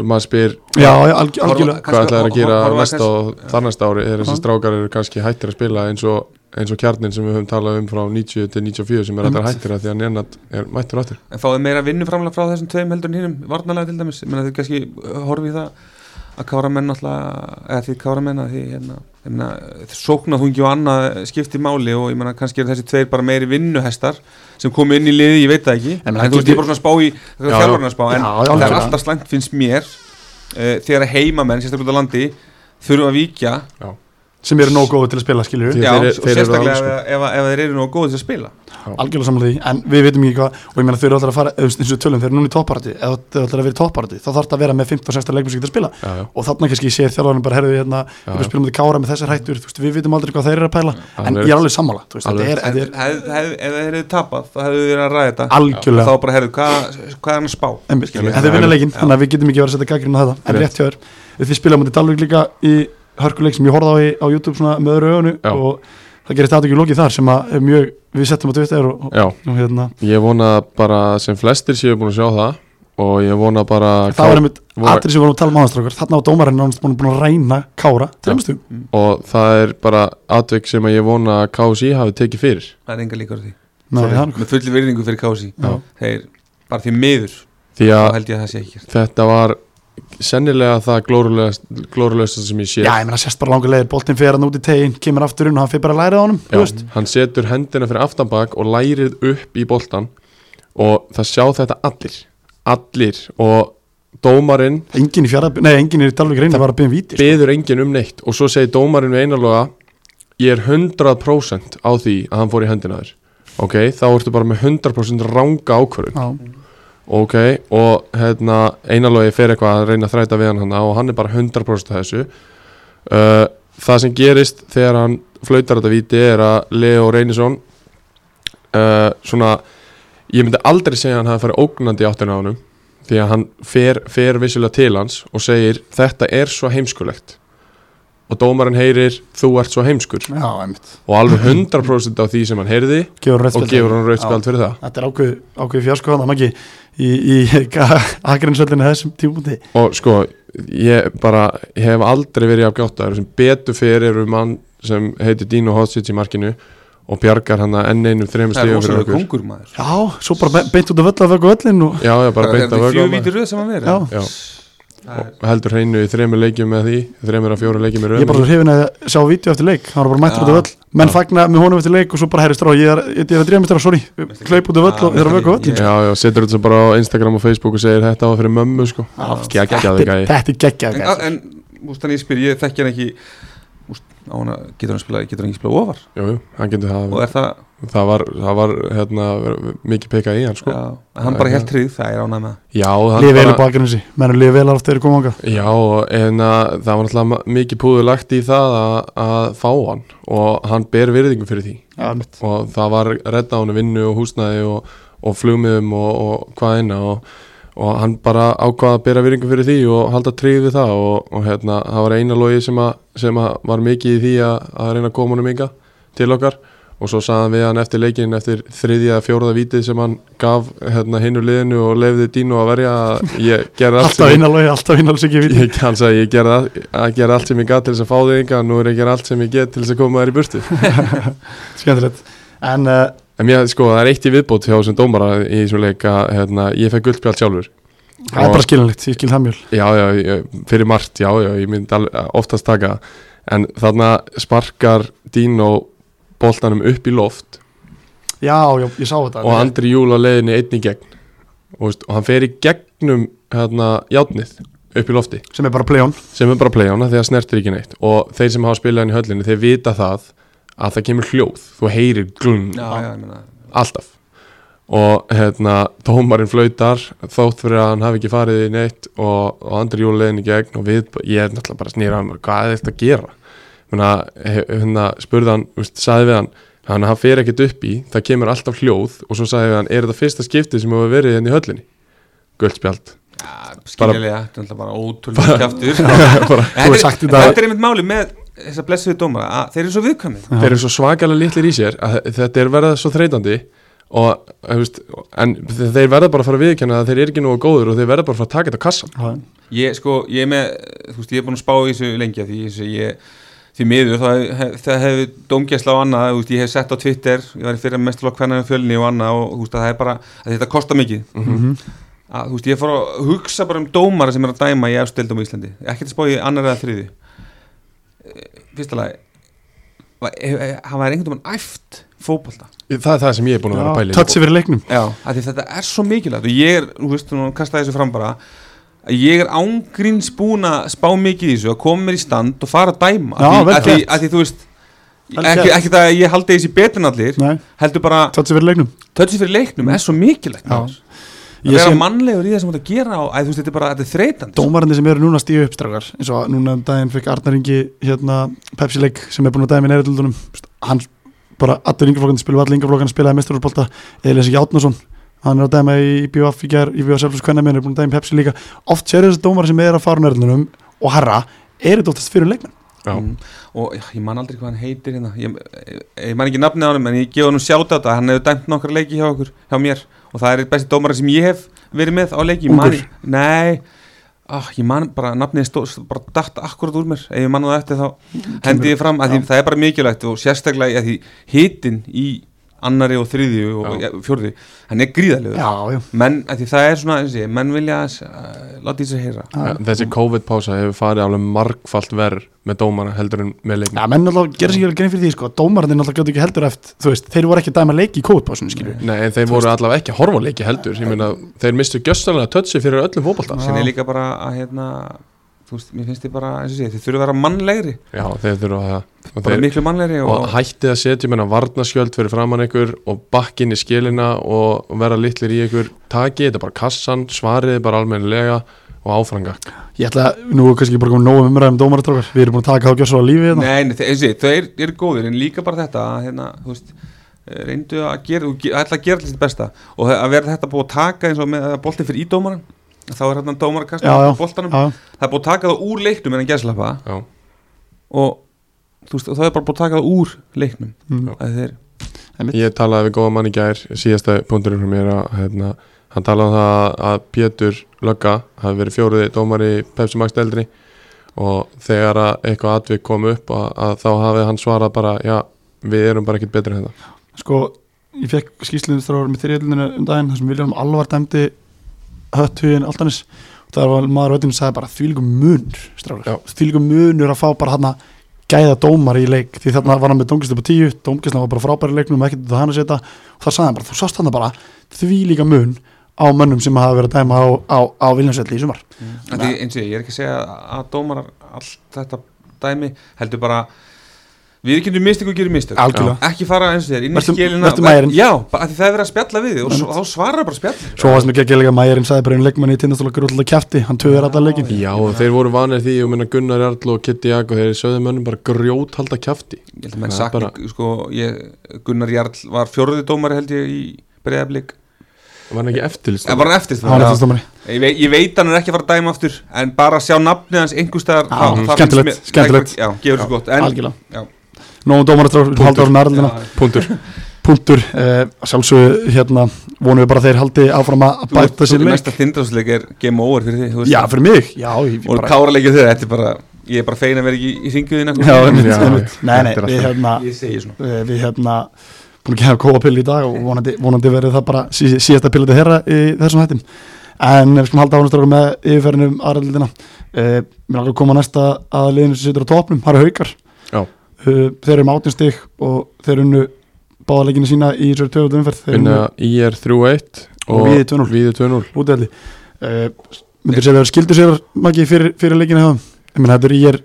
Speaker 2: maður spyr
Speaker 1: Já, já, alg, algjörlega
Speaker 2: hvað
Speaker 3: Kannski-
Speaker 2: ætlaði að gera
Speaker 3: horfa- horfa
Speaker 2: næsta og þar næsta ári þegar
Speaker 1: Já.
Speaker 2: þessi strákar eru kannski hættir að spila eins og, eins og kjarnin sem við höfum talað um frá 90 til 94 sem er alltaf
Speaker 1: Einmitt.
Speaker 2: hættir að því að Nenad er mættur áttur
Speaker 3: En fáið meira vinnuframlega frá þessum tveim heldur en hinnum, varnalega til dæmis, ég meina þau kannski uh, horfið í það að káramenn náttúrulega, eða því káramenn að því hérna, ég meina, sóknaþungi og annað skiptir máli og ég meina kannski er þessi tveir bara meiri vinnuhestar sem komu inn í liði, ég veit það ekki
Speaker 1: En
Speaker 3: en,
Speaker 1: það
Speaker 3: þú veist,
Speaker 1: getur-
Speaker 3: ég er bara svona að spá í, það
Speaker 2: Já,
Speaker 3: er
Speaker 2: já.
Speaker 3: þjálfarinn að spá en
Speaker 1: Já, já,
Speaker 3: það er
Speaker 1: algjörlega.
Speaker 3: alltaf slæmt finnst mér uh, þegar að heimamenn, sérstaklega út á landi þurfa að víkja
Speaker 1: sem eru nóg góði til að spila skilju
Speaker 2: Því-
Speaker 3: já,
Speaker 2: þeir-
Speaker 3: og
Speaker 2: þeir eru
Speaker 3: sérstaklega
Speaker 2: alveg,
Speaker 3: ef, ef, ef þeir eru nógu góðið til að spila
Speaker 1: algjörlega saman því, en við veitum ekki hvað og ég meina þau eru alltaf að fara, eða, eins og við tölum, þeir eru núna í topparati eða þau ætlar að vera í topparati, þá þarf það að vera með 15-16 leikmenn sem getur að spila
Speaker 2: já, já,
Speaker 1: og þarna kannski sér þjálfarinn bara herðu hérna,
Speaker 2: Já,
Speaker 1: við
Speaker 2: já.
Speaker 1: spilum þetta kára með þessar hættur þú veist, við veitum aldrei hvað þeir eru að pæla en
Speaker 2: Alveg
Speaker 1: ég er
Speaker 2: rétt.
Speaker 1: alveg sammála, þú veist, þetta
Speaker 2: Alveg
Speaker 1: er, þetta er
Speaker 3: hef, hef, ef þeir eru tapað, þá hefðu verið að ræða þetta
Speaker 1: algjörlega
Speaker 3: þá bara, herðu, hvað, hvað er hann að spá?
Speaker 1: Einmitt,
Speaker 3: Skilur
Speaker 1: en
Speaker 3: við?
Speaker 1: þeir vinna leikinn,
Speaker 3: Já.
Speaker 1: þannig að við getum ekki verið að setja gaggrinn á þetta en
Speaker 2: Rétt.
Speaker 1: rétt hjá þér, þið spila mútið Dalvik líka í hörkuleik sem ég horfði á í, á YouTube svona með öðru ögunu
Speaker 2: Já.
Speaker 1: og það gerist aðtökjum lokið þar sem að er mjög, við settum á Twitter og, og,
Speaker 2: já
Speaker 1: og hérna,
Speaker 2: ég vona bara sem flestir séu búin að sjá það og ég vona bara
Speaker 1: það var einmitt
Speaker 2: voru-
Speaker 1: atrið sem við vorum að tala um áhanstrákar, þarna á dómarinn nánast búin búin að reyna Kára, trefnstu
Speaker 2: og það er bara atvik sem að ég vona að KSI hafi tekið fyrir
Speaker 3: það er enga líkur á því
Speaker 1: Nei,
Speaker 2: Sorry.
Speaker 1: hann,
Speaker 3: með fulli virðingu fyrir kási
Speaker 1: Já.
Speaker 3: þeir, bara því miður
Speaker 2: því
Speaker 3: þá
Speaker 2: að
Speaker 3: held ég að það sé ekki gert
Speaker 2: þetta var sennilega það glórulegast sem ég sé
Speaker 1: já, ég meina sérst bara langur leiðir boltinn fyrir hann út í tegin, kemur aftur inn og hann fyrir bara að læra á honum,
Speaker 2: Já,
Speaker 1: þú veist
Speaker 2: hann setur hendina fyrir aftanbak og lærið upp í boltan og það sjá þetta allir allir og dómarinn
Speaker 1: engin í fjara, nei, engin í Dalvik reyna var að byggja um víti, sko.
Speaker 2: beður enginn um neitt og svo segir dómarinn við einarloga ég er 100% á því að hann fór í hendina á þér ok, þá ertu bara með 100% ranga ákvörðun
Speaker 1: Já.
Speaker 2: ok, og hérna einarlogi fer eitthvað að reyna að þræta við hann hana og hann er bara 100% að þessu uh, það sem gerist þegar hann flautar þetta víti er að Leo Reynisson uh, svona ég myndi aldrei segja að hann hafi farið ógnandi í áttina á honum því að hann fer, fer vissulega til hans og segir þetta er svo heimskulegt og dómarinn heyrir þú ert svo heimskur
Speaker 1: já, einmitt,
Speaker 2: og alveg 100% á því sem hann heyrði
Speaker 1: gefur rödd
Speaker 2: og gefur hann rauðspjald fyrir það
Speaker 1: Þetta er ákveð, ákveð fjarsko hann ekki í, í *laughs* Akarinsöldinu þessum tímundi
Speaker 2: og sko, ég bara ég hef aldrei verið af gjáttaður sem betur fyrir eru mann sem heitir Dino Hotsic í markinu og bjargar hann að enn einum þrejum
Speaker 3: það er
Speaker 2: stíðum fyrir
Speaker 3: rosalega
Speaker 2: okkur
Speaker 3: kongur maður
Speaker 1: Já, svo bara be- beint út af völl af vöggu völlin og
Speaker 2: já, já, bara
Speaker 3: það
Speaker 2: beint
Speaker 3: er
Speaker 2: að
Speaker 3: þetta
Speaker 2: vöggu á
Speaker 3: fjögur
Speaker 2: maður.
Speaker 3: vítur röð sem hann verið
Speaker 1: Já.
Speaker 2: Já.
Speaker 3: Það er-
Speaker 2: og heldur hreinu í þremur leikjum með því þremur að fjóru leikjum með
Speaker 1: ég er bara
Speaker 2: röðum
Speaker 1: svo hrifin að sjá vídeo eftir leik hann var bara mættur
Speaker 3: Já.
Speaker 1: út af völl, menn
Speaker 2: Já.
Speaker 1: fagna með honum eftir leik og svo bara herri strá, ég er, ég er að drífa mér strá, sorry hlaup út af völl
Speaker 3: Já,
Speaker 1: og þeir eru að vöggu völlin
Speaker 3: ég-
Speaker 2: já, já, setur þetta bara á Instagram og Facebook og segir þetta á fyrir mömmu sko geggjaði
Speaker 1: Þetta er-
Speaker 2: gæði
Speaker 1: þetta er geggjað
Speaker 3: en,
Speaker 1: gæði.
Speaker 3: en úst, þannig ég spyr, ég þekki hann ekki úst, á hana, getur hann spilað, getur hann ekki spilað ofar
Speaker 2: jú, jú, hann getur það
Speaker 3: og er það,
Speaker 2: það var, það var hérna, mikið pekað í hann sko
Speaker 3: já, hann bara helt tríð það er ánæg með
Speaker 2: já, hann
Speaker 1: Lifi vel upp á Akarinsi, mennur lifi vel aftur þeir koma ánga
Speaker 2: Já, en að, það var náttúrulega mikið púður lagt í það að, að fá hann og hann ber virðingu fyrir því og það var redda hann vinnu og húsnæði og, og flugmiðum og, og hvað eina og, og hann bara ákvaða að bera virðingu fyrir því og halda tryggð við það og, og hérna, það var eina logi sem, að, sem að var mikið í því að, að reyna að koma honum ynga til okkar og svo saðan við hann eftir leikin eftir þriðja, fjóraða vítið sem hann gaf hérna hinnu liðinu og lefði Dino að verja að ég gerði allt sem
Speaker 1: alltaf
Speaker 2: ég-
Speaker 1: innalagi, alltaf innalagi ekki vídeo
Speaker 2: ég, hann sagði ég gerði all- að gera allt sem ég gat til þess að fá þig enga nú er ég að gera allt sem ég get til þess að koma þær í burtu
Speaker 1: skemmtilegt, en uh,
Speaker 2: en mér sko það er eitt í viðbót hjá þessum dómara í þessum leik að hérna, ég fekk guldspjald sjálfur
Speaker 1: það er bara skilinlegt, ég skil það mjög
Speaker 2: já já ég- fyrir margt já já ég myndi al- oftast taka það. en þarna sparkar Dino boltanum upp í loft
Speaker 1: já, já, ég sá þetta
Speaker 2: og Andri Júla leiðinni einn í gegn og, veist, og hann fer í gegnum hérna játnið upp í lofti
Speaker 1: sem er bara play-on
Speaker 2: sem er bara play-ána þegar snertir ekki neitt og þeir sem hafa spilað hann í höllinni þeir vita það að það kemur hljóð þú heyrir glunn
Speaker 3: já, já, ég meina
Speaker 2: alltaf og hérna tómarinn flautar þótt fyrir að hann hafi ekki farið í neitt og, og andri júliðin í gegn og við, ég er náttúrulega bara að snýra hann hvað er þetta að gera Muna, hérna, spurði hann, veist, sagði við hann hann hann fer ekkert upp í, það kemur alltaf hljóð og svo sagði við hann, er þetta fyrsta skiptið sem hefur verið henni í höllinni? Guldspjald
Speaker 3: Já, skiljalega, þetta er náttúrulega bara ótrúlega kjaftur
Speaker 2: *laughs* *laughs* bara,
Speaker 1: hefur sagt
Speaker 3: þetta
Speaker 1: þetta-
Speaker 3: er- þetta er einmitt máli með þessa blessuðu dómara að þeir eru svo viðkvæmi
Speaker 2: þeir eru svo svakalega litlir í sér að þetta er verða svo þreytandi og, þú veist, en þeir verða bara að fara að viðkjanna að þeir eru ekki nógu góður og þeir verða bara að fara að taka þetta á kassan
Speaker 1: Já.
Speaker 3: Ég sko, ég er með, þú veist, ég er búin að spá í þessu lengi af því þessu, ég, því miður það, það hefur dómgæsla á annað þú veist, ég hef sett
Speaker 1: Mhm.
Speaker 3: á Twitter, ég var í fyrir mestalokk hvernig um fjölni og annað og þú veist að það er bara, að þetta kostar mikið að, þú veist, ég fór að hugsa bara um dómara sem er að dæma í efstildum í Íslandi ekkert spá í annar eða þriði fyrsta lagi va- hef- hef- hann var einhvern veginn æft fótbolta
Speaker 2: Það er það sem ég er búin að sko. vera að pæli
Speaker 1: touch yfir leiknum
Speaker 3: já, af því þetta er svo mikilvægt og ég er, þú veist, nú kastaði þessu fram bara að ég er ángríns búin að spá mikið í þessu að koma mér í stand og fara að dæma
Speaker 1: Já,
Speaker 3: af því,
Speaker 1: vel
Speaker 3: af því,
Speaker 1: gert.
Speaker 3: af því þú veist
Speaker 1: Vel
Speaker 3: ekki,
Speaker 1: gert.
Speaker 3: ekki það að ég haldi þessi betur en allir
Speaker 1: Nei,
Speaker 3: heldur bara,
Speaker 1: touch yfir leiknum
Speaker 3: tötsi fyrir leiknum er svo mikilvægt
Speaker 1: Já.
Speaker 3: maður. að
Speaker 1: Ég
Speaker 3: vera
Speaker 1: sé
Speaker 3: mannlegur í það sem þú ert að gera og, að, þú veist, þetta er bara, þetta er þreytandi
Speaker 1: dómarandi sem eru núna stíu uppstrákar eins og að núna um daginn fekk Arnar Ingi hérna Pepsi leik sem er búin að dæmi í neðrildunum hann bara allir yngjaflokkandi spilaði allir yngjaflokkandi spilaði mesturúrbolta Elias Játnason hann er að dæma í BioF í ger í BioF Selfless Kvenna er búin að dæmi Pepsi líka oft sér þessi dómar sem er að fara neðrildunum og herra er þetta oftast fyrir leikmenn
Speaker 2: Já.
Speaker 3: Mm. og já, ég man aldrei hvað hann heitir hérna. ég, ég, ég man ekki nafnið á hann en ég gefa hann sjáta þetta, hann hefur dæmt nokkar leiki hjá okkur, hjá mér og það er besti dómara sem ég hef verið með á leiki Ég man
Speaker 1: Ungur.
Speaker 3: ekki- nei, ah, ég man bara nafnið stó, stó, bara dætt akkurat úr mér ef ég man það eftir þá hendi ég fram að því, það er bara mikilvægt og sérstaklega að því hitin í annari og þriðju og
Speaker 2: Já.
Speaker 3: ja, fjórði hann er gríðalegur
Speaker 1: já, já,
Speaker 3: menn, að því það er svona, eins og ég, segi, menn vilja uh, láta í sér heyra
Speaker 1: já.
Speaker 2: Þessi COVID-pása hefur farið alveg margfalt verð með dómana heldur en með leiknum
Speaker 1: Já, menn alltaf gerir sér ekki alveg grein fyrir því sko, dómarandi náttúrulega gætu ekki heldur eftir, þú veist, þeir voru ekki að dæma leiki í kóðpásunum, skilju.
Speaker 2: Nei, en þeir voru allavega ekki að horfa á leiki heldur Ég meina, þeir mistu gjössalega tötsi fyrir öllum fótbolta
Speaker 3: sem
Speaker 1: Já.
Speaker 3: er líka bara að hérna þú veist, mér finnst þið bara, eins og sé, þið þurfa að vera mannlegri
Speaker 2: Já, þeir þurfa það og,
Speaker 3: bara
Speaker 2: þeir,
Speaker 3: miklu mannlegri og,
Speaker 2: og hættið að setja meina varnaskjöld fyrir framann ykkur og bakkinni skilina og vera litlir í ykkur Takið þetta bara kassan, svariði bara almennilega og áfranga
Speaker 1: Ég ætla, nú er kannski bara komið nóg um umræðum dómarastrákar, við erum búin að taka þá gjössalega lífið hérna.
Speaker 3: nei, nei, þið- eins og sé, þau eru er góðir en líka bara þetta, að, hérna, þú veist eh, reyndu að gera, þú ge- ætla að gera allir sitt besta og það- að vera þetta búið að taka eins og með bolti fyrir ídómaran þá er hérna dómarakast
Speaker 1: Já, já.
Speaker 3: boltanum,
Speaker 1: Já,
Speaker 3: það er búið að taka það úr leiknum en að gæslappa
Speaker 2: Já,
Speaker 3: og þú veist, og það er bara búið að taka það úr leiknum
Speaker 1: mm.
Speaker 3: að þeir,
Speaker 2: Ég talaði við góða mann í gær síðasta punkturinn frá mér að hérna, hann talaði um það að Pétur Lögga hafi verið fjóruði dómar í Pepsi Max deildri og þegar að eitthvað atvik kom upp að, að þá hafi hann svarað bara já, við erum bara ekkert betri en þetta
Speaker 1: sko, ég fekk skýsluðum þráður með þriðluninu um daginn þar sem Viljálum Alvar dæmdi höttugin Altanis og það var maður veitin og sagði bara þvílíkum munur
Speaker 2: Já.
Speaker 1: strákar, þvílíkum munur að fá bara hann gæða dómar í leik því þarna var hann með dómkist upp á tíu, dómkistin var bara frábæri leiknum ekkert þetta hann að setja og það sagði hann bara, þú sást hann bara þvílíka mun á mönnum sem hafa verið að dæma á, á, á Viljámsvelli í sumar
Speaker 3: Af Því, eins og ég, ég er ekki að segja að dómarar allt þetta dæmi heldur bara við erum kynntum mistök og gerum mistök
Speaker 1: Algjörlega.
Speaker 3: ekki fara eins og þér inn í
Speaker 1: Vertu-
Speaker 3: skilina
Speaker 1: vertu mærin.
Speaker 3: já, bara af því það er verið að spjalla við þig og svo, þá svarar bara spjall
Speaker 1: svo var sem ekki að gera leika Mæjarinn sagði bara einu leikmanni í tindastóla grútlega kæfti, hann töður alltaf leikin
Speaker 2: Já, og þeir voru vanir því og minna Gunnar Jarl og Kitty Jak og þeir sögðu mönnum bara grjót halda kjafti
Speaker 3: ég held að menn
Speaker 2: Það er
Speaker 3: sakni, sko ég, Gunnar Jarl var fjórði dómari held ég í breyðablík,
Speaker 2: var hann ekki eftirlist
Speaker 3: það var hann eftir
Speaker 1: hann er þetta stómari
Speaker 3: ég, vei- ég veit hann er ekki að fara að dæma aftur en bara að sjá nafnið hans einhverstaðar
Speaker 1: Já, skemmtilegt, skemmtilegt.
Speaker 3: já, gefur svo gott en, Já.
Speaker 1: algjörlega Nóum dómarastrákur, haldur á nærlina
Speaker 3: já,
Speaker 2: Puntur
Speaker 1: punktur eh, að sjálfsögðu hérna vonum við bara að þeir haldi áfram að
Speaker 3: þú veist,
Speaker 1: bæta
Speaker 3: þú
Speaker 1: sér
Speaker 3: veist,
Speaker 1: leik
Speaker 3: næsta þindrásleik er game over fyrir því
Speaker 1: já fyrir mig já, ég,
Speaker 3: og
Speaker 1: bara,
Speaker 3: káralegið þeirra, þetta er bara ég er bara fegin að vera ekki í- í ringuðina
Speaker 1: já, einmitt,
Speaker 2: Já,
Speaker 1: einmitt.
Speaker 2: já,
Speaker 1: nei, nei,
Speaker 2: þetta er
Speaker 1: við
Speaker 2: alltaf-
Speaker 1: hérna
Speaker 3: ég segi svona
Speaker 1: eh, við hérna búin ekki að hafa kóa pill í dag og vonandi, vonandi verið það bara sí, síðasta pillið þeirra í þessum hættum en við skulum halda ánastrákur með yfirferðinum aðræðildina eh, mér langar að koma næsta að liðinu sem situr á topnum, það eru haukar
Speaker 2: Já.
Speaker 1: Eh, þeir eru með 18 stig og þeir unnu báðaleginni sína í þessari tvöfaldu umferð Þeir
Speaker 2: Vinna
Speaker 1: unnu-
Speaker 2: IR 3-1
Speaker 1: Og Víðir 2-0.
Speaker 2: Víði 2-0
Speaker 1: útvelli uh, myndir segja að það skildu sér maki fyrir, fyrir leikinu hefum ég meina þetta er ég er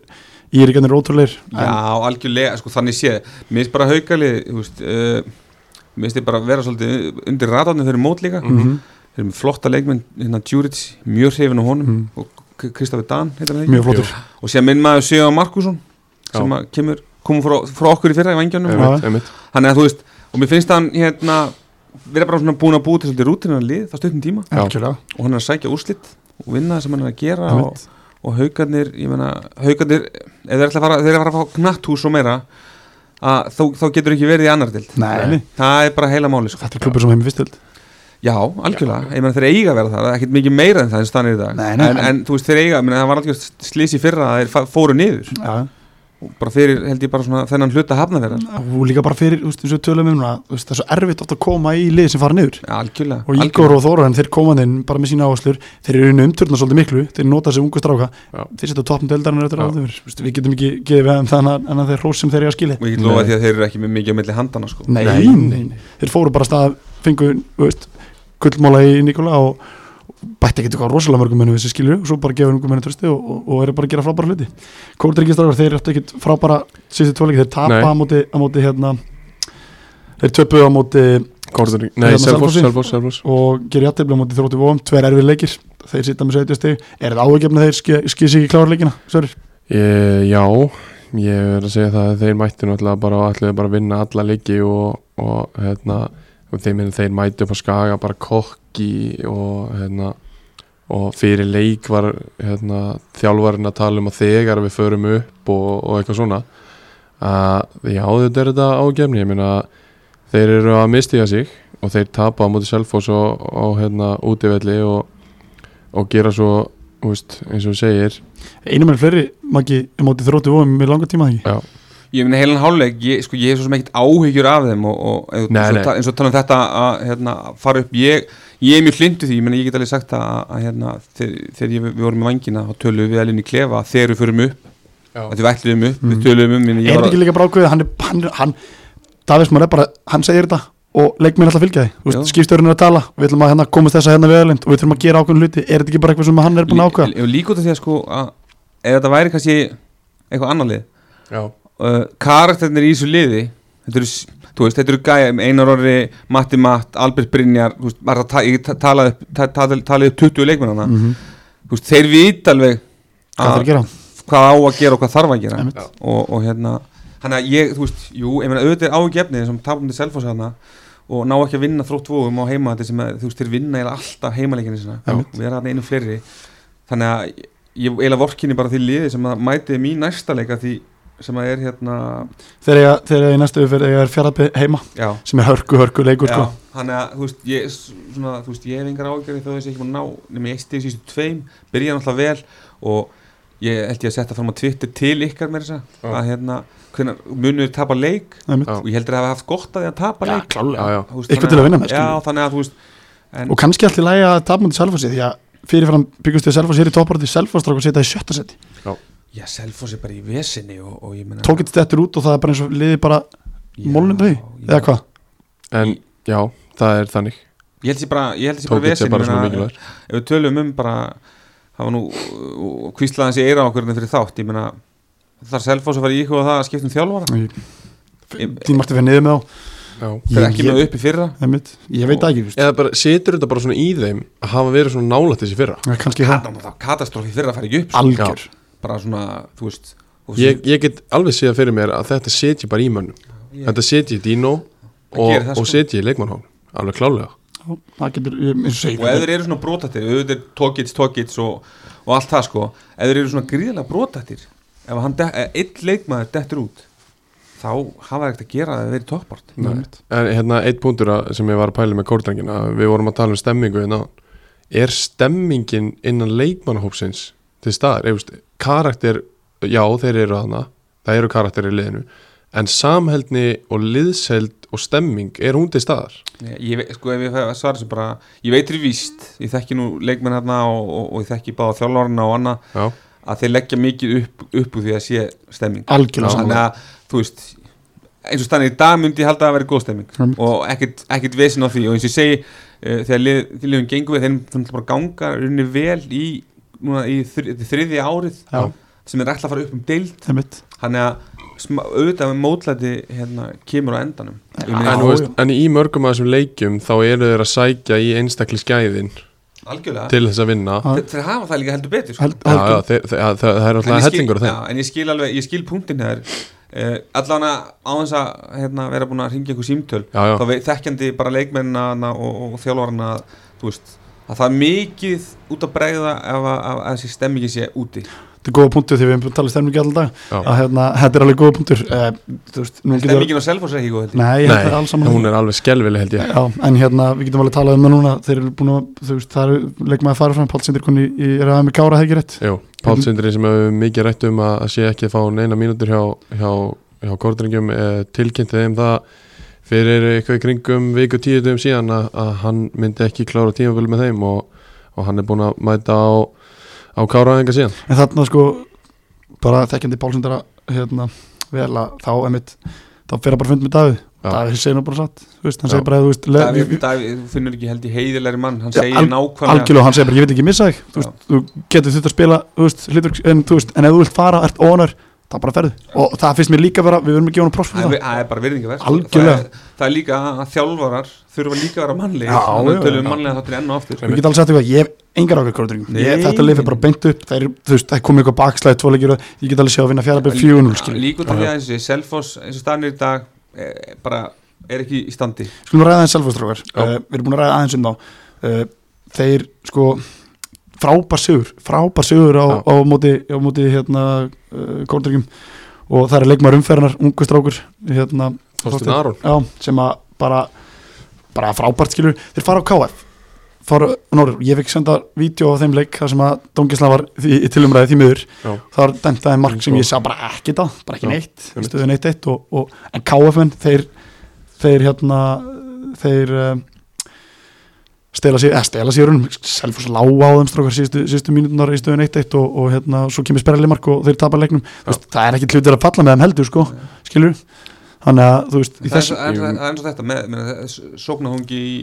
Speaker 1: ég er ekki annir ótrúleir
Speaker 3: já, algjörlega, sko, þannig sé mér finnst bara haukalið þú veist, uh, mér finnst þið bara vera svolítið undir radarnir fyrir mót líka
Speaker 1: mm -hmm.
Speaker 3: þeir eru með flotta leikmenn, hérna Djuric mjög hrifin á honum og K- Kristoffer Dan heitir hann
Speaker 1: Mm. mjög flottur
Speaker 3: ekki og sér minn maður Sigurðar Markusson
Speaker 2: Já.
Speaker 3: sem að kemur, komum frá, frá okkur í fyrra í vangjónum
Speaker 2: Einmitt, einmitt
Speaker 3: þannig að þú veist, og mér finnst hann hérna vera bara svona búin að búið til svolítið rútina lið, það stöttum tíma
Speaker 2: Já.
Speaker 1: algjörlega
Speaker 3: og hann er að sækja úrslit og vinna það sem hann er að gera
Speaker 1: Einmitt.
Speaker 3: og, og haugarnir, ég menna haugarnir, ef þeir ætla að fara, þeir ætla að fara að fá knatthús og meira að, þá, þá getur ekki verið í annar dild
Speaker 1: nei, nei.
Speaker 3: það er bara heila máli sko.
Speaker 1: þetta er klubur sem heim í fyrstild
Speaker 3: já, algjörlega, ég menna þeir eiga að vera það það er ekkert mikið meira en það en stannir í dag
Speaker 1: Nei, nei,
Speaker 3: en,
Speaker 1: en-
Speaker 3: en þú veist þeir eiga, ég meina, það var algjör slísi fyrra að þeir fa- fóru niður
Speaker 1: já
Speaker 3: og bara fyrir held ég bara svona þennan hluta hafnaverðar
Speaker 1: og líka bara fyrir, þú veist, þessu tölum við um núna þú veist, það er svo erfitt oft að koma í lið sem fara niður
Speaker 3: algjörlega,
Speaker 1: og Ígor og Þóran, þeir komandinn bara með sína áherslur, þeir eru unni umturna svolítið miklu þeir nota þessi ungu stráka,
Speaker 2: Já.
Speaker 1: þeir setja toppum deildarinnar eftir
Speaker 2: Já.
Speaker 1: áður, Þú veist, við getum ekki gefið þeim þannig að þeir hrós sem þeir eru að skilja
Speaker 3: og ég get lofa því að þeir eru ekki með mikið á milli handana sko.
Speaker 1: nei,
Speaker 2: Nei,
Speaker 1: nei, þeir fóru bara af stað fengu, þú veist, gullmóla í Nikola og bætti ekki eitthvað rosalega mörgum mennum þessi skilju og svo bara gefur mörgum mennum trösti og, og, og eru bara að gera frábæra hluti Kórdryggistrákar, þeir eru ekkit frábæra síðustu tvoleiki, þeir tapa
Speaker 2: Nei.
Speaker 1: á móti, á móti hérna, þeir töpu á móti
Speaker 2: Kordur, nei,
Speaker 1: Hérna,
Speaker 2: Selfoss,
Speaker 1: Selfossi.
Speaker 2: Selfoss, Selfoss
Speaker 1: og gerir jættið á móti þróttu vóum, tver erfið leikir þeir sitja með 70 stig, er það áhugjefna þeir skýr sig ekki klára leikina, Sverrir?
Speaker 2: Ég, Eh, já, ég er að segja það að þeir mættu náttúrulega bara og ætluðu bara að vinna alla leiki og, og hérna, og þeir, minn, þeir mættu upp á skaga bara kokki og hérna, og fyrir leik var hérna, þjálfarinn að tala um að þegar við förum upp og, og eitthvað svona að já, þetta er þetta ágefni, ég meina þeir eru að mistiga sig og þeir tapa á móti Selfoss og, og hérna útivelli og, og gera svo, þú veist, eins og þú segir
Speaker 1: Einu menn fleiri, Maggi, á móti þróttu vóum með langa tíma þegar
Speaker 3: ég meina heilan háluleik, ég, sko, ég hef svo sem ekkert áhyggjur af þeim og, og eins,
Speaker 2: Nei, nei.
Speaker 3: og ta- eins og tala um þetta að hérna, fara upp ég, ég er mjög hlindu því, ég meina ég get alveg sagt að, að hérna, þegar, þegar ég, við vorum með vangina þá töluðum við alveg í klefa að þegar við förum upp
Speaker 2: Já.
Speaker 3: að við ætluðum upp,
Speaker 1: Mm.
Speaker 3: við töluðum um meina,
Speaker 1: Er
Speaker 3: ég
Speaker 1: þetta
Speaker 3: var,
Speaker 1: ekki líka bara ákveðið, hann, er- hann, hann Davís Már er bara, hann segir þetta og leikminn alltaf fylgja því,
Speaker 3: Já.
Speaker 1: skipstjórinn er að tala við ætlum að hérna komast þessa hérna viðalind og við þurfum að gera ákveðin hluti, er þetta ekki bara eitthvað sem hann er búin að ákveða?
Speaker 3: lí- lí- líka út af því að sko að, ef þetta væri kannski eitthvað annar lið
Speaker 2: Já,
Speaker 3: uh, karakternir í þessu liði þetta eru, s- þú veist, þetta eru gæja Einar Orri, Matti Matt, Albert Brynjar þú veist, bara ta ég ta- talaði upp- ta- ta- talaði upp 20 leikmennana
Speaker 1: Mm
Speaker 3: þú veist, þeir vita alveg
Speaker 1: Hvað þarf að
Speaker 3: að,
Speaker 1: gera?
Speaker 3: hvað á að gera og hvað þarf að gera
Speaker 1: Einmitt.
Speaker 3: og, og hérna þannig að ég, þú veist, jú, ég meina auðvitað er ágefnið sem tapum til Selfoss hana og ná ekki að vinna þrótt vóðum á heima þetta sem að, þú veist, þeir vinna eða alltaf heimaleikinu sinna
Speaker 1: Já.
Speaker 3: og við erum hann einu fleiri þannig að ég eila vorkinni bara því liði sem að mæti mín næsta leika því sem að er hérna
Speaker 1: Þegar ég, þegar ég næstu fyrir ég er fjaraði heima
Speaker 3: já,
Speaker 1: sem er hörku, hörku leikur
Speaker 3: já,
Speaker 1: sko.
Speaker 3: þannig að þú veist, ég, s- svona, þú veist, ég hef engar ágjörði þó þess að ég ekki búin að ná nema ég stíð sístu tveim, byrja náttúrulega vel og ég held ég að setja fram á Twitter til ykkar með þess
Speaker 2: Já.
Speaker 3: að hérna, hvernig munur tapa leik
Speaker 1: einmitt.
Speaker 2: Já.
Speaker 3: og ég heldur að hafa haft gott að því að tapa
Speaker 1: Já,
Speaker 3: leik
Speaker 2: já,
Speaker 1: klálega
Speaker 2: já,
Speaker 3: Þú veist,
Speaker 1: Eitthvað
Speaker 3: þannig
Speaker 1: til að vinna með,
Speaker 3: já,
Speaker 1: skilur.
Speaker 3: þannig að þú veist en,
Speaker 1: Og kannski allir lægi að tapmóti selfossi því að fyrirfram byggjast við selfossi hér í topparöti selfossdrákur setja í sjötta seti
Speaker 3: já, Selfoss er bara í vesinni og, og ég meina
Speaker 1: tókitt stettur út og það er bara eins og liði bara
Speaker 3: Já,
Speaker 1: molnum þau,
Speaker 3: já.
Speaker 1: eða hvað?
Speaker 2: en já, það er þannig
Speaker 3: ég held sér bara, ég held sér bara
Speaker 2: Tókið sé
Speaker 3: vesinni
Speaker 2: bara svona
Speaker 3: meina,
Speaker 2: mikilvægur
Speaker 3: ef við tölum um bara það var nú uh, kvíslaðans í eira okkur fyrir þátt, ég meina þar Selfoss að fara í ykkur og það að skipta um þjálfara
Speaker 1: Þín margt að fyrir niður með á
Speaker 2: já.
Speaker 3: fyrir
Speaker 1: Ég-
Speaker 3: ekki
Speaker 1: ég-
Speaker 3: með upp í fyrra
Speaker 1: einmitt. Ég veit það ekki, þú veist.
Speaker 2: eða bara setur þetta bara svona í þeim að hafa verið svona nálætt þessi fyrra
Speaker 1: Já, kannski það
Speaker 3: Kata- katastrófi fyrra að fara ekki upp sko.
Speaker 1: algjör
Speaker 3: bara svona, þú veist og
Speaker 2: ég, ég get alveg séð fyrir mér að þetta setji bara í mönnum þetta setji í Dino
Speaker 3: Það
Speaker 2: og,
Speaker 3: gerir það, sko.
Speaker 2: og setji í leikmannhón alveg klálega
Speaker 1: Já, það getur, ég- eins og
Speaker 3: og ef
Speaker 1: segir
Speaker 3: þeir eru svona brotatir auðvitað er tókits, tókits og, og allt það sko ef þeir eru svona gríðilega brotatir ef hann de- ef einn leikmaður dettur út þá hafa ekkert að gera það að þeir eru toppart
Speaker 2: Nei. en hérna eitt punktur að- sem ég var að pæla með kórdrengina við vorum að tala um stemmingu hérna áðan. er stemmingin innan leikmannhópsins til staðar Eifust, karakter, já þeir eru hana það eru karakter í liðinu en samheldni og liðsheld og stemming er hún til staðar
Speaker 3: Ég- ég, veit- sko ef ég fæ að svara sem bara ég veitir í víst, ég þekki nú leikmenn hérna og, og, og ég þekki báða þjálfarna og annað
Speaker 2: já
Speaker 3: að þeir leggja mikið upp, upp úr því að sé stemming
Speaker 1: algjörlega
Speaker 3: þannig
Speaker 1: saman
Speaker 3: að þú veist eins og stannir í dag myndi ég halda að vera góð stemming
Speaker 1: Einmitt.
Speaker 3: og ekkert, ekkert vesin á því og eins og ég segi uh, þegar lið, þegar liðum gengum við þeir þannig bara ganga runni vel í, núna, í þri, þetta er þriðja árið
Speaker 1: Já.
Speaker 3: sem er ætla að fara upp um deild
Speaker 1: einmitt
Speaker 3: þannig að sma, auðvitað með mótlæti hérna, kemur á endanum Ég meina,
Speaker 2: en,
Speaker 1: Já,
Speaker 2: þú veist,
Speaker 1: já.
Speaker 2: en í mörgum af þessum leikjum þá eru þeir að sækja í einstakli skæðin
Speaker 3: algjörlega
Speaker 2: til þess að vinna
Speaker 1: Já.
Speaker 2: já,
Speaker 3: Þe- þeir hafa það líka heldur betur
Speaker 1: Ah.
Speaker 3: sko.
Speaker 1: Held-
Speaker 2: já,
Speaker 1: algjörlega.
Speaker 2: þeir, þeir, það, það er
Speaker 3: En ég
Speaker 2: alltaf
Speaker 3: skil-
Speaker 2: hellingur á þeim
Speaker 3: já, en ég skil alveg, ég skil punktin þér uh, allan að á þess að hérna, vera búin að ringja einhver símtöl
Speaker 2: já, já,
Speaker 3: þá vei- þekkjandi bara leikmennina og, og þjálfarna þú veist, að það er mikið út að bregða ef að, að, að þessi stemmingi sé úti
Speaker 1: þetta er góða punktur því við hefum talað stemmingi allan dag
Speaker 2: Já.
Speaker 1: að hérna, þetta er alveg góða punktur Eh, þú veist, nú getur
Speaker 3: stemmingin á Selfoss er ekki góð heldur
Speaker 1: nei, þetta er alls
Speaker 2: nei,
Speaker 1: saman
Speaker 2: hún er alveg skelvileg held ég
Speaker 1: Já, en hérna, við getum alveg talað um það núna þeir eru búin að, þú veist, það eru leikmaði fara fram, Pál Sindir kunni í, er aðeins með Kára, það ekki rétt
Speaker 2: Jú, Pál Sindri sem hefur mikið rætt um að að sé ekki að fá neina mínútur hjá, hjá, hjá kortringjum eh, tilkynnti þeim það fyrir eitthvað í kringum viku tíu dögum síðan að, að hann myndi ekki klára tímafölu með þeim og, og hann er búin að mæta á, á káraðinga síðan
Speaker 1: en þarna sko bara þekkjandi Pálsundara hérna, vel að þá emitt þá fer að bara fund með Davíð
Speaker 2: Já.
Speaker 1: Davíð segir nú bara satt þú veist, hann
Speaker 2: Já.
Speaker 1: segir bara þú veist, le-
Speaker 3: Davíð,
Speaker 1: við-
Speaker 3: Davíð finnur ekki held í heiðilegri mann hann
Speaker 1: Já,
Speaker 3: segir
Speaker 1: al-
Speaker 3: nákvæmlega
Speaker 1: algjörlega, hann segir bara ég veit ekki missa þig þú, veist, þú getur þurft að spila þú veist, hlutverk, en, þú veist, en ef þú vilt fara, ert ónar þá bara ferðu og það finnst mér líka vera við verðum að gefa hann prófst
Speaker 3: Það
Speaker 1: fyrir
Speaker 3: er- það er bara virðingarverð
Speaker 1: Algjörlega.
Speaker 3: það, er- það er líka að þjálfarar þurfa líka að vera mannlegir
Speaker 1: Já,
Speaker 3: þannig
Speaker 1: já,
Speaker 3: að tölum
Speaker 1: já.
Speaker 3: mannlega þáttir enn og aftur
Speaker 1: það við getum alveg sagt eitthvað, ég hef engar ákveð kórdringum
Speaker 3: Nei.
Speaker 1: þetta lifið bara beint upp, það er, þú veist, það er komið eitthvað bakslæði tvoleikir og ég get alveg séð að vinna fjara beð fjögunul skilur,
Speaker 3: Líka út af því að þessi Selfoss eins og stannir í dag er, bara er ekki í standi
Speaker 1: skulum ræða aðeins selvfórstrókar
Speaker 2: Já.
Speaker 1: uh, við erum búin að ræða aðeins um þá uh, þeir sko frábær sigur, frábær sigur á,
Speaker 2: Já.
Speaker 1: á móti, á móti hérna uh, kórdringum og það er leikmaður umferðarnar, ungu strákur hérna,
Speaker 2: Þorsteinn Aron
Speaker 1: já, sem að bara, bara frábært skilur þeir fara á KF fara, norður, ég fekk senda vídeo á þeim leik þar sem að Dongisla var í, í tilumræði því miður
Speaker 2: Já.
Speaker 1: það var dæmt aðeins mark sem ég sá bara ekki það, bara ekki
Speaker 2: Já,
Speaker 1: neitt
Speaker 2: einmitt.
Speaker 1: stöðun eitt eitt og, og, en KF-menn þeir, þeir hérna þeir um, stela sér, eða stela sér selfos lága á þeim strókar síðustu, síðustu mínútunar í stöðun eitt eitt og, og hérna svo kemur sperrali mark og þeir tapar leiknum Þú veist, það er ekki hlutir að falla með þeim heldur sko, skilur þannig að þú veist í
Speaker 3: það er,
Speaker 1: þessu-
Speaker 3: svo- það er, það er eins og þetta með, með sóknahungi í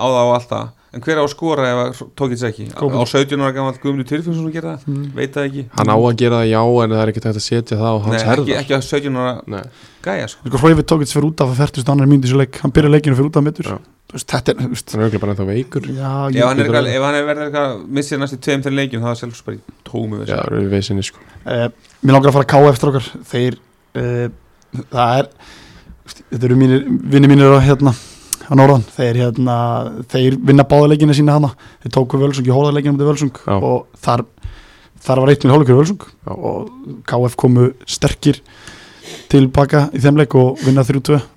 Speaker 3: á það og allt það en hver á að skora ef að tókið þess ekki á, á
Speaker 1: Kópur. 17
Speaker 3: 17 ára gammal Guðmundur Tyrfjónsson að gera það
Speaker 1: Mm.
Speaker 3: veit það ekki
Speaker 2: hann á að gera það já en það er ekkert hægt að setja það á
Speaker 3: Nei,
Speaker 2: hans
Speaker 3: ekki,
Speaker 2: herðar
Speaker 3: ekki á 17 ára
Speaker 2: Nei.
Speaker 3: gæja sko.
Speaker 1: Sko Hróivi Tókits fyrir út af að 40 annar mínúti í þessu leik Hann byrjar leikinu fyrir út af mittur
Speaker 2: Já.
Speaker 1: Þetta er, þú veist
Speaker 2: hann er auðvitað bara ennþá veikur
Speaker 1: Já,
Speaker 3: ef
Speaker 1: ég,
Speaker 3: hann,
Speaker 2: getur
Speaker 3: er, eitthvað-
Speaker 2: alveg-
Speaker 3: ef hann er verið eitthvað missir næstu tveim þegar leikjum þá er Selfoss bara í tómu
Speaker 2: já, það er vesinni sko
Speaker 1: eh, Mér langar að fara að KF strókar Þeir eh, Það er Þetta eru mínir, vinni mínir á hérna á norðan, þeir hérna þeir vinna báðaleikina sína hana þeir tóku Völsung í hóðaleikina um Völsung
Speaker 2: Já.
Speaker 1: og þar, þar var eitt minn hálfleikur Völsung
Speaker 2: Já.
Speaker 1: og KF komu sterkir tilbaka í þeim leik og vinna 3-2 uh,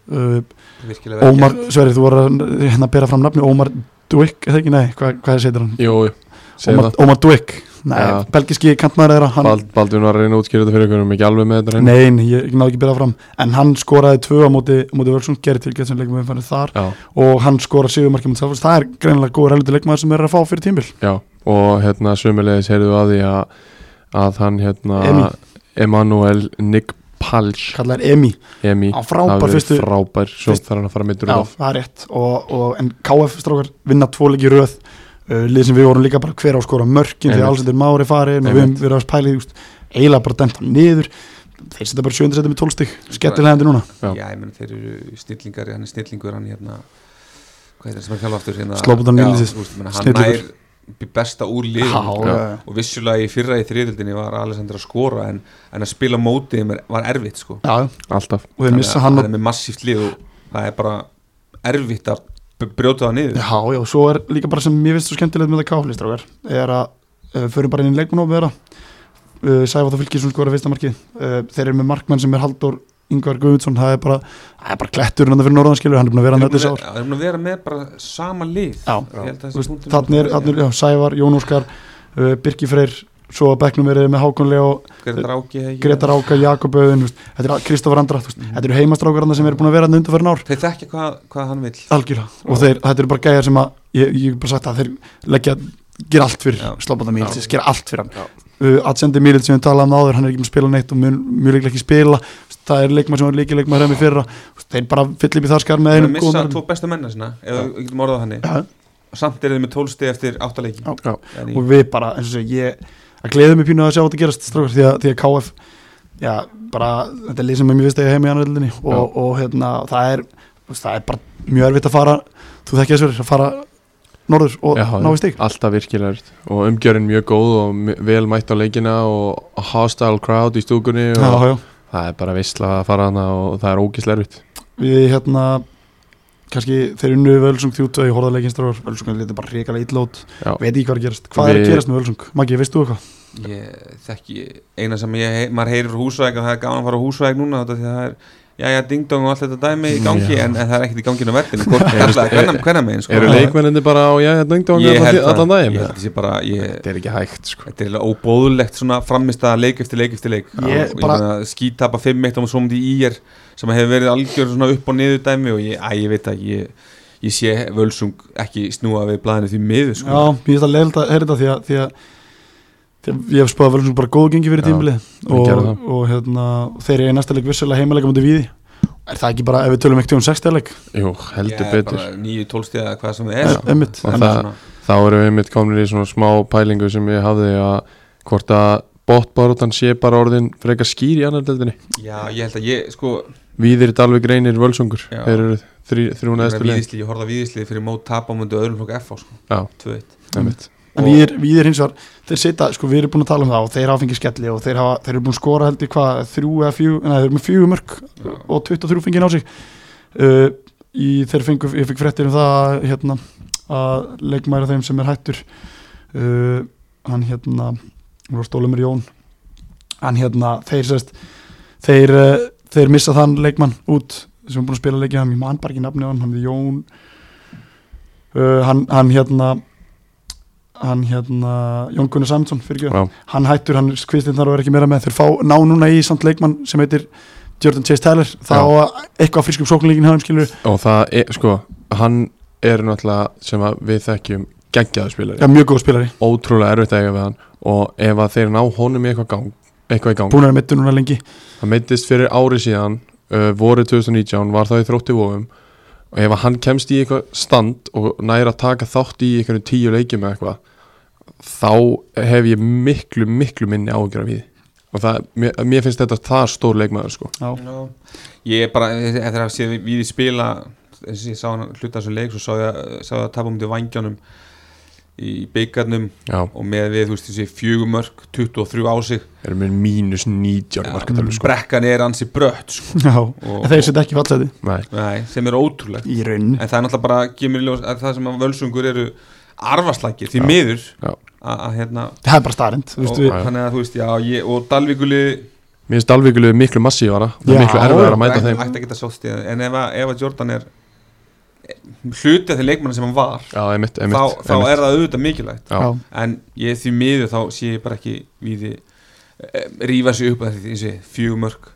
Speaker 3: virkilega vel
Speaker 1: Ómar,
Speaker 3: gert.
Speaker 1: Sverri, þú voru að hérna bera fram nafni Ómar Duik, eða ekki, nei, hvað, hvað setur hann?
Speaker 2: jú, jú. Segðu
Speaker 1: Ómar,
Speaker 2: það.
Speaker 1: Ómar Duik, nei, ja.
Speaker 2: Já.
Speaker 1: belgiski kantmaður þeirra hann,
Speaker 2: Bald, Baldvin var að reyna að útskýra þetta fyrir ykkur við erum ekki alveg með þetta hreinu.
Speaker 1: nei, nei, ég ég náði ekki bera fram en hann skoraði tvö á móti, á móti Völsung gerði tilgætt sem leikum umfærið þar
Speaker 2: já
Speaker 1: og hann skoraði sigurmarkið mútið Selfoss, það er greinilega góður helviti leikmaður sem er að fá fyrir tímbil
Speaker 2: Já, og hérna sömulegis heyrðu að því að, að hann hérna
Speaker 1: Emi.
Speaker 2: Emanuel Nick Palch
Speaker 1: kallar Emi,
Speaker 2: Emi,
Speaker 1: á frábær
Speaker 2: verið
Speaker 1: fyrstu já,
Speaker 2: frábær svo
Speaker 1: fyrst-
Speaker 2: þarf hann að fara mittur úr
Speaker 1: það er rétt og, og, en KF strákar vinna tvo leiki í röð uh, lið sem við vorum líka bara hver á að skora mörkin því
Speaker 2: Einmitt.
Speaker 1: alls þetta er mári farin og við höfum
Speaker 2: Einmitt.
Speaker 1: verið að spæla í því, þú veist, eiginlega bara dæmt hann niður þeir setja bara sjönda setja með tólstig skettilega hendur núna,
Speaker 2: Já.
Speaker 3: já, ég menn þeir eru snillingar hann er snillingur, hann hérna hvað heitir það sem er þjálfa aftur hérna
Speaker 1: Slobodan
Speaker 3: Já,
Speaker 1: Miličić.
Speaker 3: þú veist, ég meina, hann
Speaker 1: Snillingur.
Speaker 3: nær besta úr liðum
Speaker 1: Já,
Speaker 3: sko.
Speaker 1: já.
Speaker 3: og vissulega í fyrra í þriðildinni var Alessandra að skora en, en að spila mótið mér var erfitt sko.
Speaker 1: já, já,
Speaker 2: alltaf
Speaker 1: og þeir missa
Speaker 3: að
Speaker 1: hann
Speaker 3: hann
Speaker 1: og,
Speaker 3: er með massíft lið og það er bara erfitt að b- brjóta það niður
Speaker 1: já, já, og svo er líka bara sem ég finnst svo skemmtilegt með það káflistrákar er að uh, förum bara inn í leikmanófið þeirra uh, Sæfa þá fylgir sem skora fyrsta markið uh, þeir eru með markmann sem er Halldór Ingvar Guðmundsson, það er bara það er bara klettur hann fyrir norðanskilur, hann er búin að vera hann
Speaker 3: Þeir eru
Speaker 1: þetta
Speaker 3: búin
Speaker 1: sár
Speaker 3: að- þeir eru búin að vera með bara sama lið
Speaker 1: Já.
Speaker 3: Ég held að þessi punktur-
Speaker 1: þannig er, þarna er já, Sævar, Jón Óskar uh, Birki Freyr, svo að bekknum er með Hákonlega og
Speaker 3: Grétar Áki hegi.
Speaker 1: Gretar Áka, Jakob Öðun þú veist, þetta er Kristoffer Andra, þú veist,
Speaker 3: Mm.
Speaker 1: þetta eru heimastrákar þarna sem eru búin að vera hann undanferðin ár
Speaker 3: þeir þekkja hvað, hvað hann vil
Speaker 1: algjörlega, og þeir, þetta eru bara gæjar sem að ég, ég hef bara sagt að þeir leggja gera allt fyrir
Speaker 3: Já.
Speaker 1: Slobata Mílitsis, gera allt fyrir hann
Speaker 2: Já.
Speaker 1: uh, Atsendi Mílits sem við talaðum áður, hann er ekki með að spila neitt og mun, mjög leiklega ekki spila það er leikmað sem var líki leikmað hræmi fyrra þeir bara fyll upp í þar skar með
Speaker 3: þeir
Speaker 1: einum góðum
Speaker 3: missa
Speaker 1: mönnum.
Speaker 3: tvo besta menna sinna ef við getum orðað þannig
Speaker 1: Já.
Speaker 3: samt eru þið með tólsti eftir áttaleiki
Speaker 1: Já.
Speaker 2: Já.
Speaker 3: en í
Speaker 1: og við bara, eins og segja, ég að gleðið mér pínu að sjá þetta gerast strákar því að, því að KF já, bara, þetta er lið sem er mjög vist að ég heim í annaðildinni og, og hérna, það er þú veist, það er bara mjög erfitt að fara þú þekkja þessu verið, að fara norður og
Speaker 2: Já,
Speaker 1: ná í stig
Speaker 2: alltaf virkilega erfitt. og umgjörinn mjög góð og mi- vel mætt á leikina og hostile crowd í stúkunni
Speaker 1: já,
Speaker 2: og
Speaker 1: já, já.
Speaker 2: það er bara visla að fara hana og það er ógislega erfitt
Speaker 1: við hérna kannski þeir unnu Völsung 32 í horðarleikinn strákar, Völsung er litið bara reikalega ítlót
Speaker 2: Já.
Speaker 1: veit ekki hvað er að gerast, hvað er
Speaker 2: Við-
Speaker 1: að gerast með Völsung Maggi, veist þú eitthvað?
Speaker 3: ég þekki eina sem ég, hei- maður heyrir frá húsvæg og það er gaman að fara á húsvæg núna þetta því að það er jæja ding-dong og allt þetta dæmi í gangi
Speaker 1: Já.
Speaker 3: en, en það er ekkert í ganginu verðinu hvernig megin sko
Speaker 2: Eru leikmenninni bara á jæja dengdóngan
Speaker 3: Ég held
Speaker 2: allan
Speaker 3: það,
Speaker 2: daginn?
Speaker 3: ég held þessi bara ég,
Speaker 2: Þetta er ekki hægt sko
Speaker 3: Þetta er eiginlega óbóðulegt svona framist að leik eftir leik eftir leik
Speaker 1: Ég
Speaker 3: og ég
Speaker 1: bara-
Speaker 3: meina, skítapa 5-1 og svo múti í er sem hefur verið algjör svona upp og niður dæmi og ég, að, ég veit að ég, ég sé völsung ekki snúa við blæðinu því miður
Speaker 1: Já,
Speaker 3: sko.
Speaker 1: mér finnst það leiðilegt að heyra þetta því að, því að, því að ég hef spáð vel bara góð gengi fyrir
Speaker 2: Já,
Speaker 1: tímbilið
Speaker 2: ég
Speaker 1: og,
Speaker 2: gerði það.
Speaker 1: og hérna, þeir eru næsta leik vissulega heimalega mútið víði er það ekki bara ef við tölum ekkert um 60 leik
Speaker 2: Jú, heldur
Speaker 3: Ég er
Speaker 2: betur
Speaker 3: bara 9-12 stíða eða hvað sem það er
Speaker 1: Er- einmitt.
Speaker 2: Og
Speaker 3: En
Speaker 2: það-
Speaker 3: svona-
Speaker 2: Þá erum við einmitt komin í svona smá pælingu sem ég hafði að hvort að botbaróttan sé bara orðin frekar skýr í annar deldinni
Speaker 3: Já, ég held að ég sko
Speaker 2: Víðir, Dalvik, Reynir, Völsungur
Speaker 3: Já.
Speaker 2: Þeir eru þrjú, þrjú næstu leið
Speaker 3: víðisli, ég horfði að víðisli fyrir mót tapa á mundu öðrum flokk F sko,
Speaker 2: Já,
Speaker 3: 2-1
Speaker 2: einmitt
Speaker 1: en við erum er hins vegar, þeir sita, sko við erum búin að tala um það og þeir hafa fengið skelli og þeir, hafa, þeir eru búin að skora held ég hvað, þrjú eða fjú neða, þeir eru með fjú mörg
Speaker 3: Já.
Speaker 1: og 23 fengið á sig uh, í, þeir fengu, ég fikk fréttir um það að, hérna, að leikmæra þeim sem er hættur uh, hann hérna hún var stólumur Jón hann hérna, þeir sérst þeir, uh, þeir missa þann leikmann út sem er búin að spila leikið hann, ég man bara ekki nafni á hann hann er Jón uh, hann, hann hérna hann hérna Jón Gunnar Samson fyrir
Speaker 2: Já,
Speaker 1: hann hættur, hann kvistinnar og er ekki meira með þeir fá ná núna í samt leikmann sem heitir Jordan Chase Taylor, það á að eitthvað frískum sóknleikin hafum skilur
Speaker 2: og það er, sko, hann er náttúrulega sem að við þekkjum geggjaðu spilari,
Speaker 1: ja, mjög góð spilari,
Speaker 2: ótrúlega erfitt að eiga við hann og ef að þeir ná honum í eitthvað, gang, eitthvað í gang,
Speaker 1: búin að mittu núna lengi
Speaker 2: hann meittist fyrir ári síðan uh, voru 2019, var það í þrótti vofum og ef að hann kemst í eitthvað stand og næri að taka þátt í eitthvað tíu leikjum eða eitthvað þá hef ég miklu, miklu minni ágjör af því og það, mér, mér finnst þetta það stór leikmaður sko
Speaker 1: Já.
Speaker 3: Já, ég er bara, e, eftir að sé við í spila eins og ég sá hann hluta þessu leik svo sá ég, sá ég að tapa um til vangjónum í byggarnum
Speaker 2: Já,
Speaker 3: og með við, þú veist, þessi fjögumörk 23 á sig
Speaker 2: erum við mínus 90
Speaker 3: Já,
Speaker 2: markatölu sko
Speaker 3: brekkan er ansi brött sko.
Speaker 1: Já.
Speaker 3: og,
Speaker 1: *laughs* En þeir setja ekki fallseti
Speaker 2: Nei,
Speaker 3: nei, sem er ótrúlegt
Speaker 1: í rauninu
Speaker 3: en það er náttúrulega bara, kemur í ljós að það sem að völsungur eru arfaslagir því
Speaker 2: Já,
Speaker 3: miður
Speaker 2: já.
Speaker 3: að að, hérna
Speaker 1: það er bara starrend
Speaker 3: og,
Speaker 1: við,
Speaker 2: Já.
Speaker 3: þannig að þú veist, já, ég, og Dalvíkuli
Speaker 2: mér finnst Dalvíkulegu miklu massífara og
Speaker 1: Já.
Speaker 2: miklu erfiðara að mæta þeim
Speaker 3: ætti að geta sótt í það en ef að, ef að Jordan er hlutið þeir leikmanna sem hann var
Speaker 2: Já, einmitt, einmitt,
Speaker 3: þá, þá
Speaker 2: einmitt.
Speaker 3: er það auðvitað mikilvægt
Speaker 2: Já.
Speaker 1: já.
Speaker 3: en ég því miður þá sé ég bara ekki við rífa sig upp að þetta eins og fjögumörk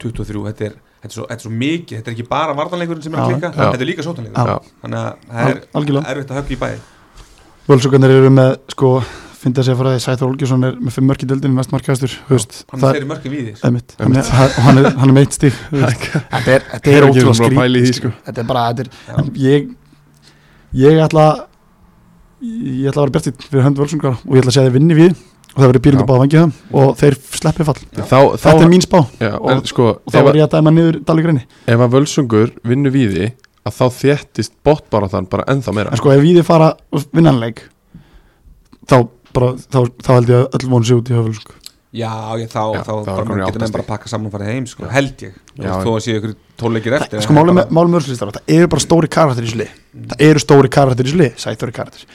Speaker 3: 23, þetta er, þetta, er svo, þetta er svo mikið þetta er ekki bara vartanleikurinn sem er að
Speaker 1: Já.
Speaker 3: klikka
Speaker 2: Já.
Speaker 3: þetta er líka
Speaker 1: Já.
Speaker 3: sótanleikur
Speaker 2: Já.
Speaker 3: þannig að það
Speaker 1: Al,
Speaker 3: er
Speaker 1: algjörlega
Speaker 3: erfitt að höfla í bæði
Speaker 1: völsugarnir eru með sko fyndið að segja frá því Sæþór Olgjursson er með fimm mörk í deildinu mest markaðastur höst það
Speaker 3: hann það...
Speaker 1: er
Speaker 3: fyrir mörgum við þér
Speaker 1: Einmitt. Hann er, hann, hann er, hann er meitt stíf *laughs* þetta er, þetta er
Speaker 2: Ég er ekki
Speaker 1: ótrúlega
Speaker 2: búin að pæla í því,
Speaker 1: skrít
Speaker 2: sko.
Speaker 1: þetta er bara, þetta er En ég ég ætla ég ætla að vera bjartið fyrir hönd völsungar og ég ætla að segja þeir vinni við og það verður
Speaker 2: Já.
Speaker 1: bílingur báða vangið það og þeir sleppi fall
Speaker 3: Já.
Speaker 2: þá, þá,
Speaker 1: þetta er mín spá
Speaker 2: já, en,
Speaker 1: og-
Speaker 2: sko,
Speaker 1: og þá
Speaker 2: ef,
Speaker 1: var ég að dæma niður Dalíkrenni
Speaker 2: að- ef að völsungur vinnu víði að þá þéttist botbarátan bara ennþá meira
Speaker 1: en sko ef við þið fara og vinna hann leik þá bara þá, þá held ég að öll vonu sig út í höfvölsung
Speaker 3: já, ég, þá,
Speaker 2: Já, þá
Speaker 3: þá,
Speaker 2: er
Speaker 3: bara
Speaker 2: komin í
Speaker 3: menn getur
Speaker 2: átta
Speaker 3: menn bara að pakka saman og fara heim sko,
Speaker 2: Já.
Speaker 3: held ég, Þú
Speaker 2: Já,
Speaker 3: veist, þó að séu ykkur tóleikir eftir
Speaker 1: sko málum með, málum með öllslistar það eru bara stóri karakter í sli það eru stóri karakter í sli Sæþóri karakter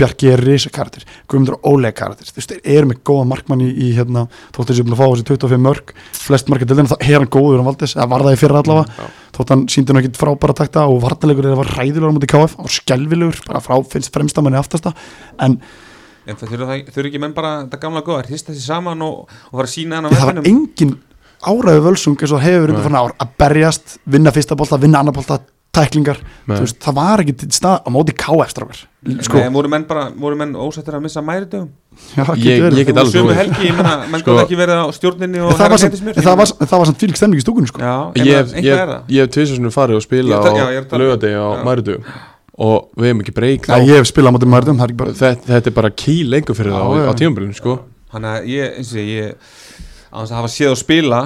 Speaker 1: Bjarki er risa karakter Guðmundur og Ólega karakter þú veist þeir eru með góða markmann í, í hérna þótt þessi búin að fá þessi 25 mörg flest markið dildina þá er hann góður hann valdis það var það í fyrra allavega
Speaker 2: Já.
Speaker 1: þótt hann síndi hann ekki frábæra takta og vartalegur eða var ræðilegur á móti KF og skelvilegur bara frá finnst fremstamanni aftasta en
Speaker 3: en það þurfa það- þurfa ekki menn bara þetta gamla góða, hrista sér saman og, og fara að sína hann á
Speaker 1: það var
Speaker 3: vellinum.
Speaker 1: engin áræðu völsung eins og það hefur verið
Speaker 2: Nei.
Speaker 1: undanfarna ár að berjast, vinna fyrsta bolta, vinna annar bolta tæklingar,
Speaker 2: Nei.
Speaker 1: þú veist, það var ekki til stað á móti KF strákar sko,
Speaker 3: Nei, voru menn bara, voru menn ósættir að missa mæritöfum
Speaker 1: já, það
Speaker 2: Ég-
Speaker 1: getur verið.
Speaker 2: ég get
Speaker 3: Það
Speaker 2: alveg
Speaker 3: voru sömu
Speaker 2: trúið.
Speaker 3: helgi, ég menna, menn
Speaker 2: Sko-
Speaker 3: sko, ekki verið á stjórninni og
Speaker 1: En það var samt-
Speaker 3: heitismjör
Speaker 1: en það var samt- en það var samt fylg stemning í stúkunni sko.
Speaker 3: Já,
Speaker 2: ég,
Speaker 3: ég,
Speaker 2: ég,
Speaker 3: eitthvað er
Speaker 2: ég,
Speaker 3: það
Speaker 2: ég hef tvisar sinnum farið og
Speaker 3: Ég
Speaker 2: spila
Speaker 3: er að- já, ég er
Speaker 2: á
Speaker 3: að tala-
Speaker 2: lögadegi á
Speaker 3: já.
Speaker 2: mæritu og við hefum ekki breyk
Speaker 1: Nei, ég hef spilað á móti mörgum, það er ekki bara
Speaker 2: þetta, þetta er bara ký lengur fyrir
Speaker 1: Já,
Speaker 2: það á, á
Speaker 1: já.
Speaker 2: tímabilinu sko.
Speaker 3: Þannig að ég, eins og ég, ég á þess að hafa séð að spila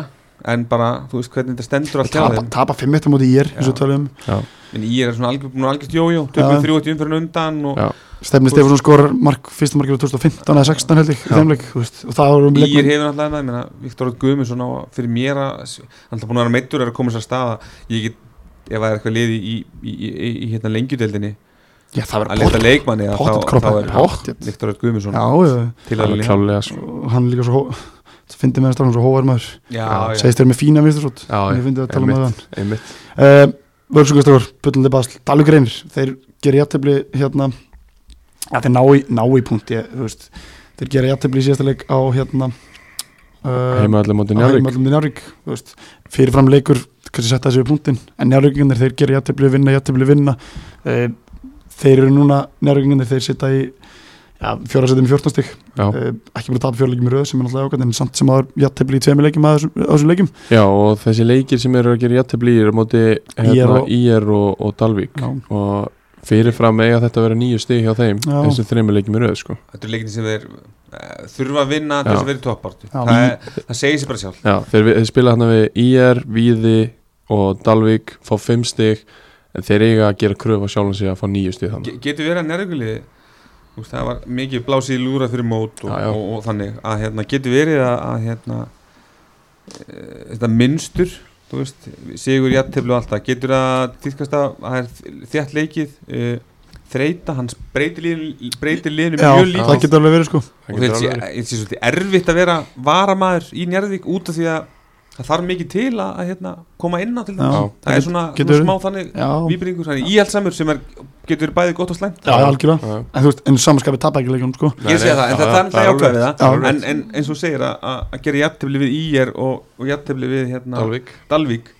Speaker 3: en bara, þú veist hvernig þetta stendur allt hjá
Speaker 1: tapa,
Speaker 3: þeim
Speaker 1: tapa 5 metrum móti ég er, eins og
Speaker 3: Já.
Speaker 1: tölum
Speaker 3: en ég er svona algjör, búin að algjörst jójó
Speaker 1: Já.
Speaker 3: tökum við 30 umfyrir undan og
Speaker 2: Já.
Speaker 1: Stefni Stefánsson skorar mark, fyrsta markið var 2015 eða 16 held ég, í
Speaker 2: Já.
Speaker 1: þeim leik, þú veist, og það var um
Speaker 3: ég
Speaker 1: leikum
Speaker 3: hefur náttúrulega það, ég menna, Viktor Örn Guðmundsson á að- fyrir mér að, hann er búin að vera meittur er að koma sér að staða, ég get ef það er eitthvað liði í, í, í, í, í hérna lengjudeldinni
Speaker 1: já, það
Speaker 3: að leta
Speaker 1: var
Speaker 3: leikmanni að
Speaker 1: pottet
Speaker 3: þá, þá
Speaker 1: kroppa
Speaker 3: er
Speaker 1: pottet,
Speaker 3: Viktor Örn Guðmundsson
Speaker 1: já, já,
Speaker 3: til að
Speaker 2: alveg
Speaker 3: lýja
Speaker 2: klálega sko.
Speaker 1: og hann er líka svo hó- það finnir mér að strána svo hóvar maður
Speaker 3: já,
Speaker 1: segist þér með fína vinstarsót
Speaker 2: Já,
Speaker 1: ég finnir að tala um það
Speaker 2: einmitt, einmitt
Speaker 1: uh, Völsungastróður, Bullandi Basl, Dalugreinir þeir gera játtöfli hérna ja, þeir ná í, ná í punkt ég, þú veist, þeir gera játtöfli í síðasta leik á hérna uh,
Speaker 2: heima allir móti Njarvík
Speaker 1: Mörlum í Njarvík þú veist. fyrirfram leikur, kannski setja þessi við punktin en Njarvíkingar þeir gera játtöfli vinna, játtöfli vinna uh, þeir eru núna, Njarvíkingar þeir sitja í já, fjóra setjum í 14 stík
Speaker 2: Já.
Speaker 1: uh, ekki búin að tapa fjóra leikum í röð sem er náttúrulega ákvæmt en samt sem aður játtöfli í tvemi leikum að þessu, að þessu leikum
Speaker 2: Já, og þessi leikir sem eru að gera jættibli eru á móti hérna,
Speaker 1: og-
Speaker 2: IR og, og Dalvík
Speaker 1: Já.
Speaker 2: og fyrirfram eiga þetta að vera nýju stig hjá þeim
Speaker 1: Já.
Speaker 2: þessum þreymur leikir mér auð sko.
Speaker 3: Þetta er leikin sem þeir eh, þurfa að vinna til
Speaker 2: Já.
Speaker 3: þess að vera í toppbartu
Speaker 1: Já.
Speaker 3: það, er- það segir sér bara sjálf
Speaker 2: Já, þeir, vi- þeir spila hérna við IR, Víði og Dalvík fá fimm stig en þeir eiga að gera kröf á sjálfum sig að fá nýju stig þannig
Speaker 3: Ge- Getur verið að nærgulið það var mikið blásið í lúra fyrir mót og,
Speaker 2: Já, já.
Speaker 3: Og, og þannig að hérna, getur verið að, að hérna, e, þetta minnstur þú veist, sigur jætteflu og allt það getur að týðkast að það er þjætt leikið e, þreita, hans breytir liðinu, breytir liðinu
Speaker 1: Já,
Speaker 3: mjög
Speaker 1: það
Speaker 3: lítið
Speaker 1: getur alveg verið sko
Speaker 2: Það
Speaker 3: og
Speaker 2: getur
Speaker 3: þetta sé,
Speaker 2: alveg verið.
Speaker 3: þetta sé svolítið erfitt að vera varamaður í Njarðvík út af því að það þarf mikið til að, að hérna, koma inn á til
Speaker 1: Já.
Speaker 3: þess það er svona,
Speaker 1: Getur
Speaker 3: svona smá þannig
Speaker 1: Já,
Speaker 3: výbringur, þannig íhaldsamur sem er, getur verið bæði gott og slæmt
Speaker 1: Já, já, algjörlega
Speaker 2: Já, já.
Speaker 1: En þú veist, en samanskapið tapa ekki leikunum sko
Speaker 3: Ég sé það, en það, það er alltaf jákvæð við
Speaker 1: Já,
Speaker 3: það
Speaker 1: alveg.
Speaker 3: en, en eins og þú segir að, að- að gera jættefli við IR og, og jættefli við hérna, Dalvík.
Speaker 2: Dalvík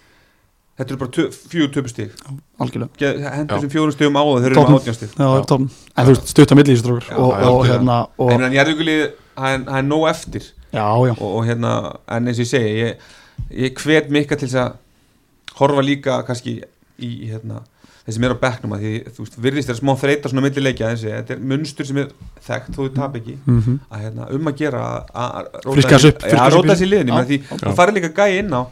Speaker 3: Þetta eru bara tö, fjögur töpustig
Speaker 1: Algjörlega
Speaker 3: Hendur
Speaker 2: Já.
Speaker 3: sem fjórum stigum á það, þeir eru
Speaker 1: Toppen.
Speaker 3: með átjánstig
Speaker 1: Já, já. Tom, en þú veist, stutt á milli í þessu strókur
Speaker 3: Já,
Speaker 1: og,
Speaker 2: já,
Speaker 1: og
Speaker 3: algjörlega.
Speaker 1: hérna og,
Speaker 3: En hann jæðugulið, hann er nóg eftir
Speaker 1: Já, já,
Speaker 3: og, og hérna, en eins og ég segi ég, ég hvet mikka til þess að horfa líka kannski í, í hérna, þessi mér á bekknum að því, þú veist, virðist þér smá þreita svona millileikja þessi, þetta er munstur sem er þekkt, þó þú tap ekki
Speaker 1: mm
Speaker 3: að hérna, um að gera að- að róta
Speaker 1: Friska þessu upp,
Speaker 3: þessi-
Speaker 1: friska þessu
Speaker 3: Já, að
Speaker 1: upp í
Speaker 3: róta
Speaker 1: þessu.
Speaker 3: þessi liðin,
Speaker 1: Já.
Speaker 3: því það farir líka gæi inn á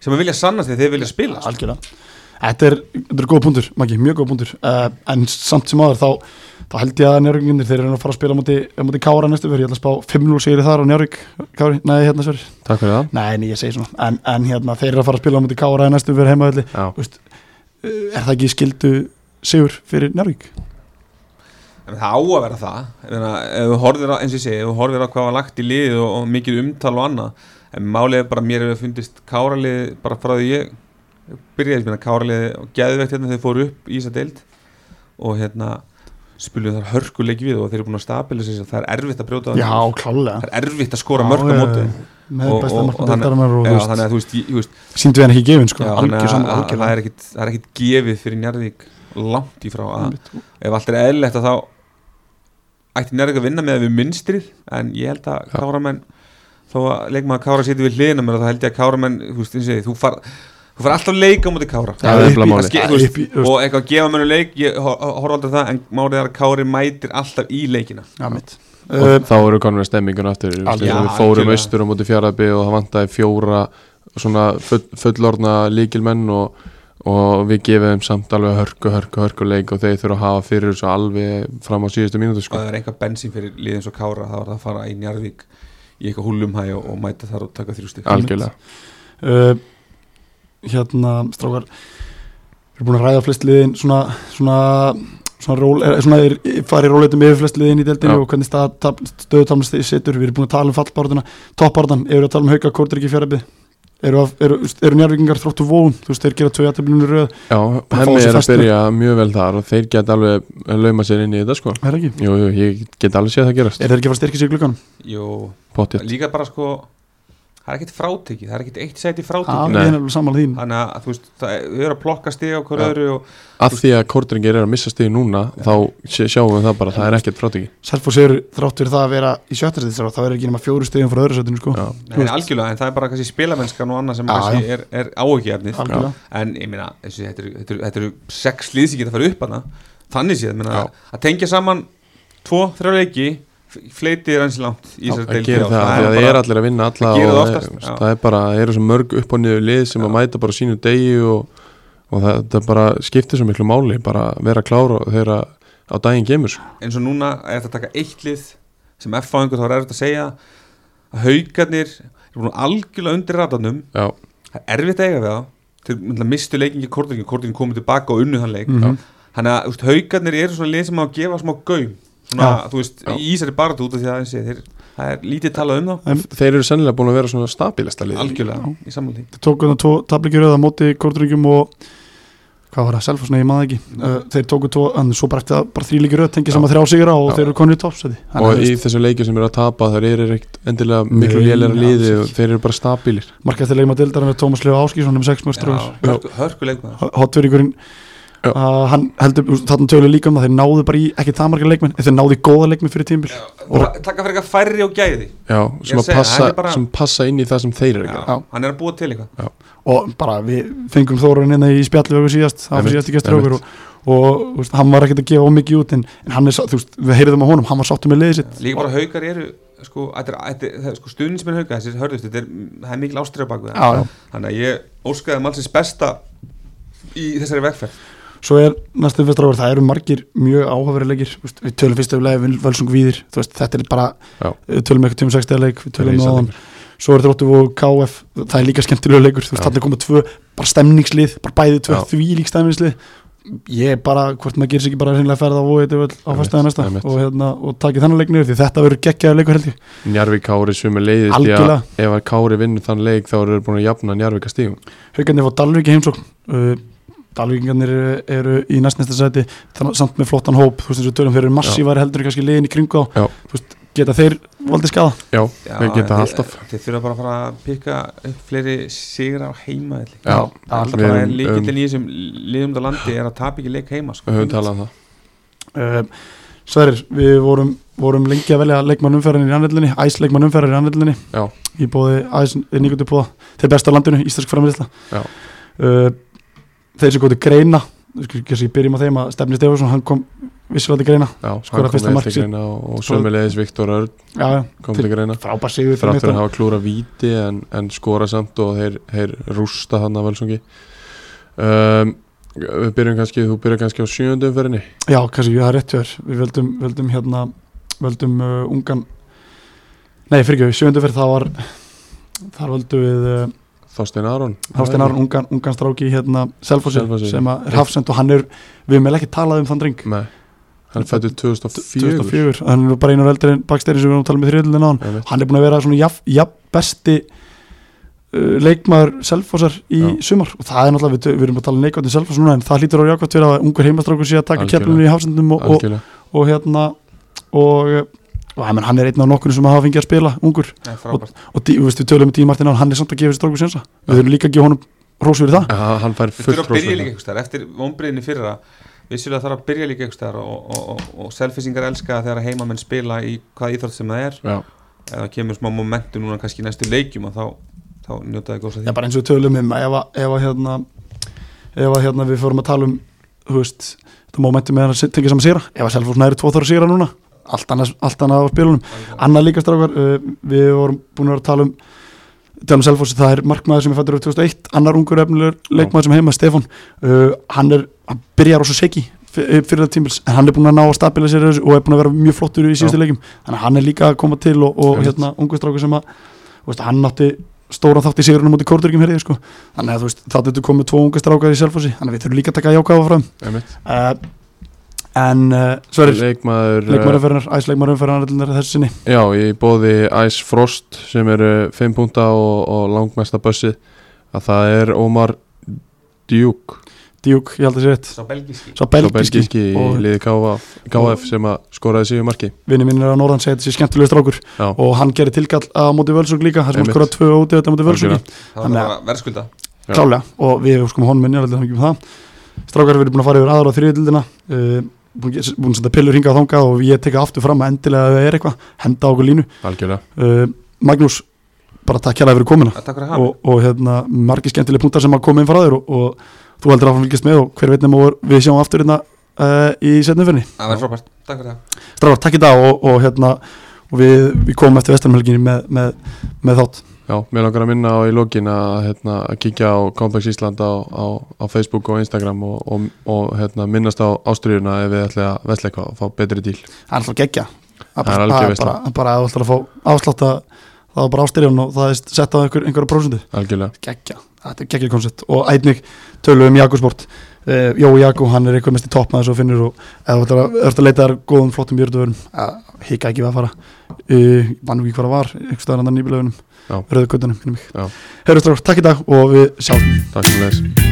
Speaker 3: sem að vilja sannast því þeir vilja spila sko.
Speaker 1: algjörlega Þetta er, þetta er góð punktur, Maggi, mjög góð punktur uh, En samt sem áður, þá, þá held ég að njárvíkinginir þeir eru að fara að spila á móti, á móti Kára næstu fyrir, ég ætla að spá 5-0 sigri þar á njárvík, Kári, nei, hérna sver
Speaker 2: Takk fyrir það
Speaker 1: Nei, nei, ég segi svona, en, en hérna, þeir eru að fara að spila á móti Kára næstu fyrir heimaðalli
Speaker 2: Já.
Speaker 1: Er það ekki skildu sigur fyrir njárvík?
Speaker 3: en það á að vera það Ég meina, ef þú horfir á, eins og ég segi, ef þú horfir á hvað var lagt í lið og, og mikið umtal og annað en málið er bara að mér hefur fundist káralið bara frá því ég byrjaði minna káralið og geðvegt hérna þegar þeir fóru upp í þessa deild og hérna spilum þar hörkuleik við og þeir eru búin að stabila sér það er erfitt að brjóta á
Speaker 1: Já,
Speaker 3: þeim.
Speaker 1: klálega
Speaker 3: það er erfitt að skora mörg á
Speaker 1: Já,
Speaker 3: móti
Speaker 1: já, já. Með
Speaker 3: Og-
Speaker 1: besta
Speaker 3: og- og
Speaker 1: markmann
Speaker 3: þannig-
Speaker 1: deildarinnar og, þú
Speaker 3: Já,
Speaker 1: veist,
Speaker 3: þannig að þú veist, ég, ég veist
Speaker 1: síndu við hann ekki gefin sko,
Speaker 3: Já, þannig
Speaker 1: algjör
Speaker 3: að-
Speaker 1: saman,
Speaker 3: að- að það
Speaker 1: algjör
Speaker 3: er ekkit það er ekkit gefið fyrir Njarðvík langt í frá að ef allt er eðlilegt að þá ætti Njarðvík að vinna með við minnstrið en ég held að
Speaker 2: Já.
Speaker 3: Káramenn þó að leikmaður Kára sýti við hliðina mér þá held ég að Káramenn, þú veist, eins og ég segi, þú far þú far alltaf leik á móti Kára
Speaker 2: Það er nefnilega
Speaker 3: Það
Speaker 2: máli
Speaker 1: Það
Speaker 3: ske- þú
Speaker 1: er
Speaker 3: veist,
Speaker 1: upp í- þú veist.
Speaker 3: og eitthvað að gefa mönnu leik ég hor- horf aldrei á það en málið er að Kári mætir alltaf í leikina
Speaker 1: Já, mitt
Speaker 2: og
Speaker 1: Uh,
Speaker 2: þá eru konur að stemmingun aftur þú veist,
Speaker 1: Algjörlega.
Speaker 2: þegar við fórum
Speaker 3: Algjörlega.
Speaker 2: austur á móti fjaraðby og það vantaði fjóra svona full, fullorna líkilmenn og, og við gefum þeim samt alveg hörku, hörku, hörku leik og þeir þurfa að hafa fyrir þessu alveg fram á síðustu mínútu
Speaker 3: og
Speaker 2: sko.
Speaker 3: það er eitthvað bensín fyrir liðin svo Kára þá er það að fara í Njarðvík í eitthvað húllumhæ og, og mæta þar og taka þrjústi
Speaker 2: algjörlega
Speaker 1: uh, Hérna, strákar Við erum búin að ræða flest liðin Svona Svona Svona, ról, er, svona er, farið róleitum yfir flest liðin í deildinu
Speaker 2: Já.
Speaker 1: og hvernig stöðutamlist setur, við erum búin að tala um fallbártuna toppbártan, eru að tala um hauka kórtur ekki fjárabið eru, af- eru, eru njárvíkingar þróttu vóum, þú veist, þeir gera tvö jættablinu röð
Speaker 2: já,
Speaker 1: fá
Speaker 2: hemmi
Speaker 1: þessu
Speaker 2: er að
Speaker 1: festu.
Speaker 2: byrja mjög vel þar og þeir geta alveg lauma sér inn í þetta sko.
Speaker 1: er það ekki,
Speaker 2: jú, jú, ég get alveg séð það gerast
Speaker 1: er þeir ekki að fara að styrkja sig í glukkanum
Speaker 3: Jú,
Speaker 2: pottitt
Speaker 3: líka bara sko það er ekkert frátekið, það er ekkert eitt sæti
Speaker 1: það
Speaker 3: frátekið
Speaker 1: er
Speaker 2: Nei.
Speaker 1: alveg sammála þín
Speaker 3: þannig að þú veist, það er, við erum að plokka stig á hverju
Speaker 2: Já.
Speaker 3: öðru og
Speaker 2: að því að kortringir er að missa stíði núna þá sé- sjáum við það bara, það er ekkert frátíki
Speaker 1: Selfoss eru þrátt fyrir það að vera í sjöttarstæðis þá er ekki nema fjóru stegum frá öðru sætinu sko
Speaker 2: Já.
Speaker 1: Þú
Speaker 3: neðan
Speaker 1: veist.
Speaker 3: algjörlega, en það er bara kannski spilamennskan og annað sem
Speaker 1: Já,
Speaker 3: kannski er, er áhugjefnið
Speaker 1: Algjörlega.
Speaker 3: en ég meina, þessi, þetta eru- þetta eru- þetta eru sex lið sem geta að fara upp hana þannig séð, meina,
Speaker 2: Já.
Speaker 3: að tengja saman tvo, þrjá leiki f- fleitið er eins langt í þessari
Speaker 2: að
Speaker 3: deild í
Speaker 2: gera
Speaker 3: ár.
Speaker 2: það, það, það
Speaker 3: bara-
Speaker 2: er allir að vinna alla
Speaker 3: það gerir
Speaker 2: og
Speaker 3: það
Speaker 2: það,
Speaker 3: oftast,
Speaker 2: það,
Speaker 3: já.
Speaker 2: það er bara, það eru svo mörg upp og niður lið sem að mæta bara á sínu degi og, og það, það bara skiptir svo miklu máli, bara vera klár og þegar að- á daginn gemur sko.
Speaker 3: eins og núna er þetta að taka eitt lið sem F-fáingur þá er erfitt að segja að haugarnir er búin algjörlega undir ratanum
Speaker 2: já,
Speaker 3: það er erfitt að eiga við það þeir náttúrulega mistu leikingi kortingin, kortingin komið tilbaka og unnu þann leik
Speaker 1: Mhm.
Speaker 3: þannig að þú veist, haugarnir eru svona lið sem á að gefa smá gaum svona,
Speaker 1: Já.
Speaker 3: þú veist, í þessari barðu út af því að eins og ég, þeir, það er lítið talað um þá
Speaker 2: Þeir eru sennilega búin að vera svona stabilesta lið
Speaker 3: algjörlega í samanlí
Speaker 1: Þeir tóku það tvo tablikjur eða móti kvortryggjum og hvað var það, Selfoss, nei, ég maður ekki uh, þeir tóku tvo, en svo bara eftir að bara þrýleikir öð tengið saman þrjá sigra og
Speaker 2: Já.
Speaker 1: þeir eru konur í toppsæti Þannig að,
Speaker 2: Og
Speaker 1: þú
Speaker 2: í
Speaker 1: veist,
Speaker 2: þessu leikju sem eru að tapa þeir eru ekkert endilega miklu
Speaker 1: Nei,
Speaker 2: lélæra
Speaker 1: alls
Speaker 2: liði og
Speaker 1: ekki.
Speaker 2: þeir eru bara stabilir
Speaker 1: markaðið leikma deildar með Tómas Leo Áskísson um 6 mörg ströður
Speaker 3: hörkuleik maður
Speaker 1: hotverjurinn
Speaker 2: Já.
Speaker 1: uh, hann heldur, þarna tölur líka um það þeir náðu bara í, ekki það marga leikmenn, en þeir náðu í góða leikmenn fyrir tímbil
Speaker 3: Já,
Speaker 1: Og-
Speaker 3: ta- taka fyrir eitthvað færri og gæði
Speaker 2: Já, sem,
Speaker 3: Ég
Speaker 2: að
Speaker 3: segi,
Speaker 2: passa,
Speaker 3: það er bara-
Speaker 2: sem passa inn í það sem þeir eru að
Speaker 3: Já,
Speaker 2: gera
Speaker 1: Já.
Speaker 3: hann er að búa til eitthvað
Speaker 1: og bara við fengum Þórun hérna í spjallvögu síðast, það var
Speaker 2: Einmitt,
Speaker 1: síðast ekki að strókur og, og þú veist, hann var ekkert að gefa of mikið út en, en hann er, sá- þú veist, við heyrðum á honum hann var sáttum með liðið sitt
Speaker 3: líka bara haukar eru sko, þetta er- þetta er- það er sko stuðnismenn hauka þessir hörðust, þetta er, það er mikil ástriða baku það
Speaker 1: Já, já.
Speaker 3: þannig að ég óskaði mannsins besta í þessari vegferð
Speaker 1: svo er næstum fyrst ráður, það eru margir mjög áhafari leikir, þú veist, við tölum fyrst öflega við völsung víðir, þú veist, þetta er bara
Speaker 2: Já.
Speaker 1: við tölum eitthvað tíma 60 leik, við
Speaker 2: Þeir eru
Speaker 1: tölum um
Speaker 2: í
Speaker 1: á hann
Speaker 2: sandingur.
Speaker 1: svo er þróttu og KF, það er líka skemmtilega leikur, þú veist,
Speaker 2: Já.
Speaker 1: þarna koma tvö bara stemningslið, bara bæði tvö
Speaker 2: Já.
Speaker 1: þvílík stemningslið ég er bara, hvort maður gerir sig ekki bara reynilega ferð á vóið á
Speaker 2: Einmitt,
Speaker 1: fyrstaði næsta
Speaker 2: einmitt.
Speaker 1: og, hérna, og taki þannig leiknir því þetta verður geggjaði leikur held ég
Speaker 2: Njarvík Kári sumi leiðist því að
Speaker 1: Algjörlega.
Speaker 2: ef að Kári vinnur þann leik þá eru þeir búin að jafna Njarvík að stígum
Speaker 1: haugarnir fá Dalvík í heimsókn uh, Dalvíkingarnir eru, eru í næstnæsta sæti þannig, samt með flottan hóp, þú veist, eins og við tölum þeir eru massívar heldur en kannski liðin í kringu á
Speaker 2: Já.
Speaker 1: þú veist, geta þeir valdið skada
Speaker 2: Já,
Speaker 3: Já,
Speaker 2: þeir
Speaker 3: en
Speaker 2: geta
Speaker 3: þið-
Speaker 2: alltaf
Speaker 3: þið þurfa bara að fara að pikka upp fleiri sigra á heima
Speaker 2: Já,
Speaker 3: alltaf
Speaker 2: við
Speaker 3: bara
Speaker 2: erum- um,
Speaker 3: er líkildin í þessum liðum út á landi er að tapa ekki leik heima sko.
Speaker 2: Við höfum talað um það
Speaker 1: Um, Sverir, við vorum, vorum lengi að velja leikmann umferðin í anneldinni æs leikmann umferðin í anneldinni
Speaker 2: Já.
Speaker 1: í bóði æs nýgjötu bóða þeir besta á landinu, íslensk framriðsla
Speaker 2: Já.
Speaker 1: uh, þeir sem góti greina kannski byrjum á þeim að Stefni Stefansson hann kom vissilega til greina
Speaker 2: Já,
Speaker 1: Skorar
Speaker 2: hann kom
Speaker 1: fyrsta
Speaker 2: vel
Speaker 1: mark
Speaker 2: til
Speaker 1: sitt.
Speaker 2: greina og, og sumi leiðis Viktor Örn
Speaker 1: já, já,
Speaker 2: kom til greina
Speaker 1: frábær sigur fyrir
Speaker 2: þrátt fyrir að
Speaker 1: Mittland.
Speaker 2: hafa klúra víti en, en skora samt og þeir, þeir rústa hann að völsungi um, við byrjum kannski þú byrjar kannski á sjöundu umferinni
Speaker 1: já, kannski, það er rétt fyrir við veldum, veldum hérna veldum uh, ungan nei, fyrir ekki, sjöndu fyrir það var þar völdu við uh,
Speaker 2: Þorstein Aron
Speaker 1: Hafstein Aron, ungan, ungan stráki hérna Selfossi,
Speaker 2: Selfossi. Mm,
Speaker 1: sem að er hafsend og hann er við meðlega ekki talað um þann dreng
Speaker 2: Nei, hann fættu 2004
Speaker 1: 2004, hann er nú bara einar eldri en bakstæri sem við erum að tala með þriðlina á hann
Speaker 2: Einmitt.
Speaker 1: hann er búin að vera svona jafn jaf besti uh, leikmaður Selfossar í
Speaker 2: Já.
Speaker 1: sumar og það er náttúrulega, við, við erum að tala neikvæmt um Selfoss núna en það hlýtur á jákvæmt fyrir að ungur heimastrákur sé að taka
Speaker 2: Algjörlega.
Speaker 1: keflinu í hafsendum og, og,
Speaker 2: algjörlega
Speaker 1: og hérna og, og, og hann er einn af nokkur sem hafa fengið að spila ungur
Speaker 3: Nei, frábært.
Speaker 1: og dí, við, veist, við tölum með Dín Martin á hann, hann er samt að gefa þessi strákur sensa við þurfum líka að gefa honum hrós fyrir það
Speaker 2: Ja, hann fær
Speaker 3: Við
Speaker 2: fullt
Speaker 3: þurfum að
Speaker 2: hrós
Speaker 3: byrja
Speaker 2: fyrir
Speaker 3: líka
Speaker 2: það.
Speaker 3: einhvers staðar eftir vonbriðinni fyrra vissulega þarf að byrja líka einhvers staðar og, og, og, og selfisingar elska þegar að heimamenn spila í hvaða íþrótt sem það er
Speaker 2: Já,
Speaker 3: ef það kemur smá momentu núna kannski í næstu leikjum að þá, þá njótaði góðs að
Speaker 1: Já,
Speaker 3: því
Speaker 1: bara eins og við tölum um ef, að- ef, að, hérna, ef að, hérna, við fórum að tala um þú veist, þetta mómenti með hann tengið saman sýra ef að Selfoss næri tvo þóra sýra núna allt annað, allt annað á spilunum annað líka strákar, uh, við vorum búin að vera að tala um tala um Selfoss, það er markmaður sem er fættur á 2001, annar ungur efnilegur leikmaður sem er heima, Stefan uh, hann er, hann byrjar á svo seki fyrir það tímils, en hann er búin að ná að stabila sér og er búin að vera mjög flottur í síðustu leikum þannig að hann er líka að koma til og, og
Speaker 2: Einmitt.
Speaker 1: hérna, ungu strákur sem að þú veist, hann átti stóran þátt í sigurinn á móti kórdurkjum herrið sko. þannig að þú veist, þá þetta komið tvo unga strákar í Selfossi, þannig að við þurfum líka að taka jákaða fram
Speaker 2: einmitt
Speaker 1: uh, en uh, Sverrir,
Speaker 2: Leikmaður eh,
Speaker 1: leikmarumferðar, æsleikmarumferðar þessu sinni,
Speaker 2: Já, í bóði Ice Frost sem eru 5 punta og, og langmesta bussið að það er Omar Djúk
Speaker 1: Díuk, ég held að sé rétt
Speaker 3: sá belgíski
Speaker 1: svo
Speaker 2: Sá
Speaker 1: belgiski,
Speaker 2: belgiski í
Speaker 1: og-
Speaker 2: liði KF, KF sem að skoraði síðu marki
Speaker 1: vinni minn er á norðan segja þetta sé skemmtilegur strákur
Speaker 2: Já,
Speaker 1: og hann gerir tilkall á móti völsung líka þar sem hann
Speaker 2: Einmitt.
Speaker 1: skorað tvö óti þetta móti völsungi
Speaker 3: það var
Speaker 1: Þannig að-
Speaker 3: bara verðskulda
Speaker 2: Já.
Speaker 1: klálega og við skum honum minni alveg ekki um það strákar við erum búin að fara yfir aðra á þriðildina uh, búin að- búin að senda pillur hingað og þangað og ég teka aftur fram að endilega ef það er eitthvað henda á okkur línu
Speaker 2: algjörlega
Speaker 1: uh, Magnús, bara takk hérna fyrir komuna
Speaker 3: að takk fyrir að hafa
Speaker 1: og, og hérna margir skemmtileg punktar sem að koma inn frá þér og, og þú heldur áfram að fylgjast með og hver veit nema vor- við sjáum aftur hérna uh, í setnumferni
Speaker 3: það var frábært takk fyrir það
Speaker 1: strákar takk í dag og, og hérna og við, við komum eftir vestarmhelginni með, með, með þátt
Speaker 2: Já, mér langar að minna á í lokin að, hérna, að kíkja á Complex Ísland á, á, á Facebook og Instagram og, og, og hérna, minnast á ástriðuna ef við ætlum að vesla eitthvað og fá betri díl
Speaker 1: Það er alltaf geggja Það er
Speaker 2: Það er
Speaker 1: bara,
Speaker 2: algjör
Speaker 1: það er
Speaker 2: veisla.
Speaker 1: bara, bara að þú ætlar að fá afslátt að- það var bara ástyrjan og það er sett á einhver, einhverja prósundu
Speaker 2: algjörlega
Speaker 1: geggja, þetta er geggja koncept og einnig tölum við um Jakosport uh, Jó Jakko, hann er einhver mest í toppmaður svo finnur og eða þú ert að, ert að leita þar góðum flottum jörduverum, uh, hika ekki við að fara uh, mann ekki hvað það var einhvers staðar andan nýbílöfunum,
Speaker 2: Já.
Speaker 1: rauðu kuttunum
Speaker 2: Já.
Speaker 1: Herru strákur, takk í dag og við sjáum
Speaker 2: Takk fyrir þess